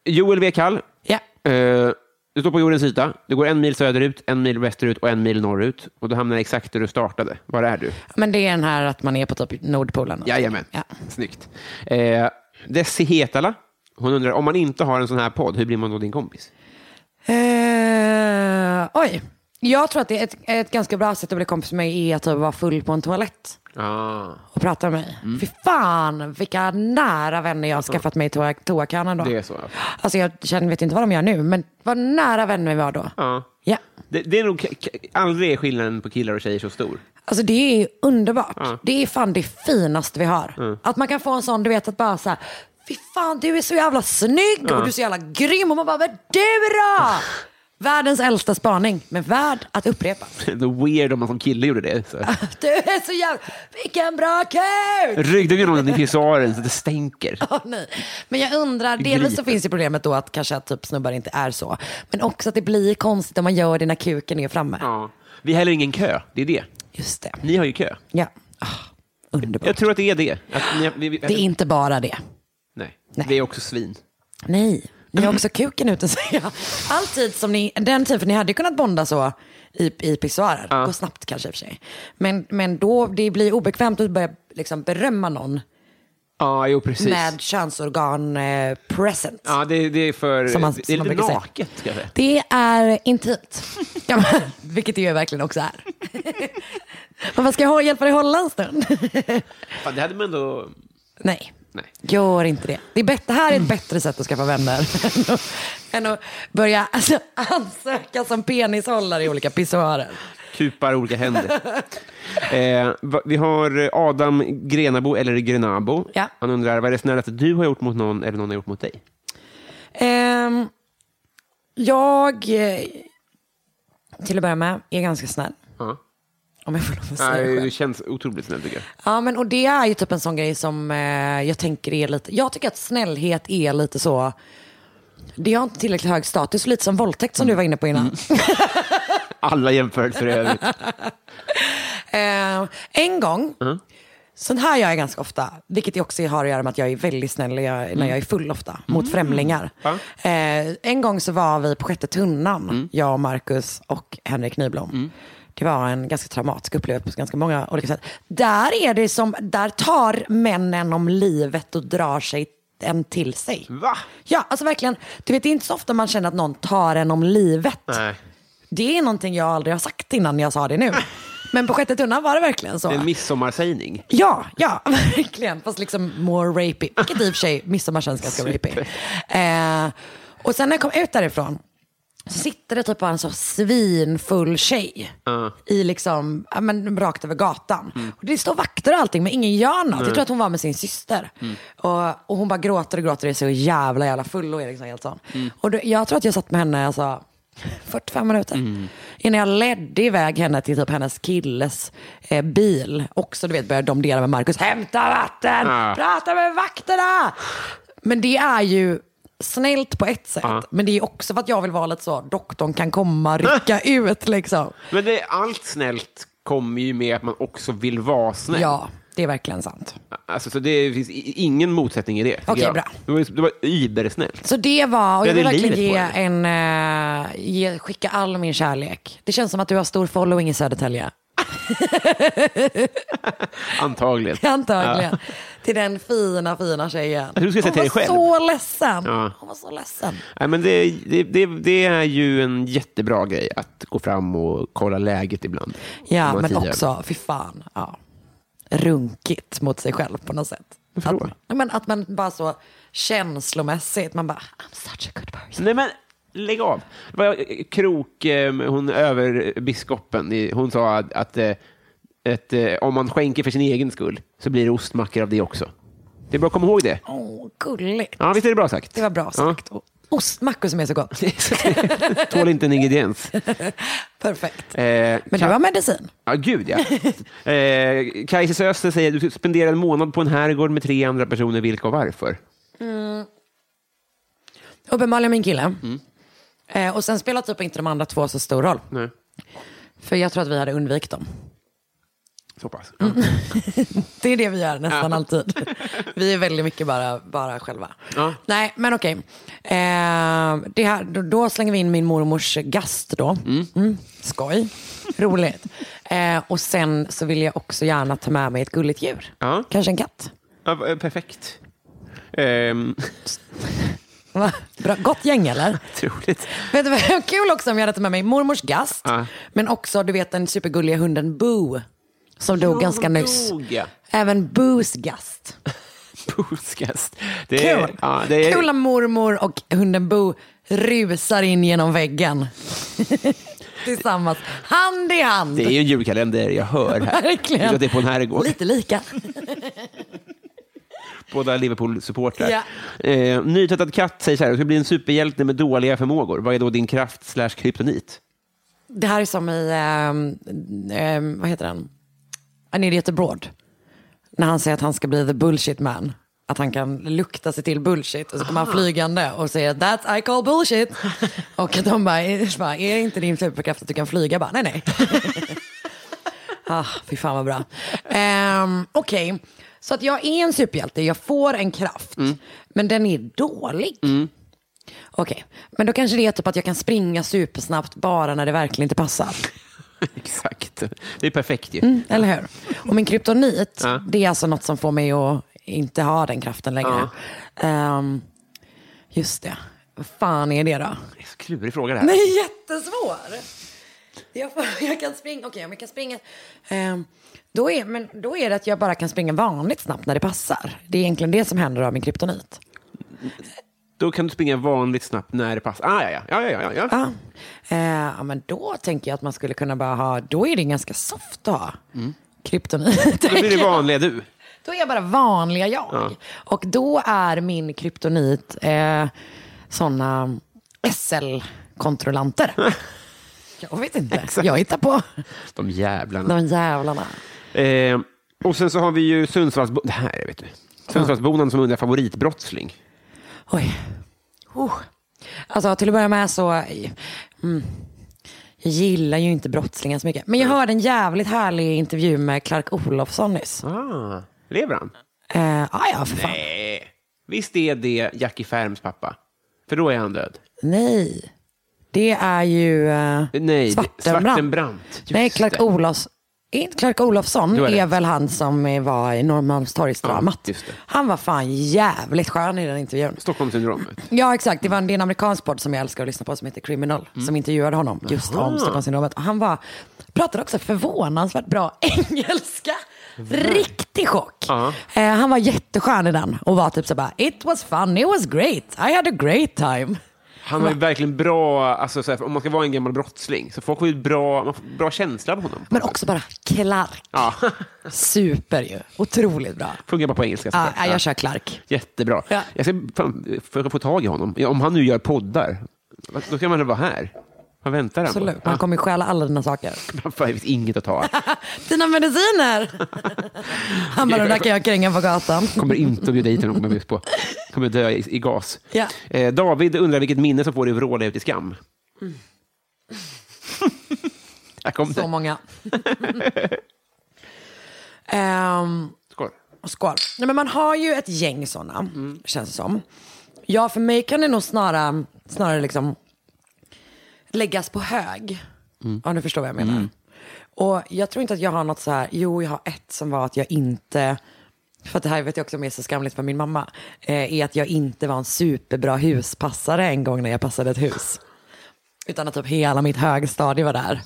Speaker 1: Joel W. Kall.
Speaker 2: Ja.
Speaker 1: Eh, du står på jordens yta. Du går en mil söderut, en mil västerut och en mil norrut. Och du hamnar exakt där du startade. Var är du?
Speaker 2: Men det är den här att man är på typ Nordpolen.
Speaker 1: Jajamän.
Speaker 2: Ja.
Speaker 1: Snyggt. Eh, Desi Hetala. Hon undrar, om man inte har en sån här podd, hur blir man då din kompis?
Speaker 2: Eh, oj. Jag tror att det är ett, ett ganska bra sätt att bli kompis med mig är att typ vara full på en toalett
Speaker 1: Ah,
Speaker 2: och prata med mig. Fy fan vilka nära vänner jag har skaffat mig i toa- toakannan då.
Speaker 1: det är så. ja.
Speaker 2: Alltså jag känner, vet inte vad de gör nu, men vad nära vänner vi var då.
Speaker 1: Ja.
Speaker 2: Ja.
Speaker 1: Det, det är nog k- k- aldrig är skillnaden på killar och tjejer så stor.
Speaker 2: Alltså det är underbart. Det är fan det finaste vi har.
Speaker 1: Mm.
Speaker 2: Att man kan få en sån, du vet att bara så här, fy fan du är så jävla snygg och du är så jävla grym. Och man bara, men du då? Världens äldsta spaning, men värd att upprepa.
Speaker 1: Det är weird om man som kille gjorde det. Så.
Speaker 2: Du är så jävla, vilken bra kuk!
Speaker 1: Ryggdunkar någon i pissoaren så att det stänker.
Speaker 2: Åh, nej. Men jag undrar, delvis så
Speaker 1: Gripen.
Speaker 2: finns ju problemet då att kanske att typ snubbar inte är så. Men också att det blir konstigt om man gör det när kuken är framme.
Speaker 1: Ja. Vi har heller ingen kö, det är det.
Speaker 2: Just det.
Speaker 1: Ni har ju kö.
Speaker 2: Ja. Ah, underbart.
Speaker 1: Jag tror att det är det. Att ni, vi, vi,
Speaker 2: Det är inte bara det.
Speaker 1: nej.
Speaker 2: Nej.
Speaker 1: Det är också svin.
Speaker 2: Nej, ni har också kuken ute säger jag. Alltid som ni, den tiden, för ni hade ju kunnat bonda så i, i pissoarer. Gå snabbt kanske i och för sig. Men, men då, det blir obekvämt att börja liksom berömma någon
Speaker 1: Ja, jo precis.
Speaker 2: med könsorgan eh, present.
Speaker 1: Ja, det, det är för...
Speaker 2: Som man-
Speaker 1: det är
Speaker 2: som man
Speaker 1: lite
Speaker 2: brukar säga.
Speaker 1: naket, ska jag säga.
Speaker 2: Det är intimt. kan man- Vilket det ju verkligen också är. Men vad ska jag hå- hjälpa dig hålla en stund?
Speaker 1: Fan, det hade man ändå...
Speaker 2: Nej.
Speaker 1: Nej.
Speaker 2: Gör inte det. Det, är bättre, det här är ett bättre sätt att skaffa vänner än att, än att börja alltså, ansöka som penishållare i olika pissoarer.
Speaker 1: Kupar olika händer. eh, va- vi har Adam Grenabo, eller Grenabo.
Speaker 2: Ja.
Speaker 1: Han undrar, vad är det snällaste du har gjort mot någon eller någon har gjort mot dig?
Speaker 2: Ehm, jag, eh, till att börja med, är ganska snäll.
Speaker 1: Ja.
Speaker 2: Om jag får lov att säga det
Speaker 1: Nej,
Speaker 2: själv.
Speaker 1: det känns otroligt snällt tycker jag.
Speaker 2: Ja, men och det är ju typ en sån grej som eh, jag tänker är lite, jag tycker att snällhet är lite så, det har inte tillräckligt hög status, lite som våldtäkt som du var inne på innan.
Speaker 1: Alla jämförelser i övrigt.
Speaker 2: Eh, en gång,
Speaker 1: Mm.
Speaker 2: sån här gör jag ganska ofta, vilket också har att göra med att jag är väldigt snäll när jag, när jag är full ofta, mot främlingar.
Speaker 1: Mm. Ja. Mm.
Speaker 2: Eh, en gång så var vi på Sjätte tunnan, jag och Marcus och Henrik Nyblom. Det var en ganska traumatisk upplevelse på ganska många olika sätt. Där är det som, där tar männen om livet och drar sig en till sig.
Speaker 1: Va?
Speaker 2: Ja, alltså verkligen. Du vet, det är inte så ofta man känner att någon tar en om livet.
Speaker 1: Nej.
Speaker 2: Det är någonting jag aldrig har sagt innan jag sa det nu. Men på sjätte tunnan var det verkligen så.
Speaker 1: Det är en midsommarsägning.
Speaker 2: Ja, ja, verkligen. Fast liksom more rapey. Vilket i och för sig, midsommar känns ganska rapey. Eh, och sen när jag kom ut därifrån så sitter det typ bara en så svinfull tjej i liksom, ja, men rakt över gatan. Och det står vakter och allting men ingen gör något. Jag tror att hon var med sin syster. Och, och hon bara gråter och gråter och är så jävla jävla full och är liksom helt sån. Och då, jag tror att jag satt med henne alltså, 45 minuter. Innan jag ledde iväg henne till typ hennes killes eh, bil. Också du vet började domdera med Markus. Hämta vatten!
Speaker 1: Ja.
Speaker 2: Prata med vakterna! Men det är ju snällt på ett sätt. Men det är också för att jag vill vara lite så, doktorn kan komma, rycka ut liksom.
Speaker 1: Men det, allt snällt kommer ju med att man också vill vara snäll.
Speaker 2: Ja, det är verkligen sant.
Speaker 1: Alltså, så det finns i- ingen motsättning i det. tycker
Speaker 2: Okej,
Speaker 1: jag.
Speaker 2: bra.
Speaker 1: Du var, ju- du var ybersnäll.
Speaker 2: Så det var, och
Speaker 1: Det
Speaker 2: jag vill
Speaker 1: är
Speaker 2: verkligen
Speaker 1: livet
Speaker 2: ge
Speaker 1: på
Speaker 2: en, eh, ge, skicka all min kärlek. Det känns som att du har stor following i Södertälje.
Speaker 1: Antagligen.
Speaker 2: Antagligen. Till den fina, fina tjejen.
Speaker 1: tror du ska säga
Speaker 2: Hon
Speaker 1: till dig
Speaker 2: var
Speaker 1: själv.
Speaker 2: så ledsen.
Speaker 1: Ja.
Speaker 2: Hon var så ledsen.
Speaker 1: Nej, men det, det, det, det är ju en jättebra grej att gå fram och kolla läget ibland.
Speaker 2: Ja,
Speaker 1: Om man
Speaker 2: men
Speaker 1: säger.
Speaker 2: också, fy fan. Ja. Runkigt mot sig själv på något sätt.
Speaker 1: Varför
Speaker 2: Att,
Speaker 1: då?
Speaker 2: ja, men att man bara så känslomässigt, man bara, I'm such a good person.
Speaker 1: Nej, men lägg av. Det var Krok, eh, hon över biskopen, i- hon sa att, att eh, ett, eh, om man skänker för sin egen skull så blir det ostmackor av det också. Det är bra att komma ihåg det.
Speaker 2: Åh, gulligt.
Speaker 1: Ja, visst är det bra sagt?
Speaker 2: Det var bra sagt. Och ostmackor som är så gott.
Speaker 1: Ja, tål inte en ingrediens.
Speaker 2: Perfekt.
Speaker 1: Eh,
Speaker 2: Men det var medicin.
Speaker 1: Ja, gud ja. eh, Kajses Öster säger du spenderar en månad på en herrgård med tre andra personer. Vilka och varför?
Speaker 2: Uppenbarligen min kille.
Speaker 1: Mm.
Speaker 2: Eh, och sen spelar typ inte de andra två så stor roll.
Speaker 1: Nej.
Speaker 2: För jag tror att vi hade undvikit dem.
Speaker 1: Så pass.
Speaker 2: Det är det vi gör nästan alltid. Vi är väldigt mycket bara, bara själva.
Speaker 1: Ja.
Speaker 2: Nej, men okej. Eh, det här, då, då slänger vi in min mormors gast då. Mm, skoj. Roligt. Eh, och sen så vill jag också gärna ta med mig ett gulligt djur.
Speaker 1: Ja.
Speaker 2: Kanske en katt.
Speaker 1: Ja, eh, perfekt. Ehm,
Speaker 2: Va? Bra, gott gäng eller?
Speaker 1: otroligt.
Speaker 2: Vet du vad kul också om jag hade tagit med mig mormors gast.
Speaker 1: Ja.
Speaker 2: Men också du vet den supergulliga hunden Boo. Som dog ganska nyss.
Speaker 1: Dog, ja.
Speaker 2: Även Boos gast.
Speaker 1: Podcast. Det är,
Speaker 2: Kul!
Speaker 1: Eh, ja, det är,
Speaker 2: Kul att mormor och hunden Boo rusar in genom väggen. Tillsammans. Hand i hand.
Speaker 1: det är ju en julkalender jag hör här. Jag tror
Speaker 2: Verkligen.
Speaker 1: att det är på en herrgård.
Speaker 2: Lite lika.
Speaker 1: Båda Liverpool-supportrar.
Speaker 2: Ja.
Speaker 1: Eh, Nytvättad katt säger så här, du ska bli en superhjälte med dåliga förmågor. Vad är då din kraft slash kryptonit?
Speaker 2: Det här är som i, ehm, ehm, vad heter den? An idiot abroad. När han säger att han ska bli the bullshit man. Att han kan lukta sig till bullshit och så kommer han flygande och säger that I call bullshit. Och att de bara, är- bara, är det inte din superkraft att du kan flyga? Jag Bara, nej nej. ah, fy fan vad bra. Um, Okej, så att jag är en superhjälte, jag får en kraft. Men den är dålig. Okej, men då kanske det är typ att jag kan springa supersnabbt bara när det verkligen inte passar.
Speaker 1: Exakt. Det är perfekt ju.
Speaker 2: Eller hur? Och min kryptonit,
Speaker 1: Ja.
Speaker 2: det är alltså något som får mig att inte ha den kraften längre. Ehm, just det. Vad fan är det då?
Speaker 1: Det är så klurig fråga det här.
Speaker 2: Den är jättesvår. Jag, får, jag kan springa, okej om jag kan springa. ehm, då, är, men då är det att jag bara kan springa vanligt snabbt när det passar. Det är egentligen det som händer av min kryptonit.
Speaker 1: Då kan du springa vanligt snabbt när det passar. Ah, ja, ja. Ja, ja, ja, ja.
Speaker 2: Ja. Eh, ja, men då tänker jag att man skulle kunna bara ha, då är det ganska soft att ha kryptonit.
Speaker 1: Då blir det vanliga du.
Speaker 2: Då är jag bara vanliga jag. Och då är min kryptonit eh, sådana SL-kontrollanter. jag vet inte. Jag hittar på.
Speaker 1: De jävlarna.
Speaker 2: De jävlarna.
Speaker 1: Eh, och sen så har vi ju Sundsvallsbo- det här vet du. Sundsvallsbonan som undrar favoritbrottsling.
Speaker 2: Oj. Oh. Alltså till att börja med så, mm, jag gillar ju inte brottslingar så mycket. Men jag hörde en jävligt härlig intervju med Clark Olofsson nyss.
Speaker 1: Ah, lever han?
Speaker 2: Eh, ah, ja, för fan.
Speaker 1: Eh, visst är det Jackie Färms pappa? För då är han död.
Speaker 2: Nej. Det är ju eh,
Speaker 1: Eh, Nej, det-
Speaker 2: Svartenbrandt.
Speaker 1: Svartenbrandt. Just
Speaker 2: Nej, Clark,
Speaker 1: det.
Speaker 2: Olofs, är inte Clark Olofsson
Speaker 1: Du har
Speaker 2: är,
Speaker 1: rätt.
Speaker 2: väl han som eh, var i Norrmalmstorgsdramat.
Speaker 1: Ja, just det.
Speaker 2: han var fan jävligt skön i den intervjun.
Speaker 1: Stockholmssyndromet.
Speaker 2: Ja, exakt. Det, var en, det är en amerikansk podd som jag älskar att lyssna på som heter Criminal.
Speaker 1: Mm.
Speaker 2: Som intervjuade honom just om Stockholmssyndromet. Och han var, pratade också förvånansvärt bra engelska. Riktig chock.
Speaker 1: Ja.
Speaker 2: Eh, han var jätteskön i den och var typ så bara, it was fun, it was great, I had a great time.
Speaker 1: Han var ju verkligen bra, alltså, så här, om man ska vara en gammal brottsling, så folk har ju ett bra, man får bra känsla av honom.
Speaker 2: Men också bara Clark.
Speaker 1: Ja,
Speaker 2: Super ju. Otroligt bra.
Speaker 1: funkar bara på engelska.
Speaker 2: Ja,
Speaker 1: såklart.
Speaker 2: jag
Speaker 1: Ja.
Speaker 2: kör Clark.
Speaker 1: Jättebra.
Speaker 2: Ja.
Speaker 1: Jag ska fan, försöka få tag i honom. Ja, Om han nu gör poddar, då kan man väl vara här? Vad väntar han
Speaker 2: Absolut.
Speaker 1: på?
Speaker 2: Han kommer ju stjäla alla dina saker.
Speaker 1: Ja, fan, det finns inget att ta.
Speaker 2: Dina mediciner! Han bara, de där kan jag kränga på gatan.
Speaker 1: Kommer inte att bjuda hit honom, kommer jag just på. Kommer dö i, i gas.
Speaker 2: Ja.
Speaker 1: Eh, David undrar vilket minne som får dig att vråla ut i skam. Här kom
Speaker 2: Mm. Så
Speaker 1: det.
Speaker 2: många. Ehm,
Speaker 1: Skål.
Speaker 2: och skål. Nej, men man har ju ett gäng sådana, känns det som. Ja, för mig kan det nog snarare, snarare liksom läggas på hög. Om du förstår vad jag menar. Och jag tror inte att jag har något så här, jo jag har ett som var att jag inte, för att det här vet jag också om är så skamligt för min mamma, eh, är att jag inte var en superbra huspassare en gång när jag passade ett hus. Utan att typ hela mitt högstadie var där.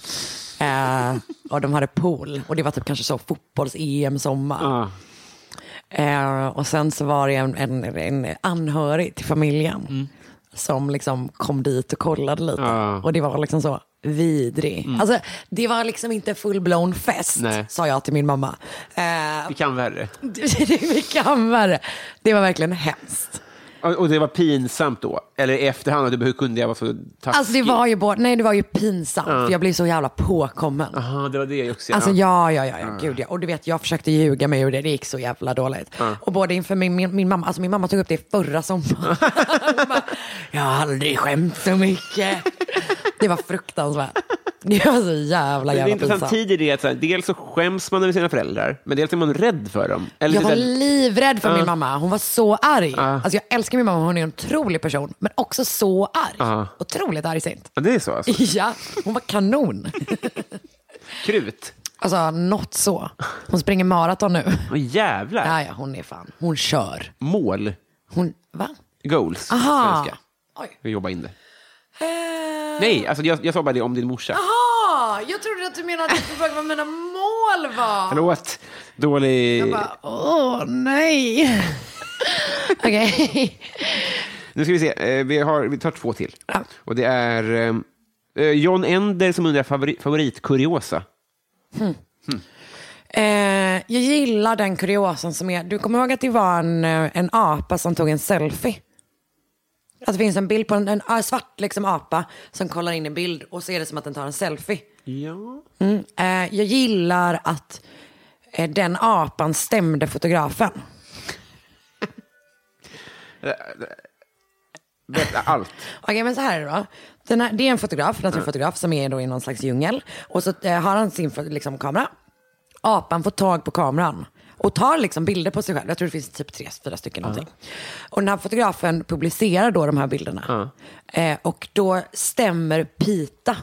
Speaker 2: Eh, och de hade pool. Och det var typ kanske så fotbolls-EM sommar.
Speaker 1: Ah.
Speaker 2: Eh, och sen så var det en, en, en anhörig till familjen som liksom kom dit och kollade lite.
Speaker 1: Mm. Ja. Mm.
Speaker 2: Och det var liksom så, vidrig. Alltså, det var liksom inte full-blown fest,
Speaker 1: Nej.
Speaker 2: sa jag till min mamma. Eh,
Speaker 1: Vi kan värre.
Speaker 2: vi kan värre. Det var verkligen
Speaker 1: Alltså,
Speaker 2: hemskt.
Speaker 1: Och, och det var pinsamt då? Eller i efterhand, du, hur kunde jag vara så taskig?
Speaker 2: Alltså det var ju både, nej det var ju pinsamt, för jag blev så jävla påkommen.
Speaker 1: Aha, det var det också.
Speaker 2: Alltså
Speaker 1: ja.
Speaker 2: ja, ja, ja, ja. gud ja. Och du vet, jag försökte ljuga mig ur det, det gick så jävla dåligt. Och både inför min, min, min mamma, alltså min mamma tog upp det förra sommaren. Hon bara, jag har aldrig skämt så mycket. Det var fruktansvärt. Det var så jävla
Speaker 1: Men det är en
Speaker 2: jävla
Speaker 1: intressant
Speaker 2: pinsamt.
Speaker 1: tid i det. Att, så här, dels så skäms man över sina föräldrar, men dels är man rädd för dem. Eller
Speaker 2: Jag
Speaker 1: typ
Speaker 2: var
Speaker 1: så här-
Speaker 2: livrädd för min mamma, hon var så arg.
Speaker 1: Ah.
Speaker 2: Alltså jag älskar min mamma, hon är en otrolig person. Men också så arg.
Speaker 1: Ah.
Speaker 2: Otroligt argsint.
Speaker 1: Ja, det är så alltså.
Speaker 2: Ja, hon var kanon.
Speaker 1: Krut.
Speaker 2: Alltså något så. Hon springer maraton nu.
Speaker 1: Åh jävlar.
Speaker 2: Ja, ja, hon är fan. Hon kör.
Speaker 1: Mål.
Speaker 2: Hon, va?
Speaker 1: Goals.
Speaker 2: Aha.
Speaker 1: Svenska.
Speaker 2: Oj.
Speaker 1: Vi jobbar in det.
Speaker 2: Eh,
Speaker 1: Nej, alltså jag, jag sa bara det om din morsa.
Speaker 2: Jaha, Ah, jag trodde att du menade att du frågade vad mina mål var.
Speaker 1: Förlåt. Dålig...
Speaker 2: Bara, Åh, nej. Okej.
Speaker 1: Nu ska vi se. Eh, Vi, har, vi tar två till.
Speaker 2: Ja.
Speaker 1: Och det är eh, John Ender som undrar favori, favoritkuriosa.
Speaker 2: Eh, jag gillar den kuriosan som är, du kommer ihåg att det var en, eh, en apa som tog en selfie? Att det finns en bild på en, en ah, svart liksom, apa som kollar in en bild och så är det som att den tar en selfie.
Speaker 1: Ja.
Speaker 2: Mm. Eh, jag gillar att eh, den apan stämde fotografen.
Speaker 1: Allt.
Speaker 2: Okej, men så här är det då. Den här, det är en fotograf, naturfotograf, som är då i någon slags djungel. Och så eh, har han sin liksom, kamera. Apan får tag på kameran och tar liksom bilder på sig själv. Jag tror det finns typ tre, fyra stycken någonting. Och den här fotografen publicerar då de här bilderna. Eh, och då stämmer Pita.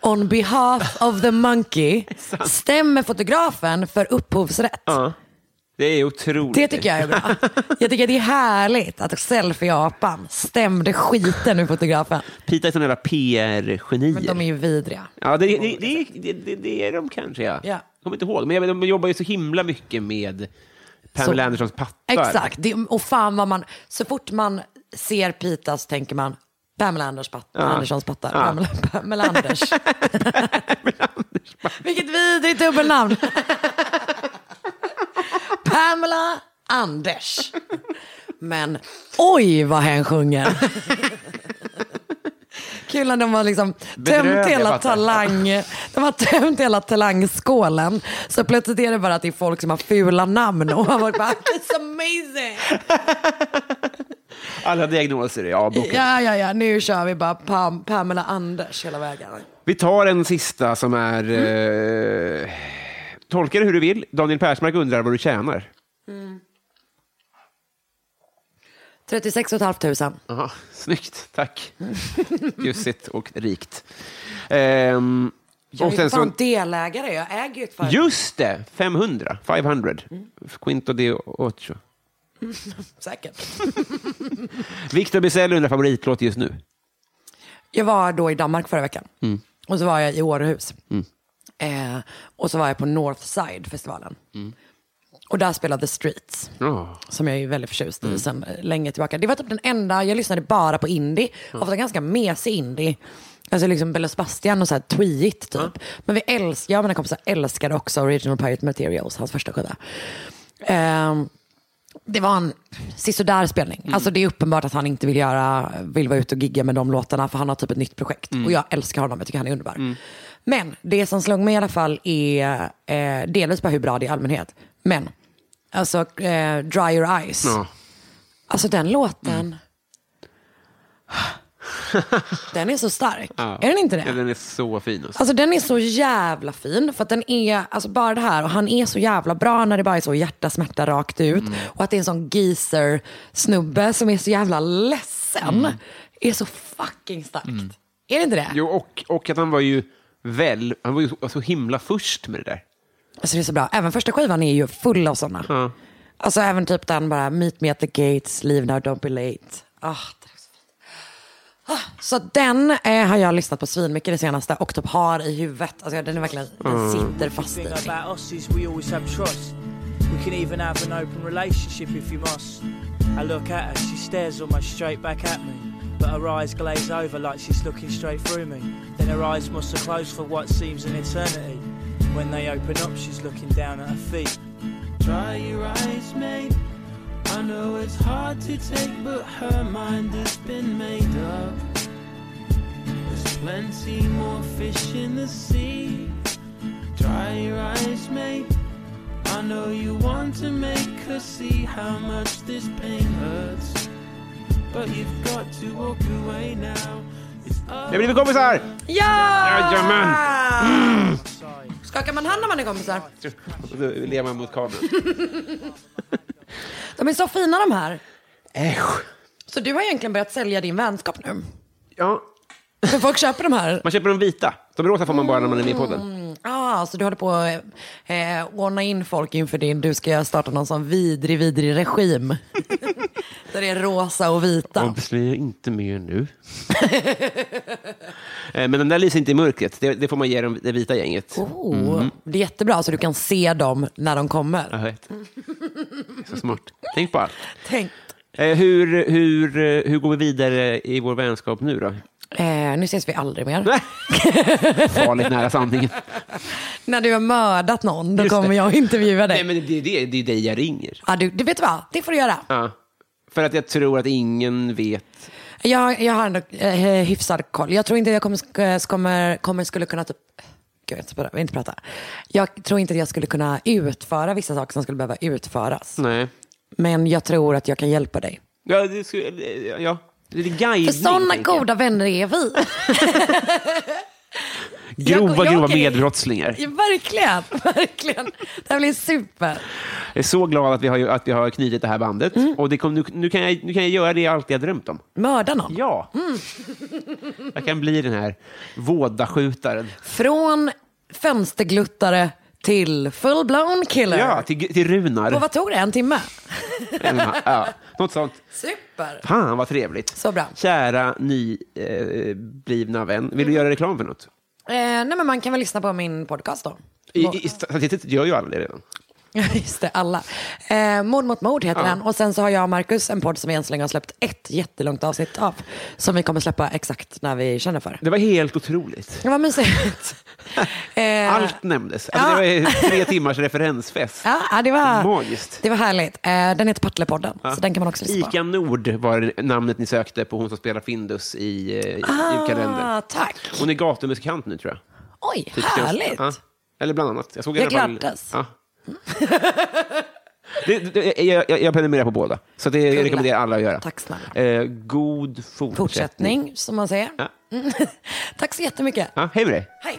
Speaker 2: On behalf of the monkey stämmer fotografen för upphovsrätt.
Speaker 1: Det är otroligt.
Speaker 2: Det tycker jag är bra. Jag tycker det är härligt att selfie-apan stämde skiten ur fotografen.
Speaker 1: Pita är sådana jävla PR-genier.
Speaker 2: Men de är ju vidriga.
Speaker 1: Ja, det, det, det, det, det, det är de kanske. Ja.
Speaker 2: Ja.
Speaker 1: Jag kommer inte ihåg, men jag, vet, de jobbar ju så himla mycket med Pamela
Speaker 2: Så-
Speaker 1: Andersons pattar.
Speaker 2: Exakt. Det, och fan vad man, så fort man ser Pitas tänker man Pamela Anders patt, Anderssons pattar. Pamela, Pamela Anders. Vilket vidrigt dubbelnamn. Pamela Anders. Men oj vad hen sjunger. Kul när de har liksom
Speaker 1: Bedrövliga
Speaker 2: tömt hela
Speaker 1: pattar.
Speaker 2: talang, de har tömt hela talangskålen. Så plötsligt är det bara att det är folk som har fula namn och man bara, it's amazing.
Speaker 1: Alla diagnoser är avbokade.
Speaker 2: Ja, ja, ja, nu kör vi bara Pam, Pamela Anders hela vägen.
Speaker 1: Vi tar en sista som är...
Speaker 2: Mm.
Speaker 1: Eh, tolka det hur du vill. Daniel Persmark undrar vad du tjänar.
Speaker 2: 36 500.
Speaker 1: Aha, snyggt, tack. Bjussigt och rikt. Ehm,
Speaker 2: Jag
Speaker 1: och
Speaker 2: är ju
Speaker 1: sen så,
Speaker 2: fan delägare, jag äger ju ett företag.
Speaker 1: just det, 500. 500.
Speaker 2: Mm.
Speaker 1: Quinto de ocho.
Speaker 2: Säkert.
Speaker 1: Victor Bizell undrar favoritlåt just nu.
Speaker 2: Jag var då i Danmark förra veckan. Och så var jag i Århus. Eh, och så var jag på Northside-festivalen. Och där spelade Streets.
Speaker 1: Ja.
Speaker 2: Som jag är väldigt förtjust i sen eh, länge tillbaka. Det var typ den enda, jag lyssnade bara på indie. Ofta ganska mesig indie. Alltså liksom Bella Sebastian och så här tweet typ. Men vi älskar, jag och mina kompisar älskade också Original Pirate Materials, hans första skiva. Ehm, det var en sisådär spelning.
Speaker 1: Mm.
Speaker 2: Alltså det är uppenbart att han inte vill, göra, vill vara ute och gigga med de låtarna för han har typ ett nytt projekt.
Speaker 1: Mm.
Speaker 2: Och jag älskar honom, jag tycker han är underbar. Men det som slog mig i alla fall är eh, delvis bara hur bra det är i allmänhet. Men, alltså eh, Dry Your Eyes.
Speaker 1: Ja. Mm.
Speaker 2: Alltså den låten. Den är så stark. Är den inte det?
Speaker 1: Ja, den är så fin. Alltså.
Speaker 2: Alltså den är så jävla fin för att den är, alltså bara det här och han är så jävla bra när det bara är så hjärta, smärta rakt ut och att det är en sån geezer snubbe som är så jävla ledsen är så fucking starkt. Är det inte det?
Speaker 1: Jo, och, och att han var ju väl, han var ju så, så himla först med det där.
Speaker 2: Alltså det är så bra. Även första skivan är ju full av sådana. Alltså även typ den bara meet me at the gates, leave now, don't be late. Ah, det är så fint. Ah, så den eh, har jag lyssnat på svinmycket det senaste och typ har i huvudet. Alltså den är verkligen, den sitter fast i
Speaker 4: thing
Speaker 2: mig.
Speaker 4: about us is we always have trust. We can even have an open relationship if you must. I look at her, she stares almost straight back at me. but her eyes glaze over like she's looking straight through me. Then her eyes must have closed for what seems an eternity. When they open up, she's looking down at her feet.
Speaker 5: Dry your eyes, mate. I know it's hard to take, but her mind has been made up. There's plenty more fish in the sea. Dry your eyes, mate. I know you want to make her see how much this pain hurts. But you've got to walk away now. It's
Speaker 1: Det blir vi kompisar! Jajamän!
Speaker 4: Sigh.
Speaker 2: Mm. Skakar man hand när man är kompisar?
Speaker 1: Och då ler man mot kameran.
Speaker 2: De är så fina de här.
Speaker 1: Äsch.
Speaker 2: Så du har egentligen börjat sälja din vänskap nu.
Speaker 1: Ja,
Speaker 2: För folk köper de här.
Speaker 1: man köper de vita. De rosa får man bara när man är med i podden.
Speaker 2: Ah, så du håller på att eh, ordna in folk inför din, du ska starta någon sån vidrig, vidrig regim. Där det är rosa och vita.
Speaker 1: Avslöja inte mer nu. Eh, Men de där lyser inte i mörkret. Det, det får man ge dem, det vita gänget.
Speaker 2: Oh,
Speaker 1: Mm.
Speaker 2: Det är jättebra, så du kan se dem när de kommer.
Speaker 1: Jag vet. Det är Så smart. Tänk på allt.
Speaker 2: Tänk.
Speaker 1: Eh, Hur, hur, eh, hur går vi vidare i vår vänskap nu då?
Speaker 2: Eh, nu ses vi aldrig mer.
Speaker 1: Farligt nära sanningen.
Speaker 2: När du har mördat någon, då
Speaker 1: Just det.
Speaker 2: kommer jag intervjua dig.
Speaker 1: Nej, men det är det, det är dig jag ringer.
Speaker 2: ah, du, du vet vad, det får du göra.
Speaker 1: Ja. För att jag tror att ingen vet.
Speaker 2: Jag, jag har ändå eh, hyfsad koll. Jag tror inte jag kommer, sk- eh, kommer, kommer skulle kunna typ... Gud, jag ska bara- jag vill inte prata. Jag tror inte att jag skulle kunna utföra vissa saker som skulle behöva utföras.
Speaker 1: Nej.
Speaker 2: Men jag tror att jag kan hjälpa dig.
Speaker 1: Ja, det skulle, ja. Det är guidning.
Speaker 2: För sådana
Speaker 1: tänker jag.
Speaker 2: goda vänner är vi.
Speaker 1: Grova,
Speaker 2: jag- jag
Speaker 1: grova
Speaker 2: kan-
Speaker 1: medbrottslingar.
Speaker 2: Ja, verkligen, verkligen. Det här blir super.
Speaker 1: Jag är så glad att vi har, att vi har knutit det här bandet.
Speaker 2: Mm.
Speaker 1: Och det kom, nu, nu, kan jag, nu kan jag göra det jag alltid har drömt om.
Speaker 2: Mörda någon.
Speaker 1: Ja. Jag kan bli den här vådaskjutaren.
Speaker 2: Från fönstergluttare till full-blown killer.
Speaker 1: Ja, till, till Runar.
Speaker 2: Och vad tog det? En timme?
Speaker 1: ja, något sånt.
Speaker 2: Super.
Speaker 1: Fan, vad trevligt.
Speaker 2: Så bra. Eh,
Speaker 1: Kära nyblivna eh, blivna vän, vill du göra reklam för något?
Speaker 2: Eh, nej, men man kan väl lyssna på min podcast då.
Speaker 1: I, i, statistiskt gör ju alla det redan.
Speaker 2: Ja, Just det, alla. Eh, mord mot mord heter den. Och sen så har jag och Marcus en podd som vi än så länge har släppt ett jättelångt avsnitt av. Som vi kommer släppa exakt när vi känner för.
Speaker 1: Det var helt otroligt.
Speaker 2: Det var mysigt. Eh,
Speaker 1: Allt nämndes. Alltså, Det var tre timmars referensfest.
Speaker 2: Ja, ja, det, var,
Speaker 1: Magiskt.
Speaker 2: det var härligt. Eh, den heter Partlepodden, så den kan man också lyssna på.
Speaker 1: Ica Nord var namnet ni sökte på hon som spelar Findus i eh, i
Speaker 2: Ah,
Speaker 1: julkalendern.
Speaker 2: tack.
Speaker 1: Hon är gatumusikant nu, tror jag.
Speaker 2: Oj,
Speaker 1: Typ
Speaker 2: härligt.
Speaker 1: Ja. Eller bland annat. Jag, såg
Speaker 2: Jag
Speaker 1: i alla fall-
Speaker 2: gladdes.
Speaker 1: Ja. det, det, jag, jag, jag prenumererar på båda, så det jag rekommenderar alla att göra.
Speaker 2: Tack snälla.
Speaker 1: Eh, god fortsättning.
Speaker 2: Fortsättning, som man säger.
Speaker 1: Ja.
Speaker 2: Mm. tack så jättemycket.
Speaker 1: Ja, hej med dig.
Speaker 2: Hej.